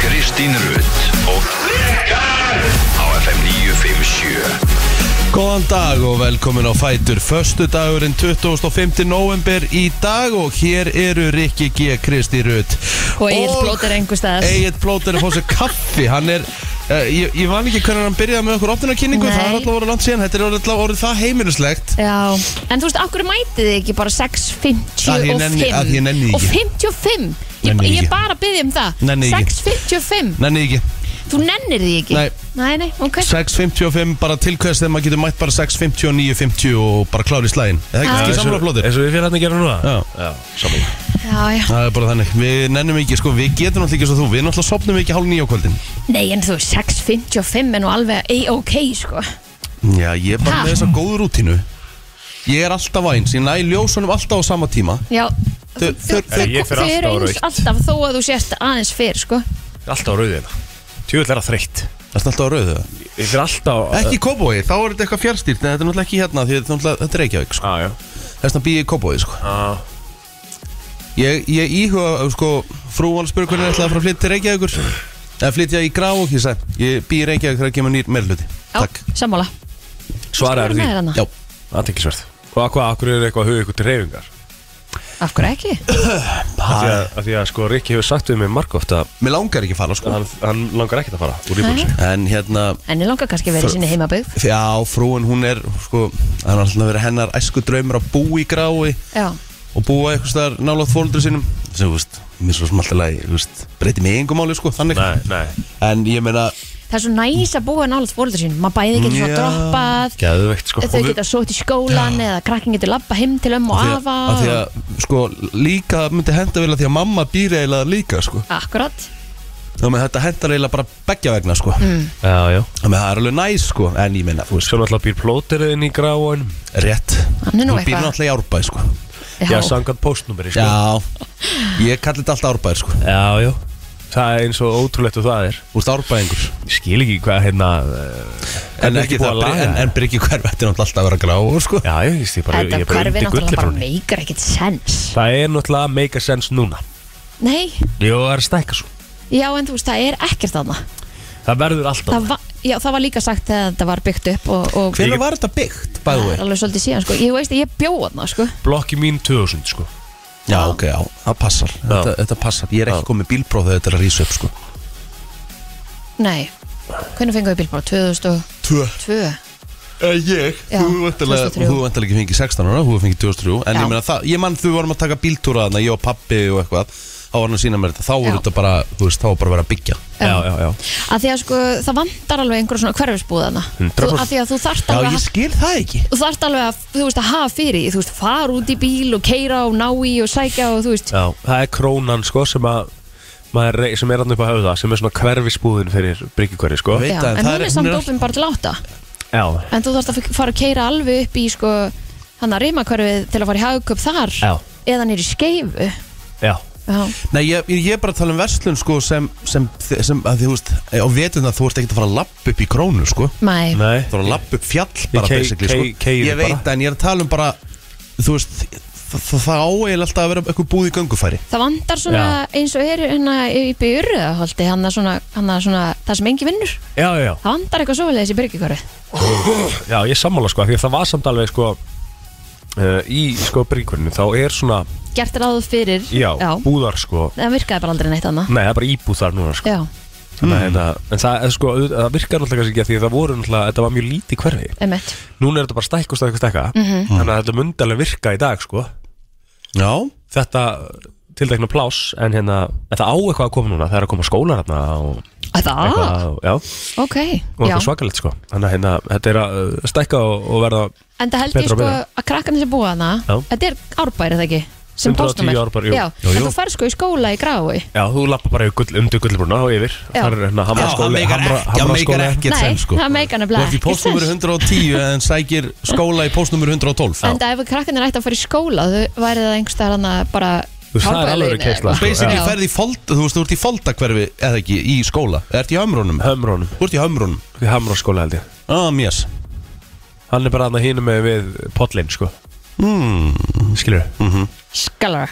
Kristín Rutt og Rikar á FM 957 Góðan dag og velkomin á Fætur Föstu dagurinn 25. november í dag og hér eru Rikki G. Kristi Rut Og Egil Blóter einhver staðar Egil Blóter er fór sér kaffi Hann er, uh, ég, ég van ekki hvernig hann byrjaði með okkur opnunarkynningu Nei. Það er alltaf orðið langt síðan, þetta er alltaf orðið það heimiluslegt Já, en þú veist, akkur mætið þið ekki bara Að ég nenni- 6.55 að ég nenni því Og ekki. 55 Ég, Nenni því ég ekki. bara byrði um það Nenni því ekki. 6.55 Nenni ekki, Þú nennir því ekki? Nei. Nei, nei, ok 6.55 bara tilkvæðast þegar maður getur mætt bara 6.50 og 9.50 og bara klári slægin Það er Já. ekki Eins sammála blóður Eins og við fyrir hann að gera núna Já. Já, samanlega Já, já Það er bara þannig, við nennum ekki, sko, við getum alltaf ekki svo þú, við náttúrulega sopnum ekki hálf nýja á kvöldin Nei, en þú veist, 6.55 er nú alveg A-OK, sko Já, ég er bara Ha? með þessa góðu rútínu Ég er alltaf á eins, ég næ ljósunum alltaf á sama tíma Já Þau- Þau þau- Ég fer þau alltaf eru á eins rautt. alltaf þó að þú sést aðeins fyrr, sko Alltaf á rauðina Tjóðlega er það þreytt Það er alltaf á rauðu Ég fyrir alltaf á Ekki í kóbói, þá er þetta eitthvað fjárstýrt En þetta er náttúrulega ekki hérna, því þetta er náttúrulega, þetta er Reykjavík sko. Á, Ah, já Ah. Þess vegna bý ég í kóbói, sko Á, Ég, ég íhuga, sko, frúan spurði hvernig ég ætlaði að fara að flytja til Reykjavíkur Eða flytja í grá og hísa Ég bý í Reykjavík þegar kemur nýr meirluti Já, Takk sammála Svaraður því því Já, Aðteklisverð Hvað, hvað, akkur er eitthvað að huga ykkur til reyfingar Af hverju ekki? Af því að, af því að sko Rikki hefur sagt við mig margóft að mér langar ekki að fara, sko hann, hann langar ekkert að fara úr íbúðsinn En hérna, Henni langar kannski að vera í sinni heimabygg já, frúin hún er, sko Það er alltaf verið hennar æsku draumur að búa í grái Já, og búa eitthvað staðar nálátt fólundur sínum sem, þú veist, mér svo sem alltaf lagi, þú veist, breyti mig engum máli, sko, þannig Nei, nei en ég meina, það er svo næs að búa nálaðt fóröldur sín maður bæði getur svona Já. droppað Geðveikt sko þau geta sótt í skólan eða krakkin getur labba heim til ömmu og því að, afa að því að, sko, líka myndi henda vel að því að mamma býr eiginlega líka, sko akkurat þá með þetta hendar eiginlega bara beggja vegna, sko mm. Já, já þá með það er alveg næs, sko, en ég meina, þú veist, Svo náttúrulega býr plóterið inn í gráin rétt Hann er nú Hún býr eitthvað. náttúrulega í árbæ, sko Já, já, sangat postnúmeri sko já, ég kalli þetta alltaf árbæ, sko já, já. Það er eins og ótrúlegt og það er Þú veist, árbæðingur Ég skil ekki hvað hérna uh, En hvernig ekki búið að það, laga en, en byrgi hverf Þetta er náttúrulega alltaf að vera grá, sko Já, ég veist, ég bara, þetta ég bara hverfi undi náttúrulega bara gullifrúnni. meikar ekkert sens Það er náttúrulega að make a sense núna nei, Jó, það er að stækka svo já en þú veist það er ekkert þarna Það verður alltaf það, va já, það var líka sagt þegar þetta var byggt upp og, og Hvernig var þetta byggt, bæðu það við? er alveg svolítið síðan sko ég veist að ég bjóða þarna sko Blokki mín 2000 sko Já, ok, já, það passar Þetta, þetta passar, ég er ekki Já. komið bílpróf þegar þetta er að rísa upp, sko nei, hvernig fengum við bíl bara 2002 Tvö Eh, Ég, Já, þú vantilega, 2003. þú vantilega ekki fengið 16 ára, þú hefur fengið 2003 En Já. ég meina, það, ég mann þú vorum að taka bíltúra þarna, ég og pappi og eitthvað Þá var hann að sína mér þetta, þá Já. voru þetta bara, þú veist, þá var bara að vera að byggja Já, já, já að því að sko það vantar alveg einhverjum svona hverfisbúðana 100%. að því að þú þarft Hmm, Já, alveg að ég skil það ekki þú þarft alveg að, þú veist, að hafa fyrir því, þú veist, fara út í bíl og keira og ná í og sækja og þú veist Já, það er krónan sko sem að maður, rey- sem er hann upp á höfða sem er svona hverfisbúðin fyrir bryggjukverfi sko Veit. Já, Já, það, en það hún er- er samt hún er dópin bara til átta já, en þú þarft að f- fara að keira alveg upp í sko, hann að reyma til að fara í hagköp þar Já. eða nýri skeifu já. Já, Nei, ég, ég ég er bara að tala um verslun, sko, sem, sem, sem að því, þú veist, á vetuna þú ert ekkert að fara að lappa upp í krónu, sko mæ, Nei, Þú voru að lappa upp fjall bara kei- basically kei- sko. keyri Ég veit bara. en ég er að tala um bara Þú veist, það, það, það áeil alltaf að vera eitthvað búið í göngufæri það vantar svona eins og er hérna upp í urðaholti hann að svona, hann að svona, það sem engi vinnur já, já, já. það vantar eitthvað svoleiðis í byrgikörfi já, ég er sammála sko, af því að það var samt alveg sko uh, í sko bryggjukverfinu þá er svona, gert ráð fyrir, já, búðar sko það virkaði bara aldrei neitt annað Nei, það er bara íbúð þar núna sko Já, Þannig að þetta, en það, er sko, auðvitað- það virkar náttúrulega kannski ekki að því að það voru náttúrulega, þetta var mjög lítið hverfi emmitt Núna er þetta bara stækk og stækk og stækka Mhm. Þannig að þetta myndi alveg virka í dag sko Já Þetta tildækna pláss en hérna, en það á eitthvað að koma núna það er að koma skólar hérna og Það, eitthvað, já, ok og já. eitthvað svakalegt sko Þannig að hérna, þetta er að uh, stækka og, og verða En það held ég Betra og sko betra. að krakkarnir sem búa hana Já. Þetta er árbæri það ekki sem 110 postnúmer Árbær, jú. Já, Jú, en jú. þú fær sko í skóla í grái Já, þú lappa bara yfir gull, undir gullbruna og yfir Já. Það er hérna Já, hamra það skóli meikar hamra, ekki- það hamra meikar skóli ekkert Nei, senn sko það meikar Þú nefnilega ert í ekkert postnúmur sens. 110 en sækir skóla í postnúmur 112 En það ef krakkarnir ætti að fara í skóla þau væri það einhvers þar hana bara veist, það er alveg Árbæjarleiðinni eða keisla, eitthvað. sko. Basically Já. ferði í folda, þú veist, þú ert í foldakverfi eða ekki, í skóla Ert í hömrónum Hömrónum, Þú ert í hömrónum hamra skóli held ég Ah, mjess Hann er bara hann að hínum með við pollin sko Mhm. Hmm. mm. Skilur, Skalar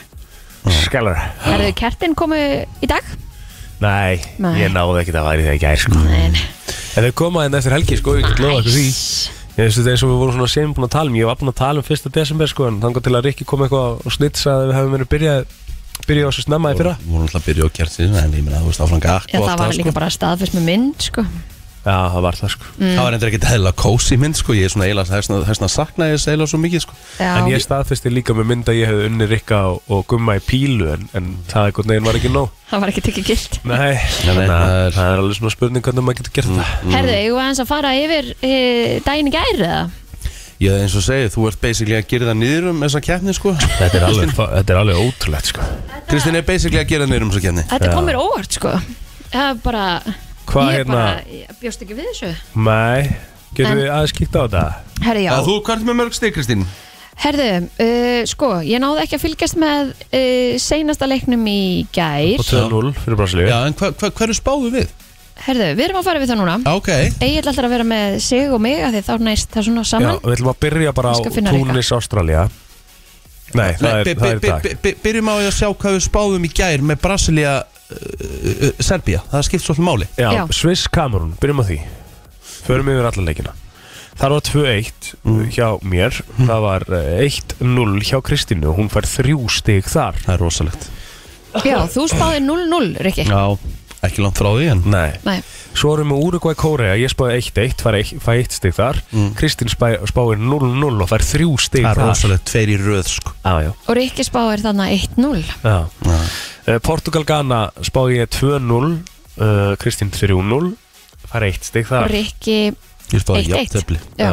skellar Erðu kertin komu í dag? Nei, Nei. ég náði ekkert að væri það í gær sko. Nei, nei. En þau koma hérna eftir helgi sko, ég get lofa eitthvað því Ég veist þetta eins og við vorum svona sem búin að tala um Ég var búin að tala um 1. desember sko En þangar til að Rikki kom eitthvað og snitsa að við hefum verið byrjað Byrjað á svo snemma í fyrra Við vorum alltaf að byrja og gert sér En ég meina, þú veist, áfram gakk Já, og það allt var það, sko. sko. líka bara staðfest með mynd sko. Já, það var það sko Það Mm. var endur ekkert heila kósi mynd sko Ég er svona eiginlega, þess vegna- þess vegna saknaði þess eiginlega svo mikið sko Já, En ég staðfesti líka með mynd að ég hefði unni Rikka og, og gumma í pílu En, en það einhvern veginn var ekki nóg það var ekki tekið gilt Nei, nei, þannig það að er- Mm, það er alveg svona spurning hvernig maður getur gert það Herðu, ég var eins að fara yfir e, daginn í gæri eða? Ég eins og segi, þú ert basically að gera það niður um þessa keppni sko Þetta er alveg, þetta er alveg ótrúlegt sko Kristinn er basically að gera það niður um þessa keppni Þetta kom mér óvart sko Það er bara Hvað Ég hérna, bara, ég bjóst ekki við þessu nei, getur En- við aðeins kíkt á þetta? Herðu, já Að Þú, hvað ertu með mörg stig Kristín? Herðu, uh, sko, ég náði ekki að fylgjast með uh, seinasta leiknum í gær Og 2-0 fyrir Brasilíu Já, en hva, hva, hverju spáðu við? Herðu, við erum að fara við það núna Já, Ok, Egil ætlar að vera með sig og mig af Því þá næst það svona Já, saman við ætlum að byrja bara á Ég skal finna Túnis, Ástralja Nei, það Nei, er, by- það er í by- dag by- by- byrjum á því að sjá hvað við spáðum í gær með Brasilia uh, uh, Serbia, það skipt svolítið máli Já, Já. Sviss, Kamerún, byrjum á því Förum yfir alla leikina Það var 2-1 Mm. hjá mér Það var eh, 1-0 hjá Kristínu Hún fær þrjú stig þar Það er rosalegt Já, þú spáði 0-0, Rikki Já, ekki langt frá því en Nei Nei, Svo erum við Úrugvæ Kórea, ég spáði 1-1, fær eitt- fæ 1 stig þar Kristín spá- spáir 0-0 og fær þrjú Mm. stig Það er þar rosalegt, tveir í röð sko Já, já og Rikki spáði þarna 1-0 Já. Eh, Portugal-Ghana spáði ég 2-0 uh, Kristín 3-0 fær eitt stig og þar Rikki Ég spáði 1-1 jafntöfli Já,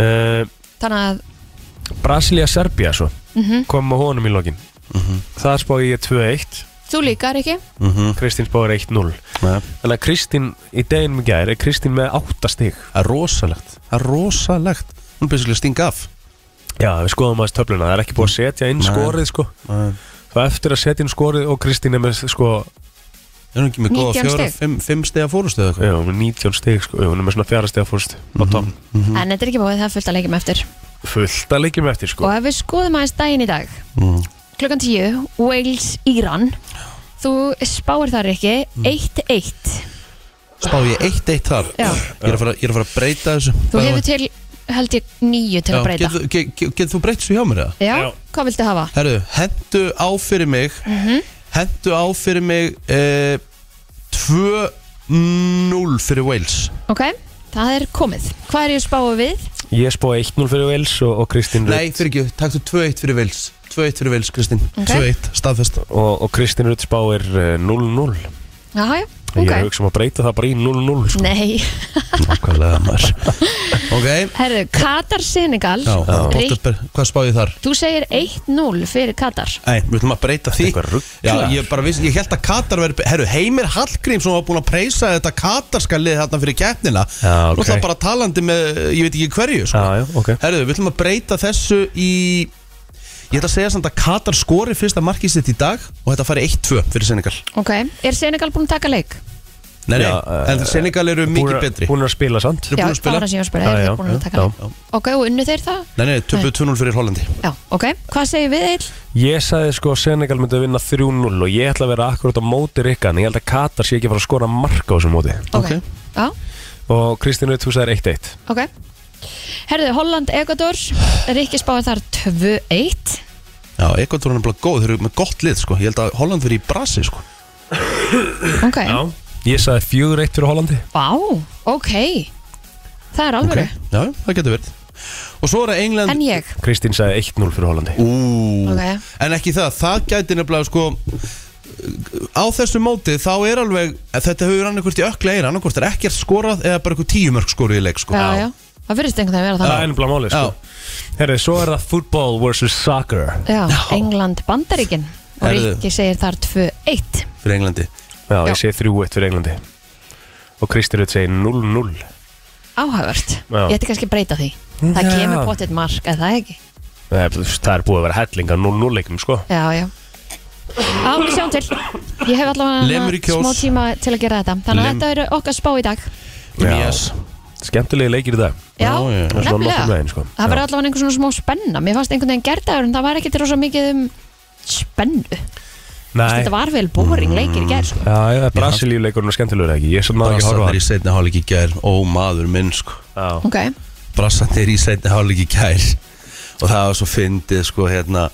Eh, Þannig að Brasilia-Serbia svo Mhm. kom á honum í lokin þar spáði ég 2-1 þú líka, Rikki Mhm. Kristín spáði 1-0 Nei. þannig að Kristín í deginum í gær er Kristín með 8 stig Það er rosalegt, það er rosalegt Hún er basically að stinga af já við skoðum aðeins töfluna það er ekki búið að setja inn Nei. skorið sko það eftir að setja inn skorið og Kristín er með sko Er hún ekki með góða 19 fjóra, stig. fimm, fimm stiga fórustu eða eitthvað? já, með 19 stig sko já, hún er með svona fjara stig að fórst á topn Mhm. En þetta er ekki búið, það er fullt að leikjum eftir fullt að leikjum eftir sko Og ef við skoðum aðeins daginn í dag Mhm. Klukkan 10, Wales, Íran Þú spáir þar ekki 1-1 Mm. Spá ég eitt eitt þar Já. Ég er að fara, ég er að, fara að breyta þessu Þú hefur til, held ég, 9 til að breyta Getur get, get, get þú breytt þessu hjá mér eða? Já, Já. hvað viltu hafa? Mhm, Herru, hendu á fyrir mig Hendu á fyrir mig eh, 2-0 fyrir Wales Ok, það er komið Hvað er ég að spáa við? ég spáði 1-0 fyrir Wales og, og Kristín Nei, Rutt fyrir ekki, takk þú 2-1 fyrir Wales 2-1 fyrir Wales, Kristín 2-1, staðfest og, og Kristín Rutt spáir eh, 0-0 Jaha, já, Ég ok er að hugsa um að breyta það bara í 0-0 sko. Nei, Nákvæmlega maður Ok, herðu, Katar, Senegal já, Rík, Potterber, hvað spá ég þar? Þú segir 1-0 fyrir Katar Nei, við ætlum að breyta því eitthvað rugl. Já, ég bara vissi, ég held að Katar veri Herru, Heimir Hallgrím sem var búin að preysa þetta katarska lið þarna fyrir keppnina Já, ok. Nú það bara talandi með, ég veit ekki hverju sko. Já, já, ok. Herru, við ætlum að breyta þessu í Ég ætla að segja samt að Katar skori fyrsta markið sitt í dag Og þetta fari 1-2 fyrir Senegal Ok, er Senegal búin að taka leik? Nei, nei, Já, eh, en Senegal eru mikið Búin að- betri Búin að spila sant Þeir eru Já, búin að það var spila það sem ég var að spila, Já, er já, það búin að já, taka leik? Ok, og unnu þeir það? Nei, nei, töpuð 2-0 fyrir Hollandi Já, ok, hvað segir við Eil? Ég sagði sko að Senegal myndi að vinna 3-0 og ég ætla að vera akkurat á móti Rikkan Ég held að Katar sé ekki að fara að skora marka á þessu móti Ok. Ok, já, Og Kristín Rutt, þú sagðir 1-1 ok Herðu, Holland, Ecuador Ríkki spáir þar 2-1 Já, Ekvator er nefnilega góð, þeir eru með gott lið sko. Ég held að Holland fyrir í Brasi sko. Ok, Ég sagði 4-1 fyrir Hollandi vá, ok Það er alvöru Já, það getur verið Og svo er það England En ég, Kristín sagði 1-0 fyrir Hollandi Ú, Ok. En ekki það, það gæti nefnilega sko, Á þessu móti þá er alveg Þetta hefur annarkvort í ökla eir Annarkvort er ekkert skorað eða bara eitthvað tíu mörg skoruð í leik sko. já, já Það fyrir stengur það að vera Það þannig er ennum málið Já. sko Herri, svo er það football versus soccer Já, England, Bandaríkin Og Herðu. Ríkki segir þar 2-1 Fyrir Englandi Já, Já. ég segi 3-1 fyrir Englandi Og Kristín Rutt segir 0-0 Áhægvert Já. Ég ætti kannski að breyta því Það Já. kemur potið mark, eða það ekki Nei, þú veist, Það er búið að vera hellinga 0-0 leikum sko Já, já Já, við sjáum til Ég hef Lemur í allavega kjós. smá tíma til að gera þetta Þannig að Lem- þetta eru okkar spá í dag Já. Yes. Skemmtilegi leikir í dag Já, Já, já. Svona nefnilega nokkurn veginn, sko. Það var Já. allavega einhver svona smá spenna Mér fannst einhvern veginn gerðaður en það var ekkert rosa mikið um spennu Nei, Þetta var vel boring leikir í gerð sko. já, já, Brasilíuleikurinn er skemmtilegur ekki Ég sem maður ekki að horfa á Brassarnir í setni hálfleik í gær Ó maður minn sko hann. Já. Ok, Brassarnir í setni hálfleik í gær Og það var svo fyndið sko hérna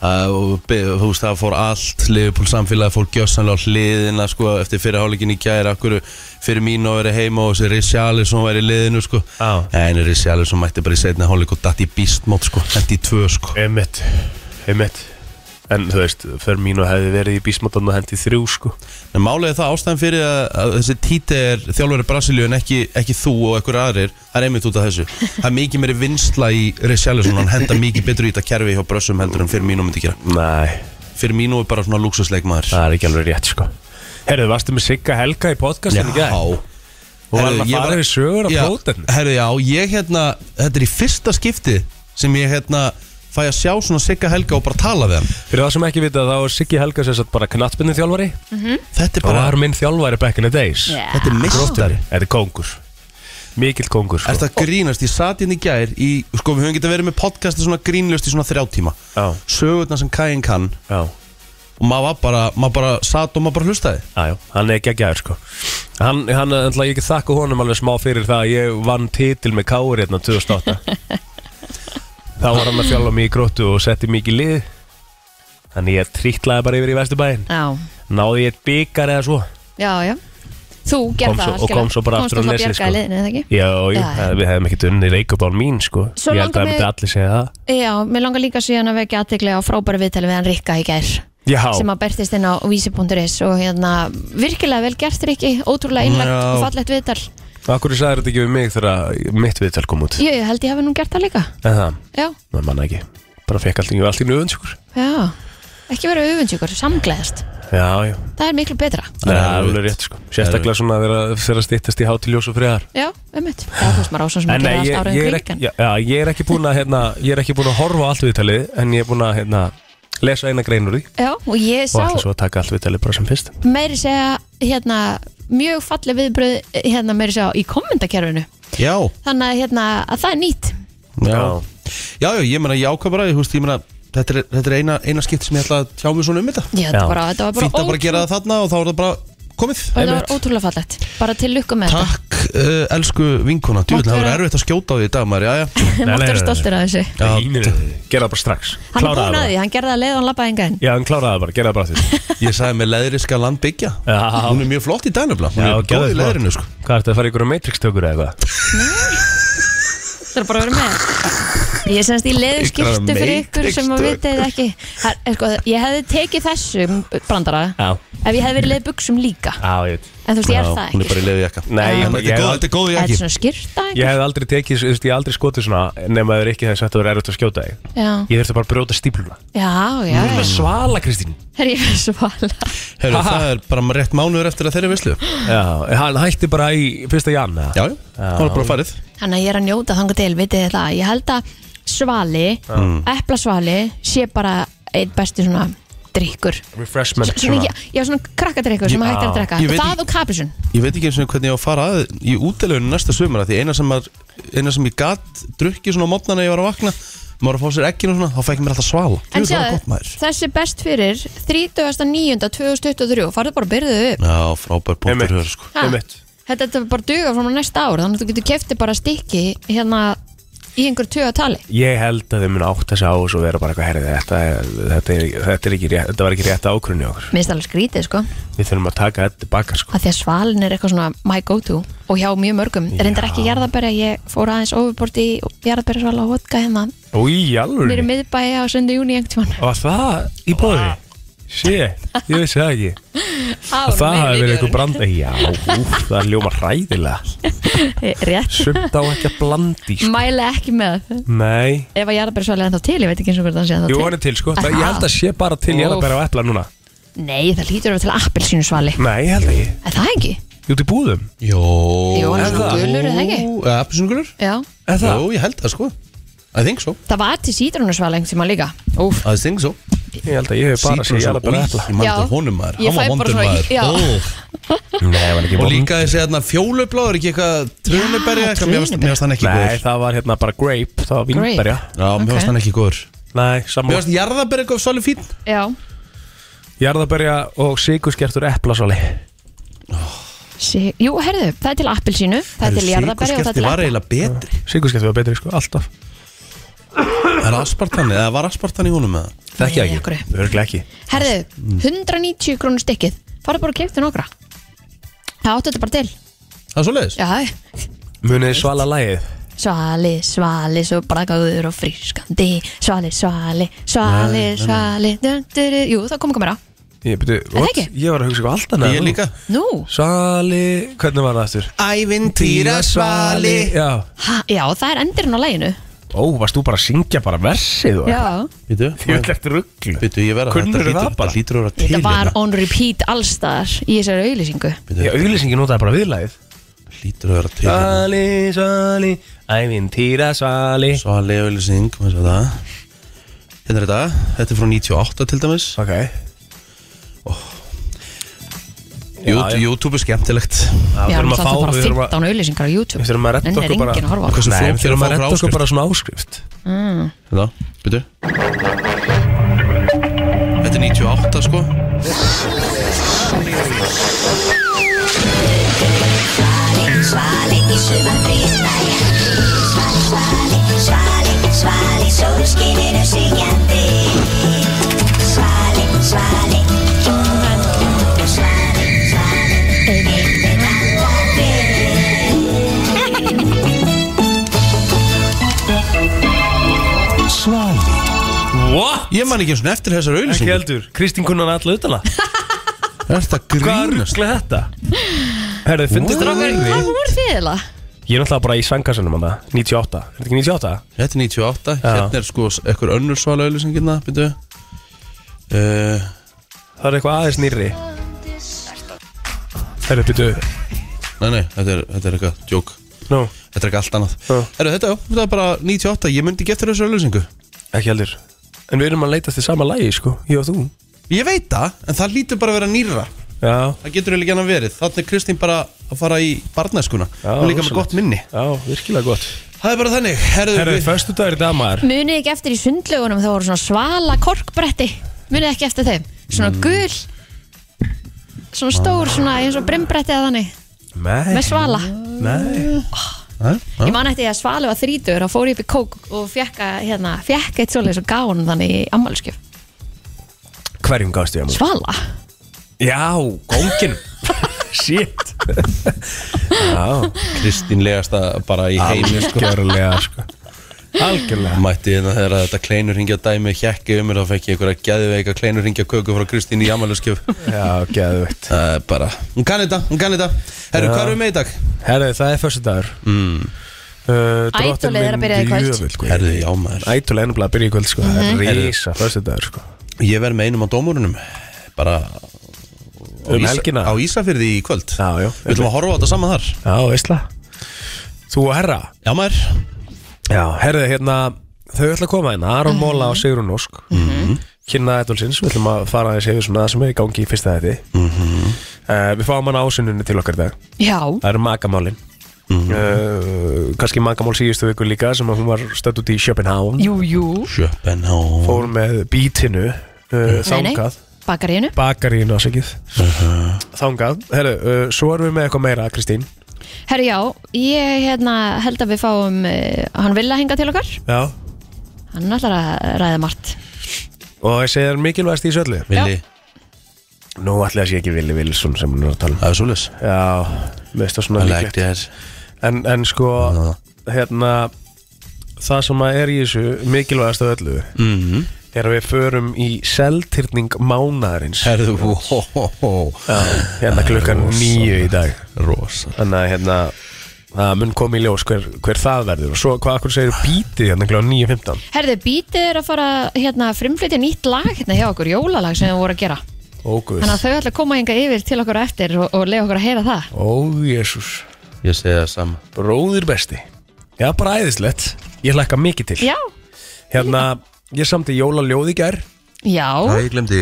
að, og be- þú veist það fór allt Liverpool samfélagi fór gjössanlega á hliðina sko eftir fyrir hálfleikin í gær Akkur fyrir mín að vera heima og þessi Richarlison væri í liðinu sko Já. En Richarlison mætti bara í setni hálfleik og datt í bístmót sko Hendi í tvö sko Einmitt, einmitt En þú veist, fyrir mínu hefði verið í bísmáttan og hendi þrjú sko En málið er það ástæðan fyrir að, að þessi títi er þjálfur í Brasilíu en ekki, ekki þú og ekkur aðrir Það er einmitt út af þessu Það er mikið meiri vinsla í Richarlison Hann henda mikið betur í þetta kerfi hjá Brössum heldur en fyrir mínu myndi gera Nei, Fyrir mínu er bara svona lúksusleikmaður það er ekki alveg rétt sko Herðu, varstu með Sigga Helga í podcastin í gær? Hún var alveg að fara yfir sögur á Já, plóten herru, já, ég hérna, þetta er í fyrsta skipti sem ég hérna fæ að sjá svona Sigga Helga og bara tala við hann Fyrir það sem ekki vita þá er Siggi Helga sem sagt bara knattbyrni þjálfari Þetta er og bara, var minn þjálfari back in the days Yeah. þetta er meistari Þetta er kongur Mikill kongur Er sko. þetta grínast, ég sat inn í gær í, sko við höfum getið verið með podcasti svona grínlust í svona þrjá tíma Já. sögurnar sem Kain kann Já, og maður var bara, maður bara sat og maður bara hlustaði já, já, hann er geggjaður sko Hann, hann, ætla, ég ekki þakka honum alveg smá fyrir það að ég vann titil með Káur hérna 2008 Þá var hann að þjálfa mig í gróttu og setti mig í lið Þannig ég trítlaði bara yfir í Vesturbæin Já, Náði ég eitt byggar eða svo já, já Þú gerð Kom svo- það og algjörlega. kom svo bara Komst aftur á þú svo Nesið, bjargaði sko. liðinu, eða ekki? Já, jú, Já, já. við hefðum ekkert unnið reykjubán mín sko Svo Ég held langar að það mig- myndi allir segja það Já, mér langar líka síðan að vekja aðtegli á frábæru viðtali við hann Rikka í gær Já, sem að bertist inn á vísi.is og hérna virkilega vel gert Rikki ótrúlega innlagt Já. og fallegt viðtal Akkur sagði þetta ekki við mig þegar mitt viðtal kom út Ég held ég hafi nú gert það líka En það, Já, maður manna ekki Bara fekk allt í allt í sko. nöðunskur já ekki vera öfundsjúkur, samgleðast Já, já, það er miklu betra það er Það er alveg erfitt. rétt sko Sérstaklega svona þegar þegar að stýttast í hátiljós og friðar Já, ummitt Já, þú veist maður á svo sem að En gera nei, allt ég, áraðin ég, er kring ekki, en- já, já, ég er ekki búin að hérna, Ég er ekki búin að horfa á allt viðtalið En ég er búin að hérna, lesa eina grein úr því Já, og ég Og sá ætla svo að taka allt viðtalið bara sem fyrst meiri segja hérna mjög falleg viðbröð hérna meiri segja í kommentarkerfinu Já, þannig að, hérna, að það er nýtt já, já, já ég meina ég ákvað bara, ég, húst, ég meina þetta er, þetta er eina, eina skipt sem ég ætla að tjá mig svona um þetta Já, þetta Já. bara, þetta var bara, Fínt að bara ótrú- gera það þarna og þá er það bara komið og þetta var ótrúlega fallegt bara til lukku með þetta Takk, uh, elsku vinkona, djúvill, það vera- verður erfitt að skjóta á því í dag, maður, já, já Nei, Máttu nei, vera nei, stoltir af þessu Já. Línir þið. Gerða það bara strax Hann er Kláraðu búin að það því, hann gerði það leið og hann labbaði enga Já, hann kláraði það bara, gerða það bara því Ég sagði með leðri skal land byggja Já. Hún er mjög flott í dænafla, hún Já, er góð geðveikt í flott. leðrinu, sko Hvað ertu að fara ykkur á Matrix-tökur eða eitthvað? Það er bara að vera með Ég er semst í leður skiptu fyrir ykkur sem að Matrix-tök. vitið ekki Her, er, sko, Ég hefði tekið þessum brandara Já, ef ég hefði verið leið buksum líka já, ég veit En þú veist, ég er Já, það Hún er ekki sko. bara í leðu jakka Nei, ég, En ég, Þetta er góð- ég, þetta er góð Þetta jakki er svona skýrta ég hef aldrei tekið, þú veist, ég hef aldrei skotið svona nema þeir ekki þess að þetta verið erfitt að skjóta þig Já, Ég þurfti bara að brjóta stípluna já, já Það er svala, Kristín Herri, ég er svala Heru, það er bara rétt mánuður eftir að þeirri visslu Já, Já, hann hætti bara í fyrsta jan já, það er bara farið Þannig að ég er að njóta þangu til, vitið þið það Ég held að svali, Mm. eplasvali sé bara einn besti svona drikkur Refreshment Svona, já, já, svona krakkadrikkur sem Ég- að hægt er að já. drekka Ég veit Það og kaprisun Ég veit ekki eins og hvernig ég á að fara að í útilegunum næsta sumar af Því eina sem, að, eina sem ég gat drukkið svona á mótnana ég var að vakna Maður að fá sér ekkinu svona, þá fæk mér alltaf svala En Djú, það var gott sjáðu, maður þessi best fyrir 39.2023 farðu bara að byrðu þau upp Já, frábær punktur hér sko Ha? Einmitt. Þetta þetta bara duga frá næsta ár þannig að þú getur kefti bara stikki hérna í einhver tuga tali Ég held að þau mun átta sig á þessu og vera bara eitthvað herrið þetta, þetta, þetta, er- þetta, er ekki rétt- þetta var ekki rétt ákvörðin í okkur Mér finnst alveg skrítið sko Við þurfum að taka þetta tilbaka sko. að því að svalin er eitthvað svona my go to og hjá mjög mörgum, Já. reyndar ekki jarðabæri ég fór aðeins ofurborti í jarðabæri svala og vodka hérna, Úi, alveg nýri miðbæi á söndu júni einhvern Og það í bóði Sé, ég vissi það ekki tíman Og það hafi verið eitthvað brand Já, úf, það ljóma hræðilega rétt, Sumt á ekki að blandi sko. mæla ekki með Nei ef að jarðabæri svala er ennþá til, ég veit ekki eins og hvernig það sé Jú, ennþá hann til er til sko það, Ég held að sé bara til Úff. jarðabæra og epla núna nei, það lítur að vera til appelsínu svali Nei, ég held ekki er það ekki? Jú, til búðum Jó, Jú, hann er svona gulur, er það ekki? Episungulur? Já, Er það? Jó, ég held það sko I think so, það var til sítrónusvala einhvern tíma líka Úf, I think so Ég held að ég hef bara sé jarðabæra og epla Ég maður Já. þetta honum maður, Ég hann fæ var vondur bara svona- já. maður Ó. Nei, var ekki Og vond. líka þessi hérna fjólubláður, ekki eitthvað trunibæri Já, eitthvað, mér varst- trúnuberja. mér varst hann ekki Nei, góður það var hérna bara grape Það var vínberja Já, mér Ok. varst hann ekki góður Nei, Mér saman varst jarðabæri eitthvað svolítið fín já, Jarðaberja og sigurskjartur eplasali Sí, jú, herðu, það er til appelsínu, það er til jarðabæri og það er Sykurskerti til var eiginlega betri Sigurskjartur var betri sko, alltaf Er aspartan, eða var aspartan í húnum eða? Þekki Nei, ég af hverju? ekki, örglega ekki appelsínu. Herðu, 190 krónur stykkið, farðu bara og keiptu nokkra. Það áttu þetta bara til. Það er svo leiðis? Já, Munið þið svala lagið svali, svali, svo brakaður og frískandi, svali, svali, Nei, svali, nei, nei. svali, dun, dun, dun. jú, það kom ekki meira. Ég, byrju, það what? ekki? ég var að hugsa eitthvað allt annað Ég líka Nú, Svali, hvernig var það aftur? Ævintýra Já, ha, já, það er endirinn á læginu. ó, varst þú bara að syngja bara versið og Já, Býtu, Ég vil eftir rugglu býtu, ég verða Kunnurðu það bara? Þetta lítur að vera til þetta var hérna. on repeat allstaðar í þessari auðlýsingu. Bíddu, Já, auðlýsingin notaði bara viðlæðið Lítur að vera til hérna. Svali, svali, ævintýra svali Svali auðlýsing, hvað svo það Hérna er þetta, þetta er frá 98 til dæmis Ok Já, Jú- já. YouTube er skemmtilegt Það Já, þurfum að það er fá, bara við þurfum að 15 auðlýsingar á YouTube. Við þurfum að redda Enn er okkur bara enginn að horfa á. Hvað sem Nei, flókið við þurfum að fá redda okkur okkur áskrift. bara svona áskrift Hérna, býtu Þetta er 98 sko What? Ég man ekki eins og eftir þessar Ekki auðlýsing heldur Kristín kunnar alla utala Er þetta Hvað er grínast? rugglega þetta? Herðu, fundið þetta Strákar, hvað voru þið eða? Ég er náttúrulega bara í sangasunum hann 98 Er þetta ekki 98? Þetta er 98, Já. hérna er sko ekkur önnur svala auðlýsing hérna, býtu uh, Það er eitthvað aðeins nýrri Herðu, byrju Nei, nei, þetta er, þetta er eitthvað djók Nú, Þetta er ekki allt annað Já. Heru, Þetta já, þetta er bara 98, ég myndi ekki eftir þessar auðlýsingu ekki heldur En við erum að leita til sama lagi, sko Ég og þú Ég veit það, en það lítur bara að vera nýra Já, Það getur eiginlega gana verið Þannig er Kristín bara að fara í barnæskuna Já, Og líka með rosalegt. gott minni já, virkilega gott Það er bara þannig Herðu, Herðu, við- föstu dagur í dag maður Munið ekki eftir í sundlögunum þá voru svona svala korkbretti Munið ekki eftir þeim Svona Mm. gul Svona stór, svona eins og brimbretti eða þannig Nei, Með svala nei Hæ? Hæ? Ég man eftir því að svali var þrítur Þá fór ég upp í kók og fekk, að, hérna, fekk eitt svoleiðis og gaf hún þannig í ammálskjöf Hverjum gafstu ég að maður? Svala Já, góngin Shit Já, Kristín legast það bara í heimi sko. algjörlega, sko Algjörlega Mætti hérna þegar að þetta kleinur ringja dæmi Hjekki um mér, þá fekk ég einhverja geðveika Kleinur ringja köku frá Kristín í Amalurskjöf Já, geðvögt Það er bara, hún kann þetta, hún kann þetta Herru, Já. hvað erum við með í dag? Herðu, það er föstu dagur Mm. uh, Ædolið er að byrja í kvöld. sko. Herru, já maður Mm-hmm. Ætlulega ennum að byrja í kvöld sko Það er rísa Föstu dagur sko Ég verð með einum á dómurunum Bara á Um Ísa- helgina. Á Ísafyrði í kvöld Já, já Við ætlum að horfa á þetta saman þar Já, veistla Þú og herra Já maður Já, herðu hérna Þau ætla að koma inn Aron Móla og Sigrun Ósk Kynna Ædolsins Við ætlum að fara að segja svona Það sem er í gangi í fyrsta þetta uh, Við fáum hann ásuninni til okkar í dag Já, Það eru magamálin mm Kanski magamál síðustu viku líka Sem að hún var stödd út í Sjöpenháum jú, jú Sjöpenhá Fór með bítinu uh, Þangað Bakaríinu Bakarínu ásækið Þangað Herru, uh, svo erum við með eitthvað meira Kristín Herru já, ég hérna, held að við fáum uh, Hann vil að hinga til okkar Já Hann ætlar að ræða margt Og ég segir mikilvægast í þessu öllu Vili, Nú ætla ég ekki Vili Vilsson sem hún er að tala um það er svolítið Já, veist það svona Það líklegt. lægt ég þess en, en sko, hérna Það sem að er í þessu mikilvægast af öllu Mhm. Er að við förum í seltirning mánaðarins Herðu, hó, hó, hó Hérna klukkan nýju í dag Rosa Þannig að hérna Það mun koma í ljós hver, hver það verður Og svo hvað akkur segir bítið hérna klukkan 9.15 Herðu, bítið er að fara hérna, frumflytja nýtt lag hérna hjá okkur, jólalag sem þau voru að gera. Óguð Þannig að þau ætla að koma hinga yfir til okkur á eftir og, og leiða okkur að heyra það. Ó, Jésús Ég segi það sama Bróðir besti Já, bara æðislegt Ég hlakka mikið til Já, Hérna, ég samti jólaljóð í gær já. ég glemdi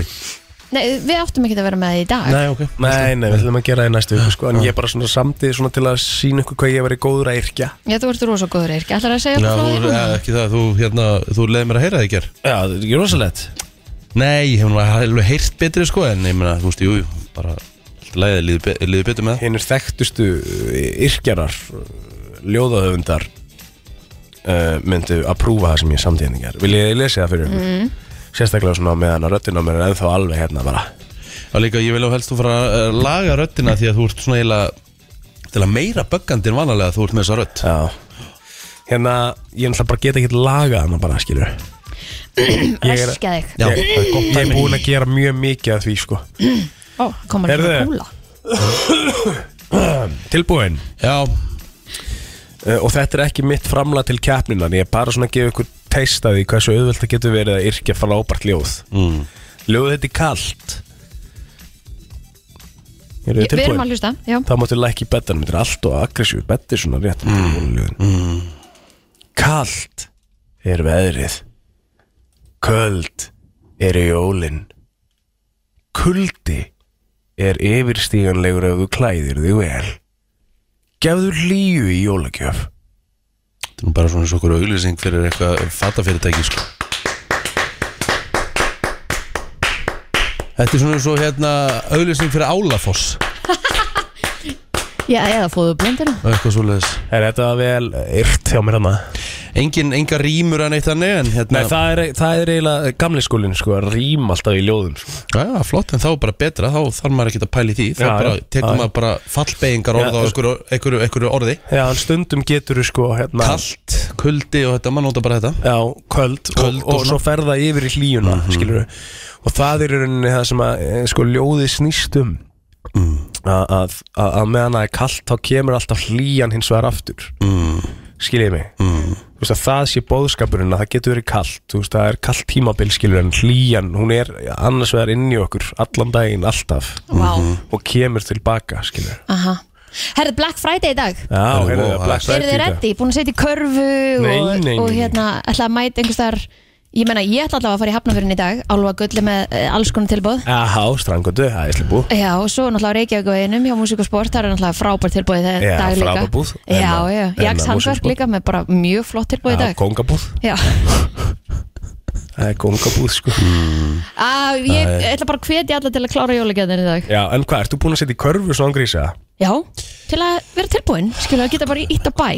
Nei, við áttum ekki að vera með það í dag. Nei, ok Nei, nei, við ætlum að gera það í næstu viku sko En ég bara svona samti svona til að sína ykkur hvað ég hef verið góður að yrkja Já, þú ert rosa góður, Eirki. Ætlar að segja Já, okkur frá þú, því núna? eh, ekki það, þú, hérna, þú leiði mér að heyra það í ger Já, það er rosalegt Nei, ég hef nú alveg heyrt betri sko En ég meina, þú veist, jú, jú, bara Læðið líður be- líður betur með það hinnur þekktustu eh, yrkjarar, eh, ljóðahöfundar uh, myndu að prúfa það sem ég samtíðningar. Vil ég lesa það fyrir Mm. ykkur? Sérstaklega svona meðan að röddina mér er ennþá alveg hérna bara. Og líka, ég vil á helst þú fara að eh, laga röddina Því að þú ert svona eiginlega Til að meira böggandi en vanalega þú ert með þessa rödd Já. Hérna, ég náttúrulega bara get ekki lagað hana bara, skilur. Ég er- Elskja þig Já, ég, það er gott ég er dæmi. búin að gera mjög mikið að því, sko. Ó, komur ekki Heyrðu. að kúla Tilbúin. Já, Uh, og þetta er ekki mitt framlag til keppninan ég er bara svona að gefa ykkur teista því hversu auðvelt það getur verið að yrkja frábært ljóð Mm. ljóð þetta er kalt eru þið Við erum að tilbúin? hlusta, já þá máttu lækki í betanum, þetta er allt og aggressíu betti svona rétt mm. Mm. kalt er veðrið köld er jólin kuldi er yfirstíganlegur ef þú klæðir þig vel gefðu hlýju í jólagjöf þetta er nú bara svona eins og okkur auglýsing Fyrir eitthvað fatafyrirtæki sko Þetta er svona eins og hérna Auglýsing fyrir Álafoss Já, eða fóðu blindina og Eitthvað svoleiðis Er þetta vel yrt hjá mér hana? Engin, enga rýmur að neitt þannig en hérna Nei, það er, það er eiginlega gamli skólinn sko, að rým alltaf í ljóðum sko. Já, já, flott, en þá er bara betra, þá þarf maður ekki að pæla í því þá Já, bara, já, tekur já. maður bara fallbeigingar Já, orð á einhverju, einhverju, einhverju orði Já, en stundum getur þú sko hérna, Kalt, kuldi og þetta, maður nota bara þetta Já, köld, Köld og, og Mhm. og svo ferða yfir í hlýjuna mm og það er í rauninni það sem að eh, sko, ljóði snýst um Mm. að, að, að að meðan það er kalt þá kemur alltaf hlýjan hins vegar aftur mm. skiljiði mig mm. þú veist að það sé bóðskapurinn að það getur verið kalt þú veist það er kalt tímabil skilur en hlýjan hún er annars vegar inn í okkur allan daginn alltaf Vá, Mhm. og kemur tilbaka, skilur aha Herðu Black Friday í dag Já, Herðu, heyrðu, vá, Black það Eru Friday þið í dag. reddi? Búin að setja í körfu Nei, og, nei, og nei. hérna, ætla að mæta einhvers þar Ég menna, ég ætla allavega að fara í hafnafyrin í dag Álfa gulli með eh, alls konar tilbúð Aha, strangundu, það er slibú Já, og svo náttúrulega á Reykjavíkveginum hjá Músík og Sport, það er náttúrulega frábært tilbúið það Já, dag líka. frábær búð. En Já, að- já, en að Jax Músík og Handverk Sport. líka með bara mjög flott tilbúið Já, í dag. kongabúð Já, Það er kongabúð, sko Á, ég ætla bara að hvetja alla til að klára jólagjörðin í dag. Já, en hvað, ert þú búin að setja í körfu svona grísa? Já, til að vera tilbúin, skilja, að geta bara ítt á bæ.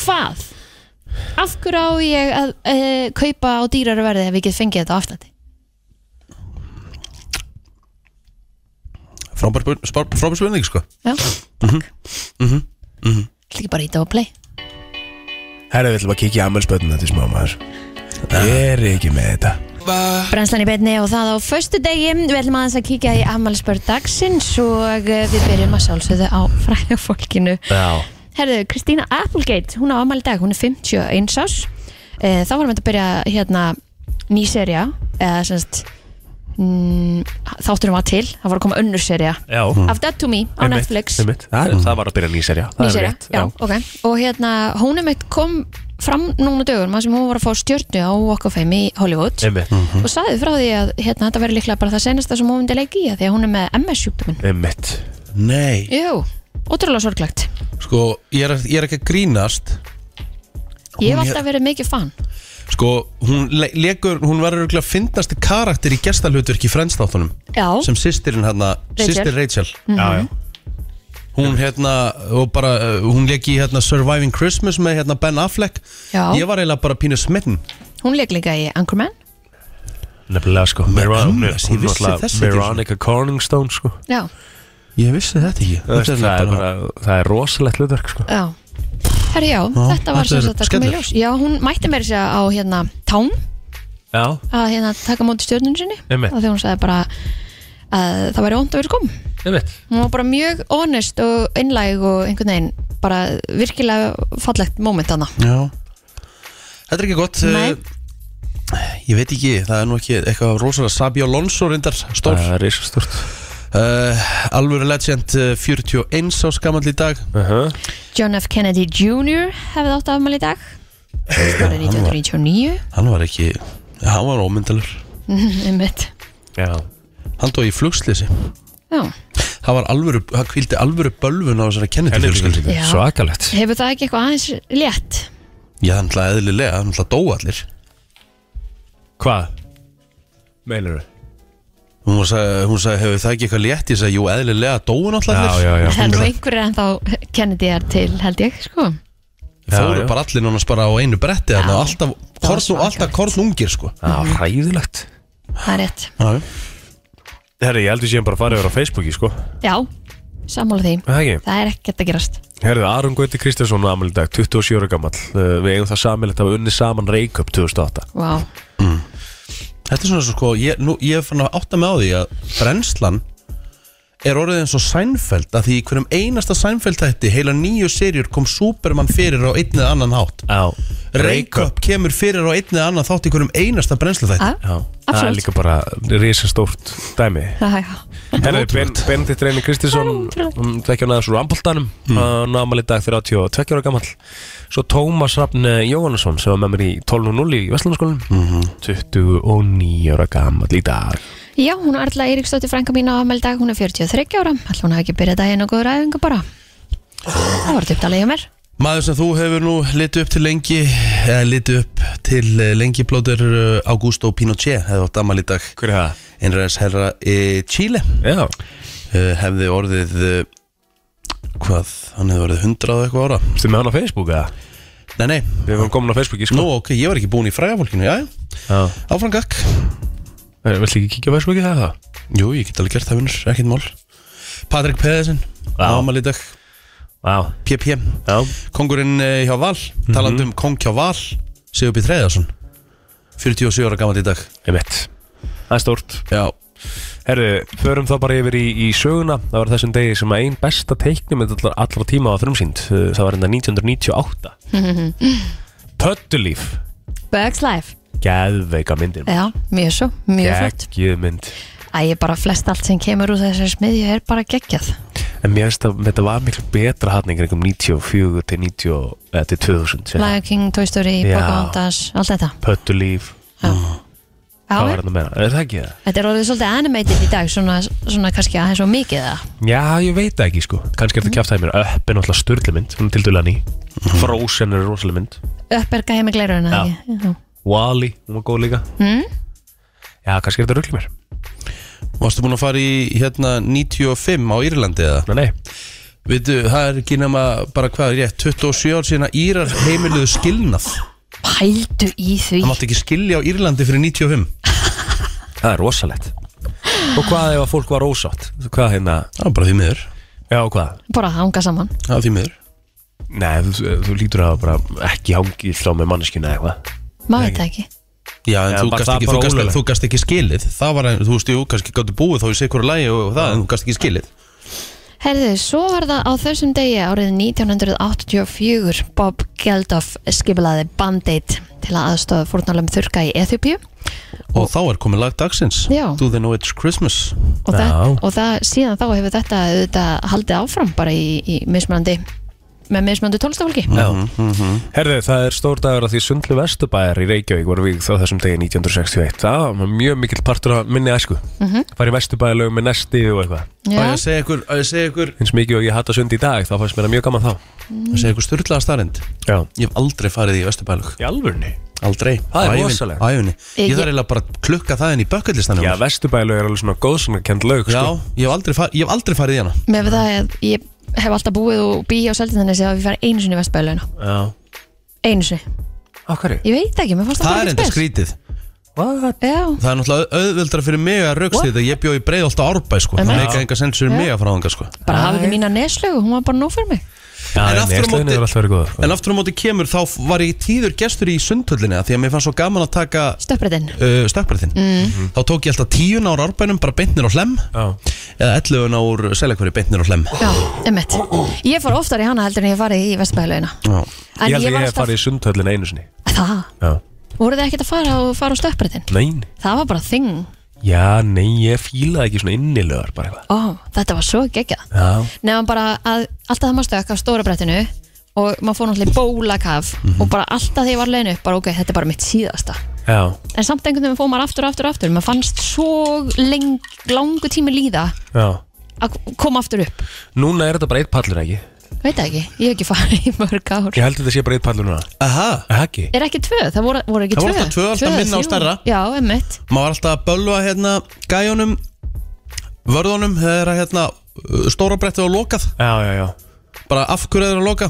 Hvað? Af hverju á ég að e, kaupa á dýrari verði ef ég get fengið þetta á afstandi? Frábær spurning, frábær spurning, sko Já, takk. Mhm. Ætla ekki bara að íta á play. Herra, við ætlum að kíkja í ammælspötnum þetta í smá maður Ég er ekki með þetta Brennslan í beinni og það á föstu degi Við ætlum aðeins að kíkja í afmælisbörn dagsins og eh, við byrjum að sjálfsögðu á fræga fólkinu Já Herðu, Kristína Applegate, hún á afmæli í dag, hún er 51 ás Eh, Þá varum við að byrja hérna ný serja eða semst mm, þátturum var til, það var að koma önnur serja Já Hmm. Of Dead to Me á Netflix Mhm. einmitt. Það, það var að byrja nýserja Ný serja, já, ok Og hérna, hún er meitt kom fram núna dögum sem hún var að fá stjörnu á Walk of Fame í Hollywood Einmitt, Mhm. og sagði frá því að hérna, þetta verður líklega bara það senasta sem hún myndi leika í að því að hún er með MS-sjúkdómin einmitt Nei Jú, ótrúlega sorglegt Sko, ég er, ég er ekki að grínast Ég hef Hún alltaf verið mikið fan Sko, hún le- lekur, hún var örugglega fyndnasti karakter í gestalhutverki í frendstáttunum Já, sem sýstirinn hérna, Rachel. Mhm. sýstir Rachel Já, já Hún hérna, og bara, uh, hún leik í hérna Surviving Christmas með hérna Ben Affleck Já. Ég var eiginlega bara pínu smitten hún leik líka í Anchorman Nefnilega, sko Veron- annars, ég hún vissi náttúrulega- þess ekki svona. Veronica Corningstone, sko Já, Ég vissi þetta ekki Það Þetta er bara- það er rosalegt hlutverk, sko já Herri, já, þetta var þetta sem er sagt að koma í skellur. ljós Já, hún mætti meira sér á hérna Tán Já, að hérna taka á móti stjörnun sinni Einmitt. og þegar hún sagði bara að það væri ónd að vera kom einmitt Hún var bara mjög honest og innlæg og einhvern veginn bara virkilega fallegt moment hana Já Þetta er ekki gott Nei. eh, Ég veit ekki, það er nú ekki eitthvað rosalega Sabi Alonso reyndar, stór Það er risastort uh, Alvöru legend eh, 41 á skamall í dag uh -huh. John F. Kennedy Jr. hefði átt afmæli í dag Stórið 1999 Hann var ekki, hann var ómyndalur Einmitt Já Hann dói í flugslýsi Já. Hann var alvöru, hann kvildi alvöru bölvun á þessari Kennedy fjölskyldu Kennedy Já. Svakalegt Hefur það ekki eitthvað aðeins létt? Já, hann ætlaði eðlilega, hann ætlaði dóa allir Hvað? Meinar þau? Hún sagði, hún sagði hefur það ekki eitthvað létt Ég sagði, jú, eðlilega, dóun alltaf Já, já, já. Það er nú einhverjir en þá kennið þér til held ég sko Fóru Já, já. bara allir núna bara á einu bretti Já. þarna, Alltaf, Það var korn, alltaf svakalegt. kornungir, sko Það er ræðilegt Það er rétt Já, já. Herri, ég heldur séum bara að fara yfir á Facebooki, sko Já, sammála því Það ekki? Það er ekkert að gerast Herðu, Aron Gauti Kristjánsson amal í dag, 27 ára gammal uh, Við eigum það samilegt að við unni saman Reykjöp 2008 Vá Þetta er svona svo sko, ég, nú, ég er fann að átta mig á því að brennslan er orðið eins og Seinfeld að því í hverjum einasta Seinfeld þætti heila nýju serjur kom Superman fyrir á einn eða annan hátt Já, Reykjöp kemur fyrir á einn eða annan þátt í hverjum einasta brennslu þætti Já, Já, það er Absolutt. líka bara risastórt dæmi já, já Herðu, Ótrúlegt. ben, Benedikt Reyni Kristjánsson Það er ótrúlegt. um, Tvekja hann aðeins úr amboltanum Hmm. mm. Amal í dag, 32 ára gammal Svo Tómas Rafn Jóhannesson sem var með mér í 12.0 í Vestlandaskólanum Mhm. 29 ára gammal í dag Já, hún er alltaf Eiríksdóttir frænka mín á afmæli í dag Hún er 43 ára Alltaf hún hafi ekki byrjað daginn og góður æfingu bara Það var duptalega hjá mér Maður sem þú hefur nú litið upp til lengi eða litið upp til eh, lengi blóður eh, Augusto Pinochet hefði átt amal í dag Hver er það? einræðis herra í Chile Já, Eh, hefði orðið eh, hvað, hann hefði orðið 100 og eitthvað ára stu með hann á Facebook eða? Nei, nei, Við höfum komin á Facebooki, sko nú ok, ég var ekki búin í frægafólkinu, já, já Já. Áfram gakk Eh, Viltu ekki kíkja á Facebooki það það? Jú, ég get alveg gert það vinnur, ekkert mál Patrik Pedersen, Já. ámal í dag Já, PP, já Mhm. kongurinn eh, hjá Val talandi um kong hjá Val Sigurbjörn Treyðarsson 47 ára gammal í dag Einmitt. Það er stórt. Já, Herðu, förum þá bara yfir í, í söguna. Það var þessum degi sem að ein besta teiknum allra, allra tíma var frumsýnd. Uh, Það var enda 1998. Pöttulíf. Bugs Life Gæðveika myndir. Já, mjög svo, Eh, mjög flott Gæðveik mynd. Æ, ég bara flest allt sem kemur úr þessari smiðju er bara geggjað En mér finnst að þetta var miklu betra hann einhverjum 94 til 90 eða til 2000. sem Lion King, Toy Story, Já. Pocahontas, allt þetta Pöttulíf. Já, Mm. Hvað já var þetta meira? Er það ekki það? þetta er orðið svolítið animated í dag svona, svona kannski aðeins og mikið það Já, ég veit það ekki sko. Kannski Mm. er þetta kjátt að mér. Öpp er náttúrulega styrli mynd. Hún er til dæla ný. Mhm. Frozen er rosalega mynd. upp er gæja með glerun Já. já. Wall-E, hún var góð líka Mm? Já, kannski er þetta ruggli mér varstu búin að fara í hérna 95 á Írlandi eða? Nei, nei, Veitu, það er ekki nema bara hvað er rétt 27 ár síðan að Írar heimiluðu skilnað Pældu í því Það mátti ekki skilja á Írlandi fyrir 95 það er rosalegt Og hvað ef að fólk var ósátt? Hvað hérna? Það var bara því miður Já, hvað? bara að hanga saman Það var því miður Nei, þú, þú lítur að hafa bara ekki hangið frá með manneskinu eða eitthvað maður veit það ekki Já, en Já, þú, bara gast það ekki, bara þú, gast, ólöglegt. þú gast ekki skilið Það var, þú veist, jú, kannski gáttu búið þá í sikur lagi og það, en þú gast ekki skilið Herðu, svo var það á þessum degi árið 1984 Bob Geldof skipulaði Band-Aid til að aðstofa fórnálum þurka í Eþjópíu Og þá er komið lag dagsins Já. Do they know it's Christmas og, það, Já. og það, síðan þá hefur þetta, þetta haldið áfram bara í, í mismunandi með mismunandi tólstafólki Mhm, Herðu, það er stór dagur að því Sundlu Vesturbæjar í Reykjavík voru við þá þessum degi 1961 Það var mjög mikill partur að minni æsku Fari Vesturbæjarlög með nesti og eitthvað Já. Og Já, ég segi ykkur, og ég segi ykkur, Eins mikið og ég hata sund í dag, þá fannst mér það mjög gaman þá Mm. ég segi ykkur styrlaða starrend Já Ég hef aldrei farið í Vesturbælug Í alvörni? Aldrei Það er Á ævinni- rosalegt. á ævinni. Ég Ég- þarf eiginlega bara að klukka það inn í bökkullistanum Já, Vesturbæjarlög er alveg svona góðsangakend Já, lög sko. ég hef aldrei, far, ég hef aldrei farið í hana með það að ég hef alltaf búið og býi á seldindanesi að við fara einu sinni í Vestbæðlauna Já einu sinni, Á hverju? ég veit ekki, mér fannst Það bara er ekki enda spes. skrítið What? Já, Það er náttúrulega auðvildra fyrir mig að raukst þetta Ég bjó í breið alltaf árbæ sko Það Einmitt. meika enga sens fyrir Já. mig að fara þangað sko bara hafa Æ. ekki mína neslögu, hún var bara nóg fyrir mig Já, En en aftur á Nestlöðin móti- hefur alltaf verið góð sko. En aftur á móti kemur þá var ég tíður gestur í sundhöllinni af Því að mér fannst svo gaman að taka Stöpbrettin, uh, stökkbrettin Mm. Mhm. Þá tók ég alltaf tíun ár árbænum bara beintnir á hlem Já, Eða ellefun ár seljakveri beintnir á hlem já, emmett Ég fór oftar í hana heldur en ég hef farið í Vestbæðlauna Já. En Ég held að var ég hef farið í sundhöllin einu sinni Það, Já, voruð þið ekkert að fara og fara á stöpbrettin? nein Það var bara þing Já, nei, ég fílaði ekki svona innilegar bara eitthvað Ó, þetta var svo geggjað Já, Nefnum bara að alltaf það maður stökk á stóra brettinu og maður fór náttúrulega í bólakaf Mhm. og bara alltaf því ég var leiðin upp bara ok, þetta er bara mitt síðasta já, en samt einhvern veginn fór maður aftur, aftur, aftur maður fannst svo leng, langu tími líða já að koma aftur upp Núna er þetta bara eitt pallur ekki veit það ekki, ég hef ekki farið í mörg ár Ég held að þetta sé bara eitt pallur núna Aha, Það ekki Er ekki tvö, það voru, voru ekki Það tvö voru alltaf tvö, alltaf eða minna og þrjú. stærra. Já, emmitt maður var alltaf að bölva hérna gæjunum Vörðunum þegar að, hérna uh, stóra brettið var lokað Já, já, já Bara af hverju þeir eru að loka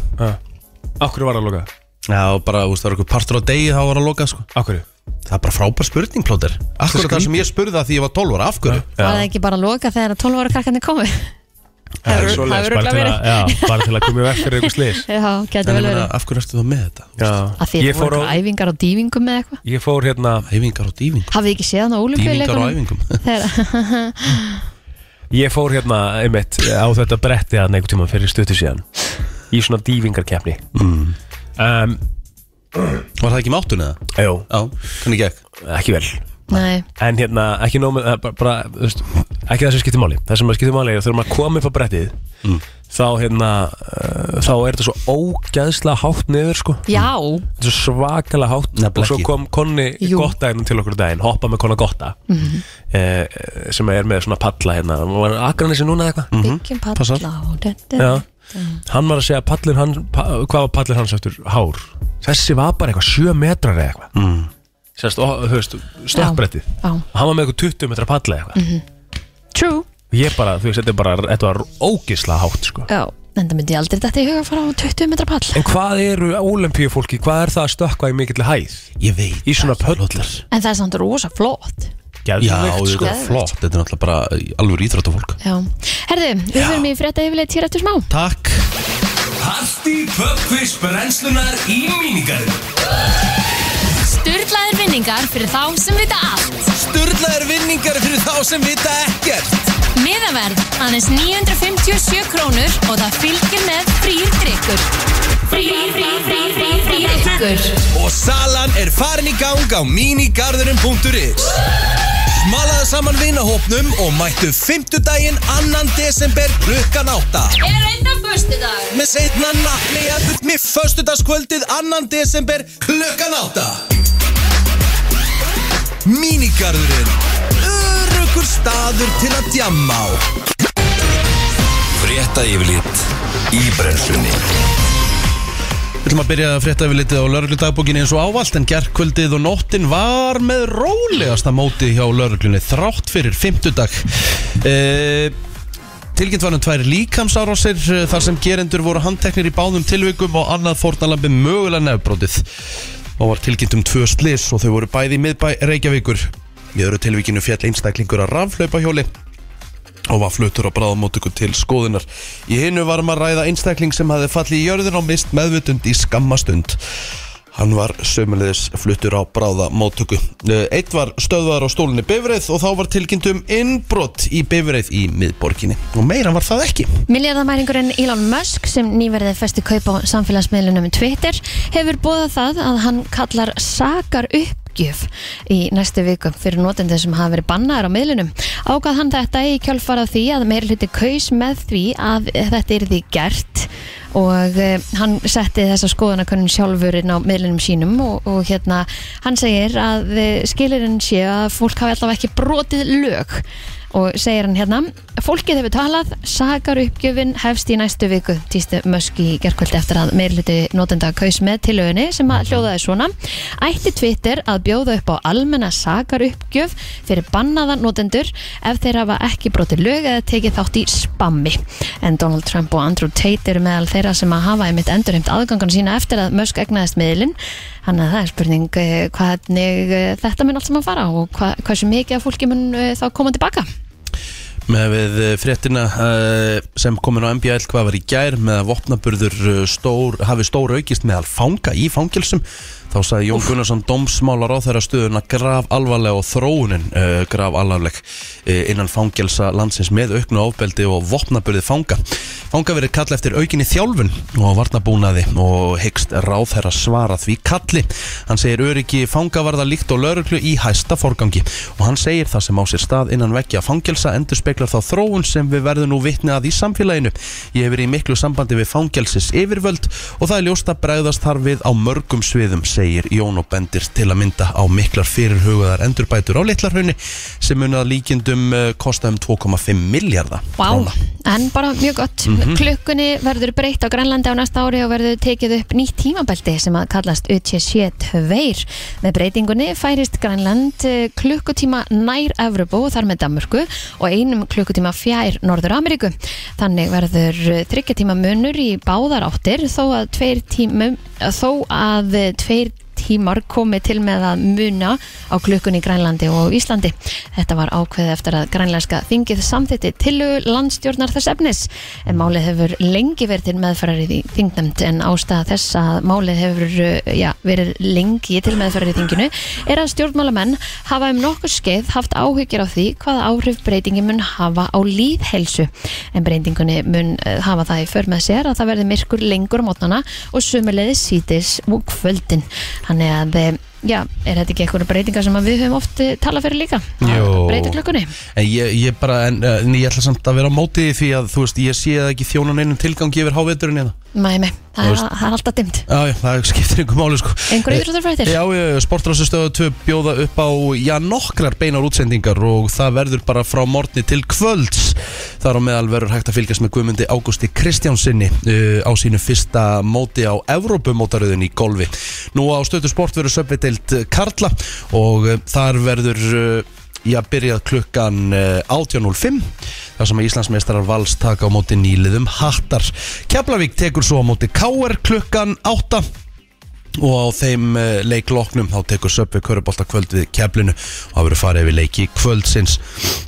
Akkur var það að loka Já, bara, þú veist, það var eitthvað partur á degi þá var að loka, sko Akkur Það er bara frábær spurning, Plóter Akkur það sem ég spurði það því ég var 12 ára, af hverju? Var það ekki bara að loka þegar að 12 ára krakkarnir komu Það eru- það eru bara, örugglega til verið. að- já, bara til að koma í vekk fyrir eitthvað slis Já, getur En vel ég meina, verið af hverju ertu þá með þetta? Að því Ég það fór, voru á, á... æfingar á dývingum eða eitthvað ég fór hérna Æfingar og dýving Hafið þið ekki séð Dývingar hann á og olimpíuleikunum? æfingum Þegar- Ég fór hérna einmitt á þetta bretti að einhvern tíma fyrir stuttu síðan Í svona dývingarkeppni mm. Var það ekki máttunni það? um, Jú, Já, hvernig gekk? ekki vel Nei, En hérna, ekki nómið, bara, bara þú veist, ekki það sem skiptir máli Það sem skiptir máli er að þegar maður komið upp á brettið Mm. Þá hérna, uh, þá er þetta svo ógæðslega hátt niður sko já, Þetta er svo svakalega hátt Nefnilega Og svo ekki. kom Konni Jú. Gotta hérna til okkur daginn, hoppa með Konna Gotta eh, sem er með svona palla hérna Hún var Akranesi núna eða eitthvað byggjum Mhm. passar. palla og dun, dun. Já, hann var að segja að pallur hann, pa, hvað var pallur hans eftir hár þessi var bara eitthvað 7 metrar eða eitthvað mm. sérst, og, þú veist, stokkbrettið Já. Mhm. hann var með eitthvað 20 metra palla eitthvað True ég bara, þú veist, þetta er bara, þetta var ógisla hátt sko. Já, en það myndi ég aldrei þetta í huga að fara á 20 metra pall en hvað eru ólimpíufólki, hvað er það að stökkva í mikill hæð, Ég veit í svona pöllar En það er samt rosa flott Já, geðvikt, þetta sko. er flott, þetta er náttúrulega bara alveg íþróttafólk Já, herðu, við fyrir mig í frétta yfirleitt hér eftir smá Takk Parti Pöppis brennslunar í míningarinn Sturlaðir vinningar fyrir þá sem vita allt. Sturlaðir vinningar fyrir þá sem vita ekkert Miðaverð, aðeins 957 krónur og það fylgir með frýr drikkur. Frýr, frýr, frýr, frýr, frýr drikkur. Og salan er farin í gang á mínigarðurinn.is Smalaðu saman vinahópnum og mættu 5. daginn 2. desember klukkan 8 Er reynda förstu dag. Með setna nafni jafnveld með föstudagskvöldið 2. desember klukkan 8 Mínigarðurinn Örugur staður til að djamma á Frétta yfirlit í brennslunni Við ætlum að byrja að frétta við litið á lauruglu eins og ávallt en gerkvöldið og nóttin var með rólegasta móti hjá lauruglunni þrátt fyrir fimmtudag e, Tilkynnt var um tvær líkamsárásir eh, þar sem gerendur voru handteknir í báðum tilvikum og annað fórnalambi mögulega nefbrótið og var tilkynnt um tvö slis og þau voru bæði í miðbæ Reykjavíkur Í öðru tilvikinu fjall einstaklingur að raflaupa hjóli og var fluttur á bráðamótöku til skoðunar. Í hinnu var um að ræða einstakling sem hafði fallið í jörðin og mist meðvutund í skammastund. Hann var sömulegis fluttur á bráðamótöku. Eh, Einn var stöðvar á stólinni Bifreið og þá var tilkynnt um innbrott í Bifreið í miðborginni. Og meira var það ekki. Miljardamæringurinn Elon Musk sem nýverðið festi kaup á samfélagsmiðlunum Twitter hefur bóðað það að hann kallar sakar uppgjöf í næstu viku fyrir notendur sem hafa verið bannaðar á miðlunum. Ágað hann þetta í kjálfarað því að meiri hluti kaus með því að þetta er því gert og eh, hann setti þessa skoðanakönnun sjálfur inn á miðlunum sínum og, og hérna hann segir að skilirinn sé að fólk hafi allavega ekki brotið lög og segir hann hérna fólkið hefur talað, sakar uppgjöfin hefst í næstu viku, týstu Musk í gerkvöldi eftir að meirluti notenda kaus með tilögunni sem að hljóðaði svona ætti Twitter að bjóða upp á almenna sakar uppgjöf fyrir bannaða notendur ef þeir hafa ekki brotið lög eða tekið þátt í spammi en Donald Trump og Andrew Tate eru meðal þeirra sem að hafa einmitt endurheimt aðgangan sína eftir að Musk egnaðist miðlinn Þannig að það er spurning eh, hvernig eh, þetta mun allt saman fara og hva, hversu mikið af fólki mun eh, þá koma tilbaka. með við eh, fréttina eh, sem komin á MBL hvað var í gær með að vopnaburður eh, stór, hafi stór aukist meðal fanga í fangilsum þá sagði Jón Gunnarsson domsmálar á þeirra stöðuna graf alvarleg og þróunin uh, graf alvarleg uh, innan fangelsa landsins með auknu ofbeldi og vopnaburði fanga fanga verið kalla eftir aukinni þjálfun og varnabúnaði og hyggst ráð þeirra svara því kalli hann segir öryggi fangavarða líkt og lauruglu í hæsta forgangi og hann segir það sem á sér stað innan veggja fangelsa endur speklar þá þróun sem við verðum nú vitni að í samfélaginu. Ég hefur í miklu sambandi við fangelsis yfirvöld og það er ljóst að bregðast þar við á mörgum sviðum, segir Jón og Bendir til að mynda á miklar fyrirhugaðar endurbætur á Litlarhaunni sem mun að líkindum eh, kosta um 2,5 miljardar Vá, en bara mjög gott klukkunni verður breytt á Grænlandi á næsta ári og verður tekið upp nýtt tímabelti sem að kallast UTC2 með breytingunni færist Grænland eh, klukkutíma nær Evropu og þar með Danmörku og einum klukkutíma fjær Norður Ameríku þannig verður þryggjatíma munur í báðar áttir þó að tveir tímum þó að eh, tveir tímar komið til með að muna á klukkun í Grænlandi og Íslandi. Þetta var ákveðið eftir að grænlenska þingið samþitti tillögu landstjórnar þess efnis en málið hefur lengi verið til meðferðar í þingnæmt en ástæða þess að málið hefur uh, já, verið lengi til meðferðar í þinginu er að stjórnmálamenn hafa um nokkur skeið haft áhyggjur á því hvaða áhrif breytingi mun hafa á líðhelsu en breytingunni mun uh, hafa það í för með sér að það verði myrkur lengur á mótnana og sumulegði sítis og kvöldin þannig að eh, já, er þetta ekki einhverja breytingar sem að við höfum oft eh, talað fyrir líka Jó. breyta klukkunni En ég, ég bara, en, eh, en ég ætla samt að vera á móti því því að þú veist, ég sé það ekki þjónan einum tilgangi yfir háveturinn eða Mæmi, það, Þú er- veist- það er alltaf dimmt Já, já, það skiptir einhver máli sko Einhverjar Eh, íþróttafréttir? Já, já, sportrásustöðu 2 bjóða upp á, já, nokkrar beinar útsendingar og það verður bara frá morgni til kvölds Þar á meðal verður hægt að fylgjast með Guðmundi Ágústi Kristjánsinni uh, á sínu fyrsta móti á Evrópumótaröðin í golfi Nú á stöðu sport verður söpvideild Karla og uh, þar verður uh, Já, byrjað klukkan eh, 18.05 þar sem að Íslandsmeistarar vals taka á móti nýliðum hattar Keflavík tekur svo á móti K.R. klukkan 8 og á þeim eh, leik loknum þá tekur söpvi körubolta kvöld við keflinu og það verður farið yfir leiki kvöldsins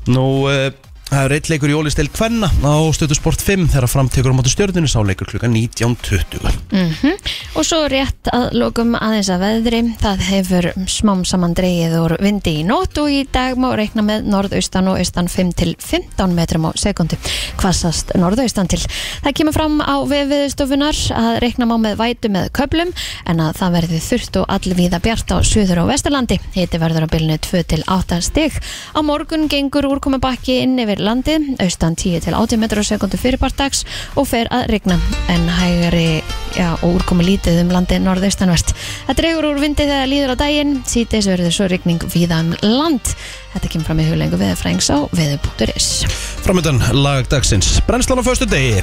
Nú, eh, það er eitt leikur í ólistil Kvenna á stöðu sport 5 þegar fram tekur á móti stjörninu sá leikur klukkan 19.20 Mhm. Og svo rétt að lokum aðeins að veðri, það hefur smám saman dreigið úr vindi í nótt og í dag má reikna með norðaustan og austan 5 til 15 metrum á sekundu, hvassast norðaustan til. Það kemur fram á vefiðstofunar að reikna má með vætu með köplum en að það verði þurft og allvíða bjart á suður og vesturlandi. Hiti verður á bylnu 2 til 8 stig. Á morgun gengur úrkomi bakki inn yfir landi, austan 10 til 18 metrum á sekundu fyrirpartags og fer að regna en hægari já, og úrkomi lítið um landi norðaustanvert. Það dregur úr vindi þegar líður á daginn, síðdeis verður svo rigning víða um land. Þetta kemur fram í huglengu veðurfrængs á veður.is. Framöndan lag dagsins Brennslan á föstu degi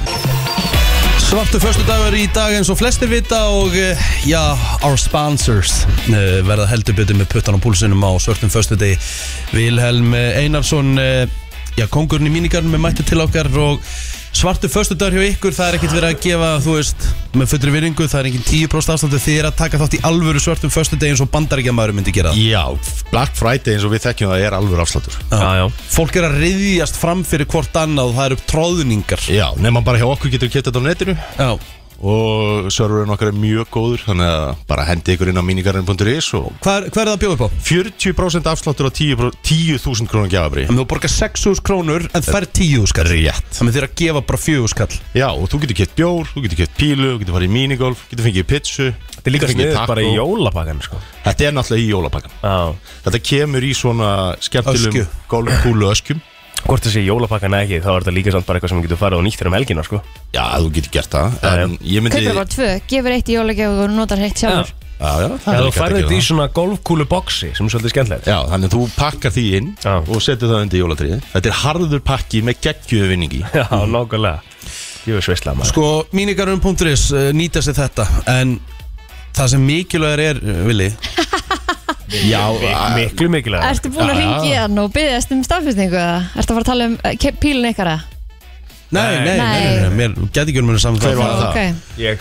Svartu föstu dagur í dag eins og flestir vita og eh, já, our sponsors eh, verða heldur betur með puttan á púlsinum á svörtum föstu degi Vilhelm eh, Einarsson eh, já, kongurinn í mínigarn með mættu til okkar og svartu föstu dagur hjá ykkur það er ekkert verið að gefa, þú veist með fullri virðingu, það er engin 10% afslandu þið er að taka þátt í alvöru svörtum föstu degi eins og bandaríkjamaður myndi gera Já, Black Friday eins og við þekkjum það er alveg afslátur Já, já. Fólk er að riðjast fram fyrir hvort annað það eru tróðningar Já, nema bara hjá okkur getur getið þetta á netinu Já, og serverinn okkar er mjög góður þannig að bara hendi ykkur inn á minigarinn.is og hvað er, hvað er það að bjóða upp á? 40% afsláttur á 10% 10.000 krónar gjafabri En þú borgar 6.000 krónur en fær 10.000 skall Rétt Þannig þér að gefa bara 4.000 skall Já, og þú getur kett bjór, þú getur kett pílu, þú getur farið í minigolf, getur fengið pitsu Þetta er líka sniður bara í jólapakkan sko. Þetta er náttúrulega í jólapakkan Já. Þetta kemur í svona Öskju. skemmtilum golfkúlu um öskjum Hvort þessi jólapakkan eða ekki þá er þetta líka samt bara eitthvað sem getur farið og nýtt fyrir um helgina sko. Já, þú getur gert það Já, já. En ég myndi Kaupir bara tvö, gefur eitt í jólagjaf og notar eitt sjálfur. Já, já, það er Já, þú líka hægt að færði gera þetta í það. svona golfkúlu boxi sem er svolítið skemmtilegt Já, þannig að þú pakkar því inn Já. og setur það undir jólatriðið Þetta er harður pakki með geggjöðu vinningi Já, nákvæmlega Ég veist veistlega maður Sko, mínigarum.is uh, nýta sér þetta En það sem mikilvægur er, uh, Vili Já, Mik- Miklu mikilvæg Ertu búin Ah. að Já, já. ringi hann og byggðast um staðfestingu? eða? Ertu að fara að tala um eh, ke- pílun ykkar? eða? Nei, nei, nei, nei, nei, mér geti ekki um henni saman Hver var það það? Ok, Ég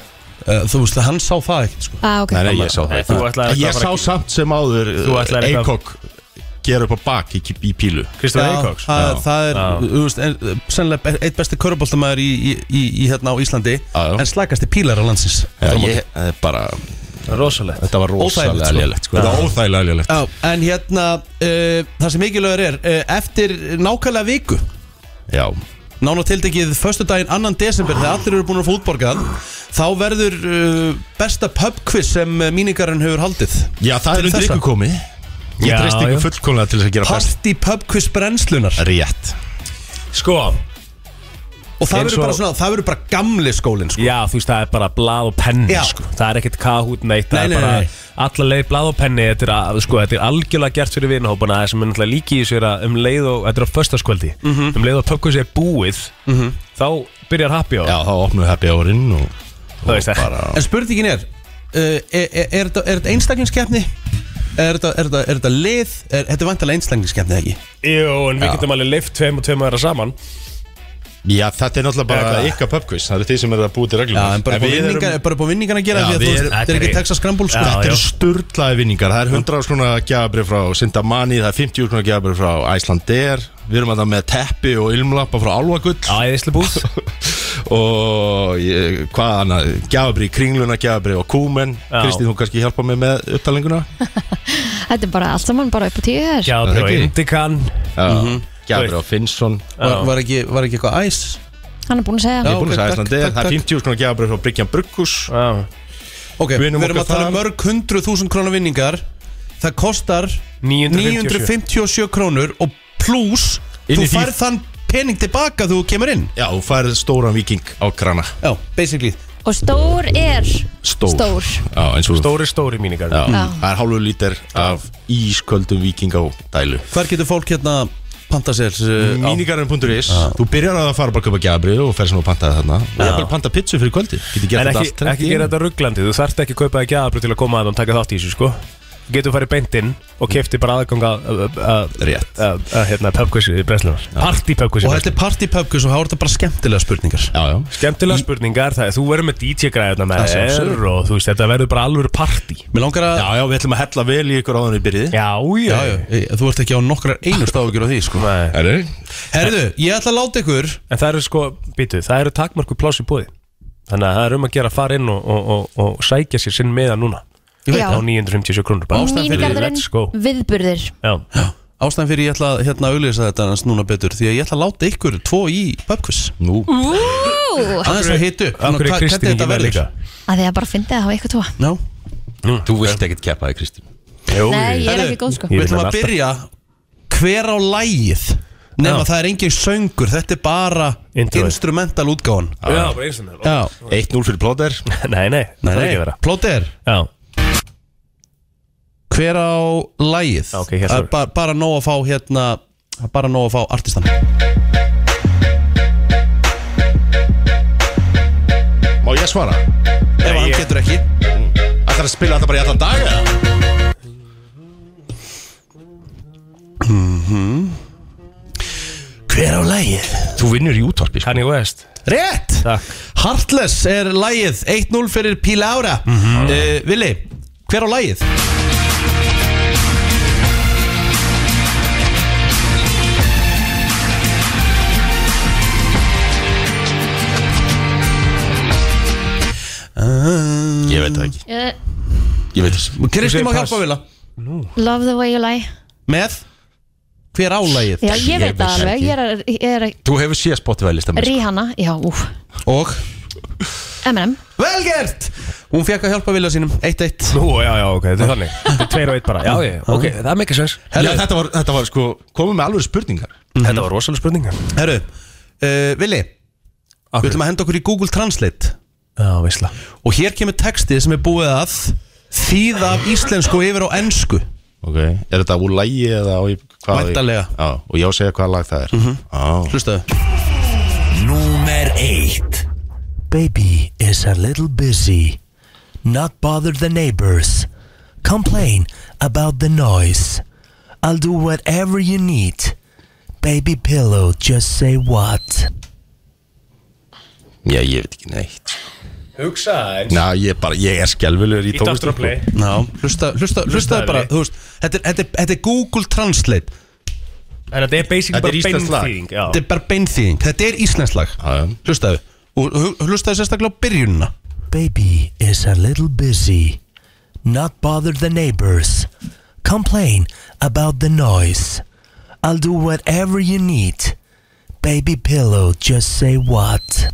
uh, Þú veist, hann sá það ekkert sko. Ah, ah, ok. Nei, nei, ég sá það Nei, þú ætlaðir En eitthvað Ég að sá fara- samt sem áður eh, Þú ætlaðir eitthvað- Eikok gera upp á bak í, í pílu Kristofur Eikóks það, Já. það er, Já. þú veist, en, uh, sennilega be- eitt besti köruboltamæður í, í, í, í hérna á Íslandi Já, já. En slakasti pílar á landsins Já, Aftur á móti. ég, það er bara, Rosalegt þetta var Óþægilegt, rosalega sko. lélegt sko. Þetta var óþægilega lélegt Já, en hérna, uh, það sem mikilvægur er uh, Eftir nákvæmlega viku Já, Nána tildekið förstu daginn annan desember þegar allir eru búin að fá útborgað þá verður uh, besta pub quiz sem uh, míningarinn hefur haldið já það Til er undir þessa. ykkur komið Ég Já, treyst já. ykkur fullkomlega til þess að gera best Party pub quiz brennslunar Rétt Sko, og það Eins verður og- bara svona, það verður bara gamli skólinn sko. já þú veist það er bara blað og penni Já. sko. Það er ekkert kahút neitt Nei, Það nei, er bara nei, nei. alla leið blað og penni þetta er, að, sko, þetta er algjörlega gert fyrir vinahópana það sem er náttúrulega líki í þessu er að um leið og þetta er á föstaskvöldi, Mhm. um leið og tökkus er búið þá byrjar happy hour Já, þá opnum við happy hourinn og, og Þú veist það. bara, En spurningin er uh, Er, er, er þetta- er þetta einstaklingskeppni? Er þetta- er þetta er þetta lið? Er, þetta er vantilega einstaklingskeppni eða ekki? Jú, en við getum alveg leift tveim og tveim aðra saman Já, þetta er náttúrulega bara ykkar pubquiz Það eru þið sem eru að búið til reglum Já, en bara búið vinningar, bara búið vinningar að gera Já, því að við þú erum- veist, þetta er ekki Texas Scramble sko. Þetta já. eru sturlaði vinningar Það er 100 skrona gjafabrif frá Sindamani Það er 50 skrona gjafabrif frá Icelandair Við erum að það með teppi og ilmlappa frá Álfagull Æðislebúð Og ég, hvað annað Gjafabrif, kringluna gjafabrif og kúmen Já. Kristín, þú kannski hjálpa mig með upptalninguna Þetta er bara allt saman bara upp á tíu þér Já, það það ekki? er indikan Gjafabrif og Finnsson var, var, ekki, var ekki eitthvað æs Hann er búin að segja Já. Ég það er búin að ok, segja takk, Icelandair takk, Það er takk. 50 skrona gjafabrif frá Bryggjan Brugghús Ok, við Vinum erum að okkar tala um þar. mörg hundru þúsund krónar vinningar Það kostar 957 957 krónur og pluss Inn Þú í því- færð þann pening tilbaka þegar þú kemur inn Já, þú færð stóran viking á krana Já, basically Og stór er Stór, Stór. Já, eins og Stóri, stóri míningar Já. Já. Það er hálfur lítir af ísköldum viking á dælu Hver getur fólk hérna panta sér uh, á? Minigarðin.is Þú byrjar að fara bara að köpa gjabri og fer sem að panta þarna og ég vil panta pizzu fyrir kvöldi Getur En gert þetta ekki, allt ekki gera þetta rugglandi, þú þarft ekki að kaupa það gjafabrið til að koma að og taka þátt í þessu sko Þú Getur farið beint inn Mm. og kefti bara aðganga að Rétt hérna pöpkvissi í Breslunar Parti pöpkvissi Og þetta er partypubku svo þá er þetta bara skemmtilega spurningar Já, já Skemmtilega spurningar, það er þú verður með DJ-græðuna með Að sjálfsögðu. þér og þú veist þetta verður bara alveg parti Mér langar að Já, já, við ætlum að hella vel í ykkur áðan við byrjið Já, já, Já, já, eh, þú ert ekki á nokkrar einust áhugjur á því sko. Nei. Herru Herðu, ég ætla að láta ykkur En það eru sko, býtu, það eru takmarku pláss í búði Þannig að það er um að gera að fara inn og, og, og, og sækja sér sinn meða núna Ég veit Já. Á 957 krónur bara Mínigarðurinn Let's go viðburðir Já, Ástæðan fyrir ég ætla að hérna, auðlýsa þetta hans núna betur Því að ég ætla að láta ykkur tvo í pubquiz Nú Ú, Aðeins að hitu af hverju er Kristín ekki með líka? að því að bara fyndi að hafa eitthvað tóa Já, Hm, Þú vilt ekkert keppa þig, Kristi Jú, Nei, ég er ekki góð sko við Ég vil ætlum hérna hann að alltaf. byrja Hver á lægið Nefn Já. að það er engin söngur Þetta er bara Introið. instrumental útgáðan Já, bara eins og það 1-0 fyrir plóter Nei, nei, það er ekki að vera Plóter, Já, hver á lægið Já, ok, Það hér er þarf- ba Bara nóg að fá hérna það er Bara nóg að fá artistan Já, Má ég svara? Nei, hann ég- getur ekki Ætlar að spila þetta bara í allan dag eða? Mhm. Hver á lægið Þú vinnur í útvarpi sko. Kanye West Rétt Takk Heartless er lægið 1-0 fyrir Pílára mm Mhm. -hmm. Vili, hver á lægið? Ég veit það ekki Eh, Ég veit það Kristi segir Um, má pass. hjálpa Vila Love the way you lie Með hver á lægið Já, ég veit það alveg Ég er, ég er Þú hefur séð sko. Spotify listan Rihanna Já, úf Og M&M velgert Hún fekk að hjálpa Vila sínum 1-1 Nú, já, já, ok, þetta er þannig Þetta er tveir og eitt bara Já, já, ok, það er mikið sens Mhm. Já, þetta var, þetta var sko Komum með alveg spurningar Þetta var rosalega spurning Já, Herru, uh, Vili Við ætlum að henda okkur í Google Translate veistla Og hér kemur textið sem er búið að Þýða af íslensku yfir á ennsku Ok, er þetta úr lægi eða á ég- hvað á ég- Væntanlega. Mhm. Já, og ég á að segja hvaða lag það er mm -hmm. Hlustaðu Númer eitt Baby is a little busy Not bother the neighbors Complain about the noise I'll do whatever you need Baby pillow, just say what Já, ég veit ekki neitt Hugsa eins Ná, ég er bara, ég er skelvilegur í Ít aftur tónlistum að sko. play Já, hlusta, hlusta, hlusta Hlustaðu bara, við. þú veist, þetta er, þetta, er, þetta er Google Translate, En þetta er basically Þetta er bara íslenskt lag. beinþýðing Já, þetta er bara beinþýðing, þetta er íslenslag, Já, já. hlustaðu, og hu- hlustaðu sérstaklega á byrjunina. Baby is a little busy Not bother the neighbors Complain about the noise I'll do whatever you need Baby pillow, just say what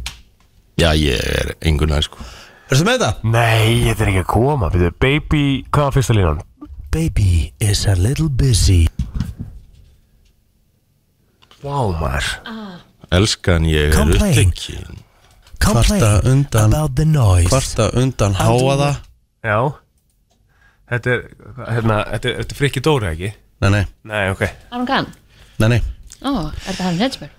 Já, ég er engun að sko Erstu með þetta? Nei, þetta er ekki að koma byrju. Baby, hvað var fyrsta línan? Baby is a little busy Vá, maður Elskan, ég er Complain. upptekinn Complain Kvarta undan- about the noise Kvarta undan háaða, Já Þetta er, hérna, þetta er, þetta er frikki Dóra, ekki? Nei, nei, Nei, ok Aron Kahn nei, nei Ó, er þetta Harry Hedgesberg?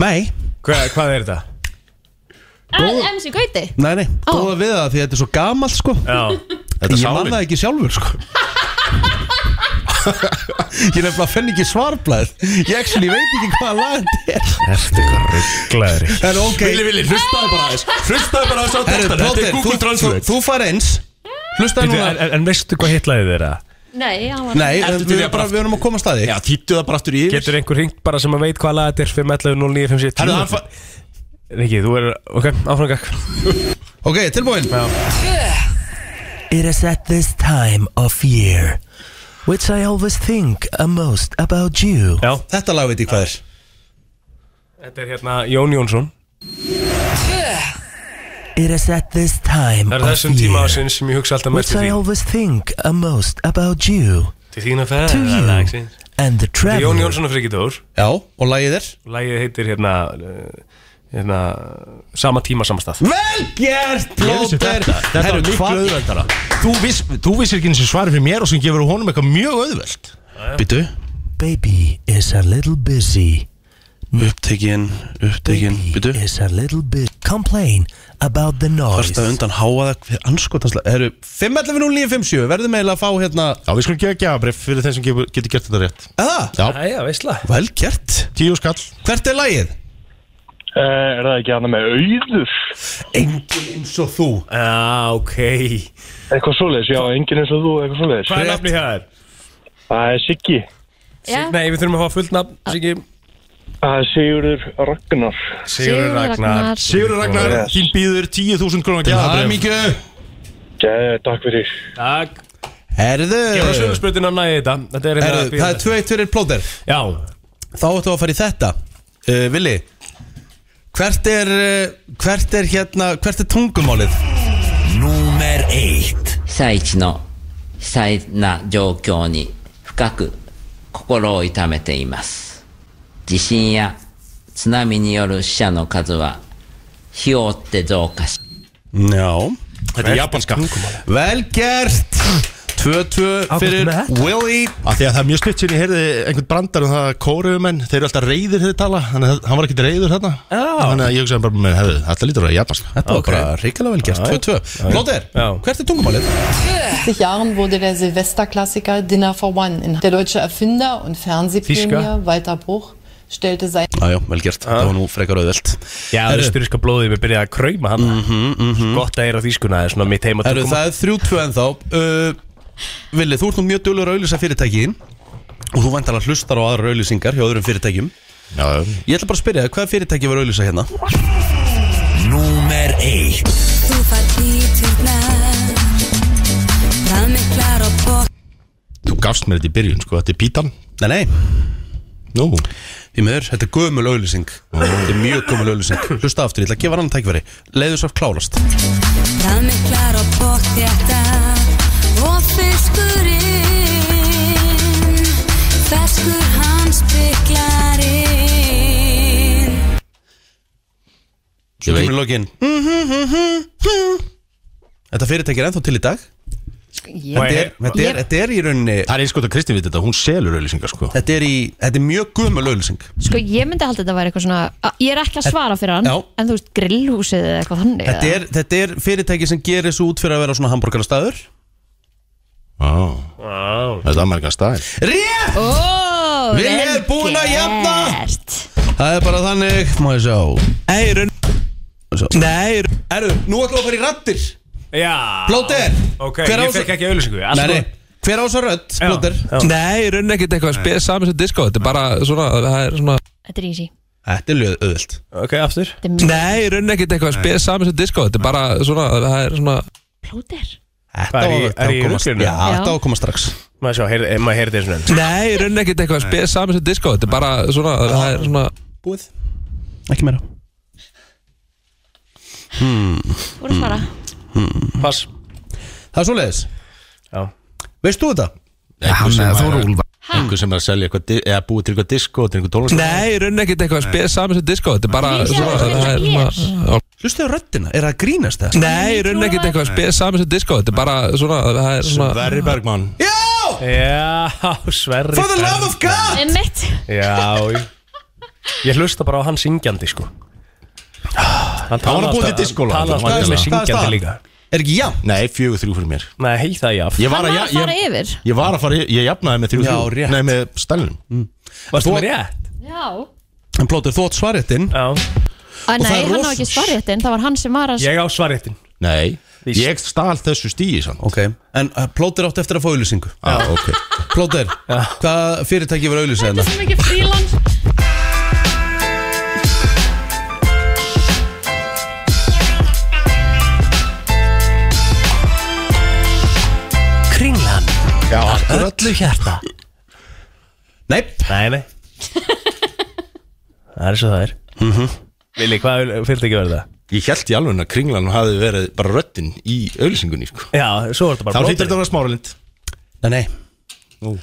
Nei, Hva, Hvað er þetta? MC Gauti nei, nei, góða við það því þetta er svo gamalt sko Já, Þetta er Ég man sálin það ekki sjálfur sko Ég er nefnilega fenni ekki svarblæð Ég actually veit ekki hvaða lag þetta er þetta er rugglaður En ok, Vili, Vili, hlustaði bara aðeins Hlustaði bara aðeins á herru, textan Þetta Plóter, er þú, Google þú, Translate þú fær eins Hlustaði En, núna en, en veistu hvað hitlaðið þeirra? Nei, hann var Nei, en Ertu til við í erum að bara, bara- við erum að koma að staði Já, þýttu það bara aftur í yfir Getur einhver ringt bara sem að veit hvað laga þetta er 511 Herðu, hann 0957 fa- Riki, þú er, ok, áframgak Ok, tilbúin It is at this time of year which I always think a most about you. Já, Þetta lag veit ég hvað er þetta er hérna Jón Jónsson It is at this time Það er of þessum tíma year ásinn sem ég hugsa alltaf mest um which I til þín always think a most about you. Til þín að To ferða you lagsins. and the Þetta er Jón travel. Jónsson og Friki Dór Já, og lagið er Lægið heitir hérna uh, hérna, sama tíma samastað Vel gert, Ég vissi Plóter þetta Þetta var miklu auðveldara Þú viss- Þú vissir ekki eins og svari fyrir mér og sem gefur honum eitthvað mjög auðveld Býtu, Baby is a little busy. upptekin, upptekin Býtu, Baby is a little bit complain about the noise. varst að undan háa það Við anskotanslega, herru 5.11.09.57, verðum eiginlega að fá hérna Já, við skulum gefa gjafabrif fyrir þeim sem gefur- getur gert þetta rétt Eða, Já, Æja, veistla vel gert tíu skall Hvert er lagið? Eh, er það ekki hana með auður? Engin eins og þú Já, ok Eitthvað svoleiðis, já, enginn eins og þú, eitthvað svoleiðis. Hvað er nafni hér? Það er Siggi, Já, Nei, við þurfum að fá fullt nafn Siggi það er Sigurður Ragnar. Sigurður Ragnar. Sigurður Ragnar, Yes. þín býður 10.000 krónar gjafabrif Hamingju Gæði, takk fyrir. Takk Herðu Gjáðu sögursprutin að næði þetta Þetta er hérna Herðu, það er 2-1 fyrir plóter Já, Þá ættu að fara í þetta uh, Vili Hvert er, uh, hvert er hérna, hvert er tungumálið? Númer eitt. 被災地の被災な状況に深く心を痛めています地震や津波による死者の数は日を追って増加し Já Þetta er japanska Vel gert 2-2 fyrir með þetta? Willy Af því að það er mjög stutt sinni, ég heyrði einhvern brandar um það að kóruðumenn, þeir eru alltaf reyðir þegar þeir tala, þannig að hann var ekkert reyður þarna Þannig að ég hugsaði bara með hefðu, þetta lítur að vera japanska Þetta var bara ríkilega vel gert 2-2 Plóter, Já. hvert er tungumálið? 80 Jahren wurde der Silvesterklassiker Dinner for One in der deutsche Erfinder und Fischka. Fernsehpionier Walter Bruch stellte sein Jájá, vel gert, það var nú frekar auðvelt já östuríska blóðið Við byrjaði að krauma hann mm -hmm, mm -hmm. Gott að heyra því skuna Það er svona mitt heima Herru, það er 3-2 ennþá uh, Vili, þú ert nú mjög dölur að auðlýsa fyrirtækiðin og þú vantar að hlustar á aðra auðlýsingar hjá öðrum fyrirtækjum Já, Ég ætla bara að spyrja þig, hvaða fyrirtæki var að auðlýsa hérna? Númer eitt. Þú fær hlíturnar Það miklar og bók þú gafst mér þetta í byrjun, sko, þetta er pítan Nei, nei, Nú, því miður, þetta er gömul auðlýsing Þetta er mjög gömul auðlýsing Hlusta aftur, ég ætla að gefa hann annan tækveri Leiðu svo klárast Það miklar og bók þetta Og fiskurinn Feskur hans bygglarinn Svo kemur lokin Mm-hmm, Þetta fyrirtæki er ennþá til í dag ég Þetta er, þetta er, þetta er í rauninni það er einskota Kristi við þetta, hún selur auðlýsingar, sko Þetta er, í, þetta er mjög gömul auðlýsing Sko, ég myndi halda að þetta væri eitthvað svona að- Ég er ekki að svara fyrir hann Já. En þú veist, grillhúsið eða eitthvað þannig þetta eða? er, þetta er fyrirtæki sem gerir svo út fyrir að vera svona hambúrgarastæður Á, þetta er amerikan stæl Rétt! Ó, Við vel erum búin að jafna. gert. Það er bara þannig, má ég sjá Eirun Nei, erðu, nú ætlum við að fara í rattir Já Ah, Plóter, Ok, hver á ég svo- fekk ekki auðlýsingu Nei, nei, hver á svo rödd, Plóter? Nei, í rauninni ekkert eitthvað að spila saman sem disco Þetta er bara svona, það er svona Þetta er easy Þetta er löð öðvöld Ok, aftur Þetta er mjög Nei, í rauninni ekkert eitthvað að spila saman sem disco Þetta er bara svona, það er svona plóter Þetta Hvað, er var- í- þetta er í var komast- ruglinu? Já, Já. þetta á að koma strax Maður sjá, eh, heyrði- maður heyrði þetta svona Nei, í rauninni ekkert eitthvað að spila saman sem disco Þetta er bara svona, það er svona Búið, ekki meira Þú voru að svara Pass Það er svoleiðis Já Veist þú þetta? Einhver sem er- einhver sem er að selja eitthvað, di- eða búið til eitthvað disco, til eitthvað tónlist Nei, í rauninni ekkert eitthvað að spila saman sem disco Þetta er bara Ég sagði svona, þetta það er er. svona Hlustu á röddina, er það að grínast það? Nei, í rauninni ekkert eitthvað spes saman sem disco Þetta er bara svona, það er svona Sverri Bergmann Já! Já, Sverri For the love of God Einmitt Já, ég, ég hlusta bara á hann syngjandi sko Hann Það var að búið til diskóla Hann tala alltaf með syngjandi líka Er ekki já? Nei, fjögur þrjú fyrir mér Nei, heil það já Ég var Hann að, var að fara ég, yfir ég var að fara, ég jafnaði með þrjú Já, þrjú rétt. Mm. Nei, með stælnum Varstu með rétt? Já En plótur, þú átt svarréttin Já Æ, Og það Nei, er hann á rosa- ekki svarréttin Það var hann sem var að Ég á svarréttin Nei, ég stál þessu stíi sann Ok, en uh, plótur átt eftir að fá auðlýsingu Já, Ah, ok Plótur, hvað fyrirtæki var auðlýsa hérna? Svo mikið frílans Kringlan Já, akkurat Öllu hjarta Nei Nei, nei Það er svo það er Vili, hvað fyrir ekki verið það? Mhm. Ég held í alveg að kringlan hafi verið bara röddinn í auðlýsingunni sko. Já, svo var þetta Þá bara hittir þetta að vera smáralind Nei, nei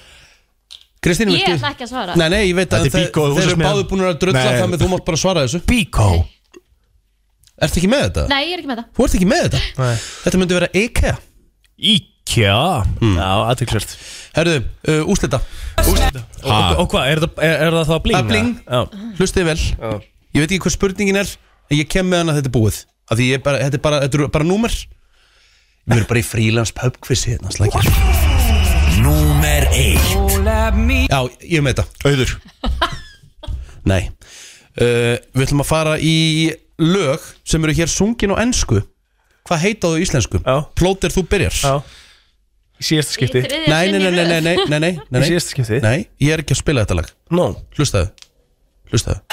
Kristín, Ég viltu? ætla ekki að svara Nei, nei, ég veit Þetta að er Bíkó, þú þeir sem eru er- báðu búin að drulla Nei. það með þú mátt bara svara þessu Bíkó Ertu ekki með þetta? Nei, ég er ekki með það Þú ert ekki með þetta? Nei. Þetta myndi vera IKEA Íkja Já, aðtökslert Hmm. Herðu, uh, úslita Og, og, og hvað, er, það- er, er það þá bling? Það er bling. Já, Hlustið vel Ég veit ekki hvað spurningin er En ég kem með hann að þetta er búið Af því ég er bara, þetta er bara, þetta er bara númer Ég verður bara í frílans pubquizi hérna slækjar Númer 1 Já, ég er með þetta Auður Nei uh, Við ætlum að fara í lög sem eru hér sungin á ensku Hvað heita þú í íslensku? Já. Plóter þú byrjar já Í síðasta skipti Þriðja Nei, nei, sinn í nei, nei, röð. nei, nei, nei, nei, nei, Í nei. síðasta skipti Nei, ég er ekki að spila þetta lag No Hlustaðu Hlustaðu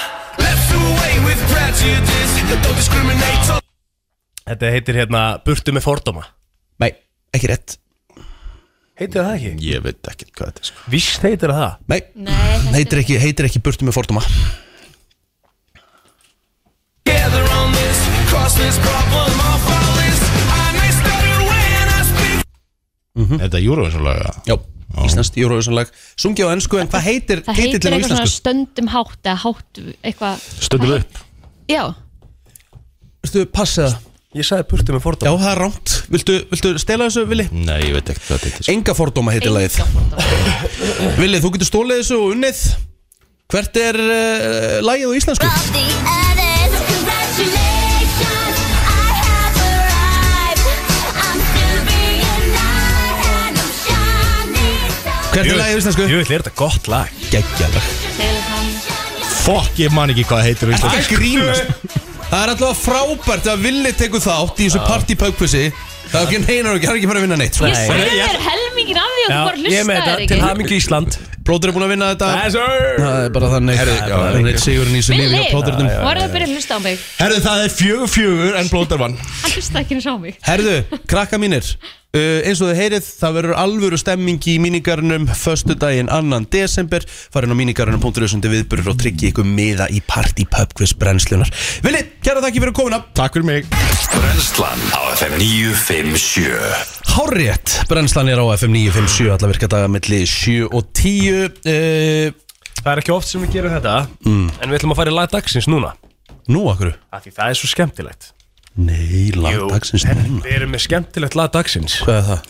Þetta heitir hérna Burtu með fordóma Nei, ekki rétt Heitir það ekki? Ég veit ekkert hvað þetta er sko. Vist heitir það Nei, Nei, þetta heitir ekki, heitir ekki burtu með fordóma Er þetta Eurovision laga? Mhm. Já, íslenskt Eurovision-lag Sungið á ennsku, en hvað heitir Það heitir titillinn á eitthvað svona íslensku? stöndum hátt eða hátt eitthvað Stöndum upp Já, Viltu passa það? Ég sagði burtu með Já, fordóma það er rámt Viltu, viltu stela þessu, Vili? Nei, ég veit ekkert hvað þetta er sko. Enga fordóma heitir lagið Vili, þú getur stólið þessu og unnið Hvert er uh, lagið á íslensku? Hvert er lagið á íslensku? Jú, er þetta gott lag Geggjalag Fuck, ég man ekki hvað það heitir á íslensku. Það grínast Það er alltaf frábært að Vili tekur þátt í þessu partypökkvissi Það er ekki neinar og ekki, hann er ekki fara að vinna neitt sko. ég sagði þér helmingin af því að þú bara ég er með hlustaðir þetta ekki Til hamingi Ísland Plótur er búin að vinna þetta sir Það er bara þannig Það er bara þannig sigurinn í þessu lífi hjá plóturnum Vili, voru það að byrja að hlusta á mig Herðu, það er fjögur fjögur en blótar vann Hann hlusta ekki eins á mig Herðu, krakka mínir Uh, eins og þið heyrið, það verður alvöru stemming í mínigarunum Föstu daginn 2. desember Farin á mínigarunum.ru Sundi viðburur og tryggi ykkur miða í partypubquiz brennslunar Vili, kæra þakki fyrir komuna Takk fyrir mig Brennslan á FM 957 Hárrétt, brennslan er á FM 957 Alla virka daga milli 7 og 10 uh, Það er ekki oft sem við gerum þetta En við ætlum að fara í lag dagsins núna Mm. Nú akkur af Því það er svo skemmtilegt Nei, Jú. langdagsins núna Við erum með skemmtilegt lag dagsins Hvað er það?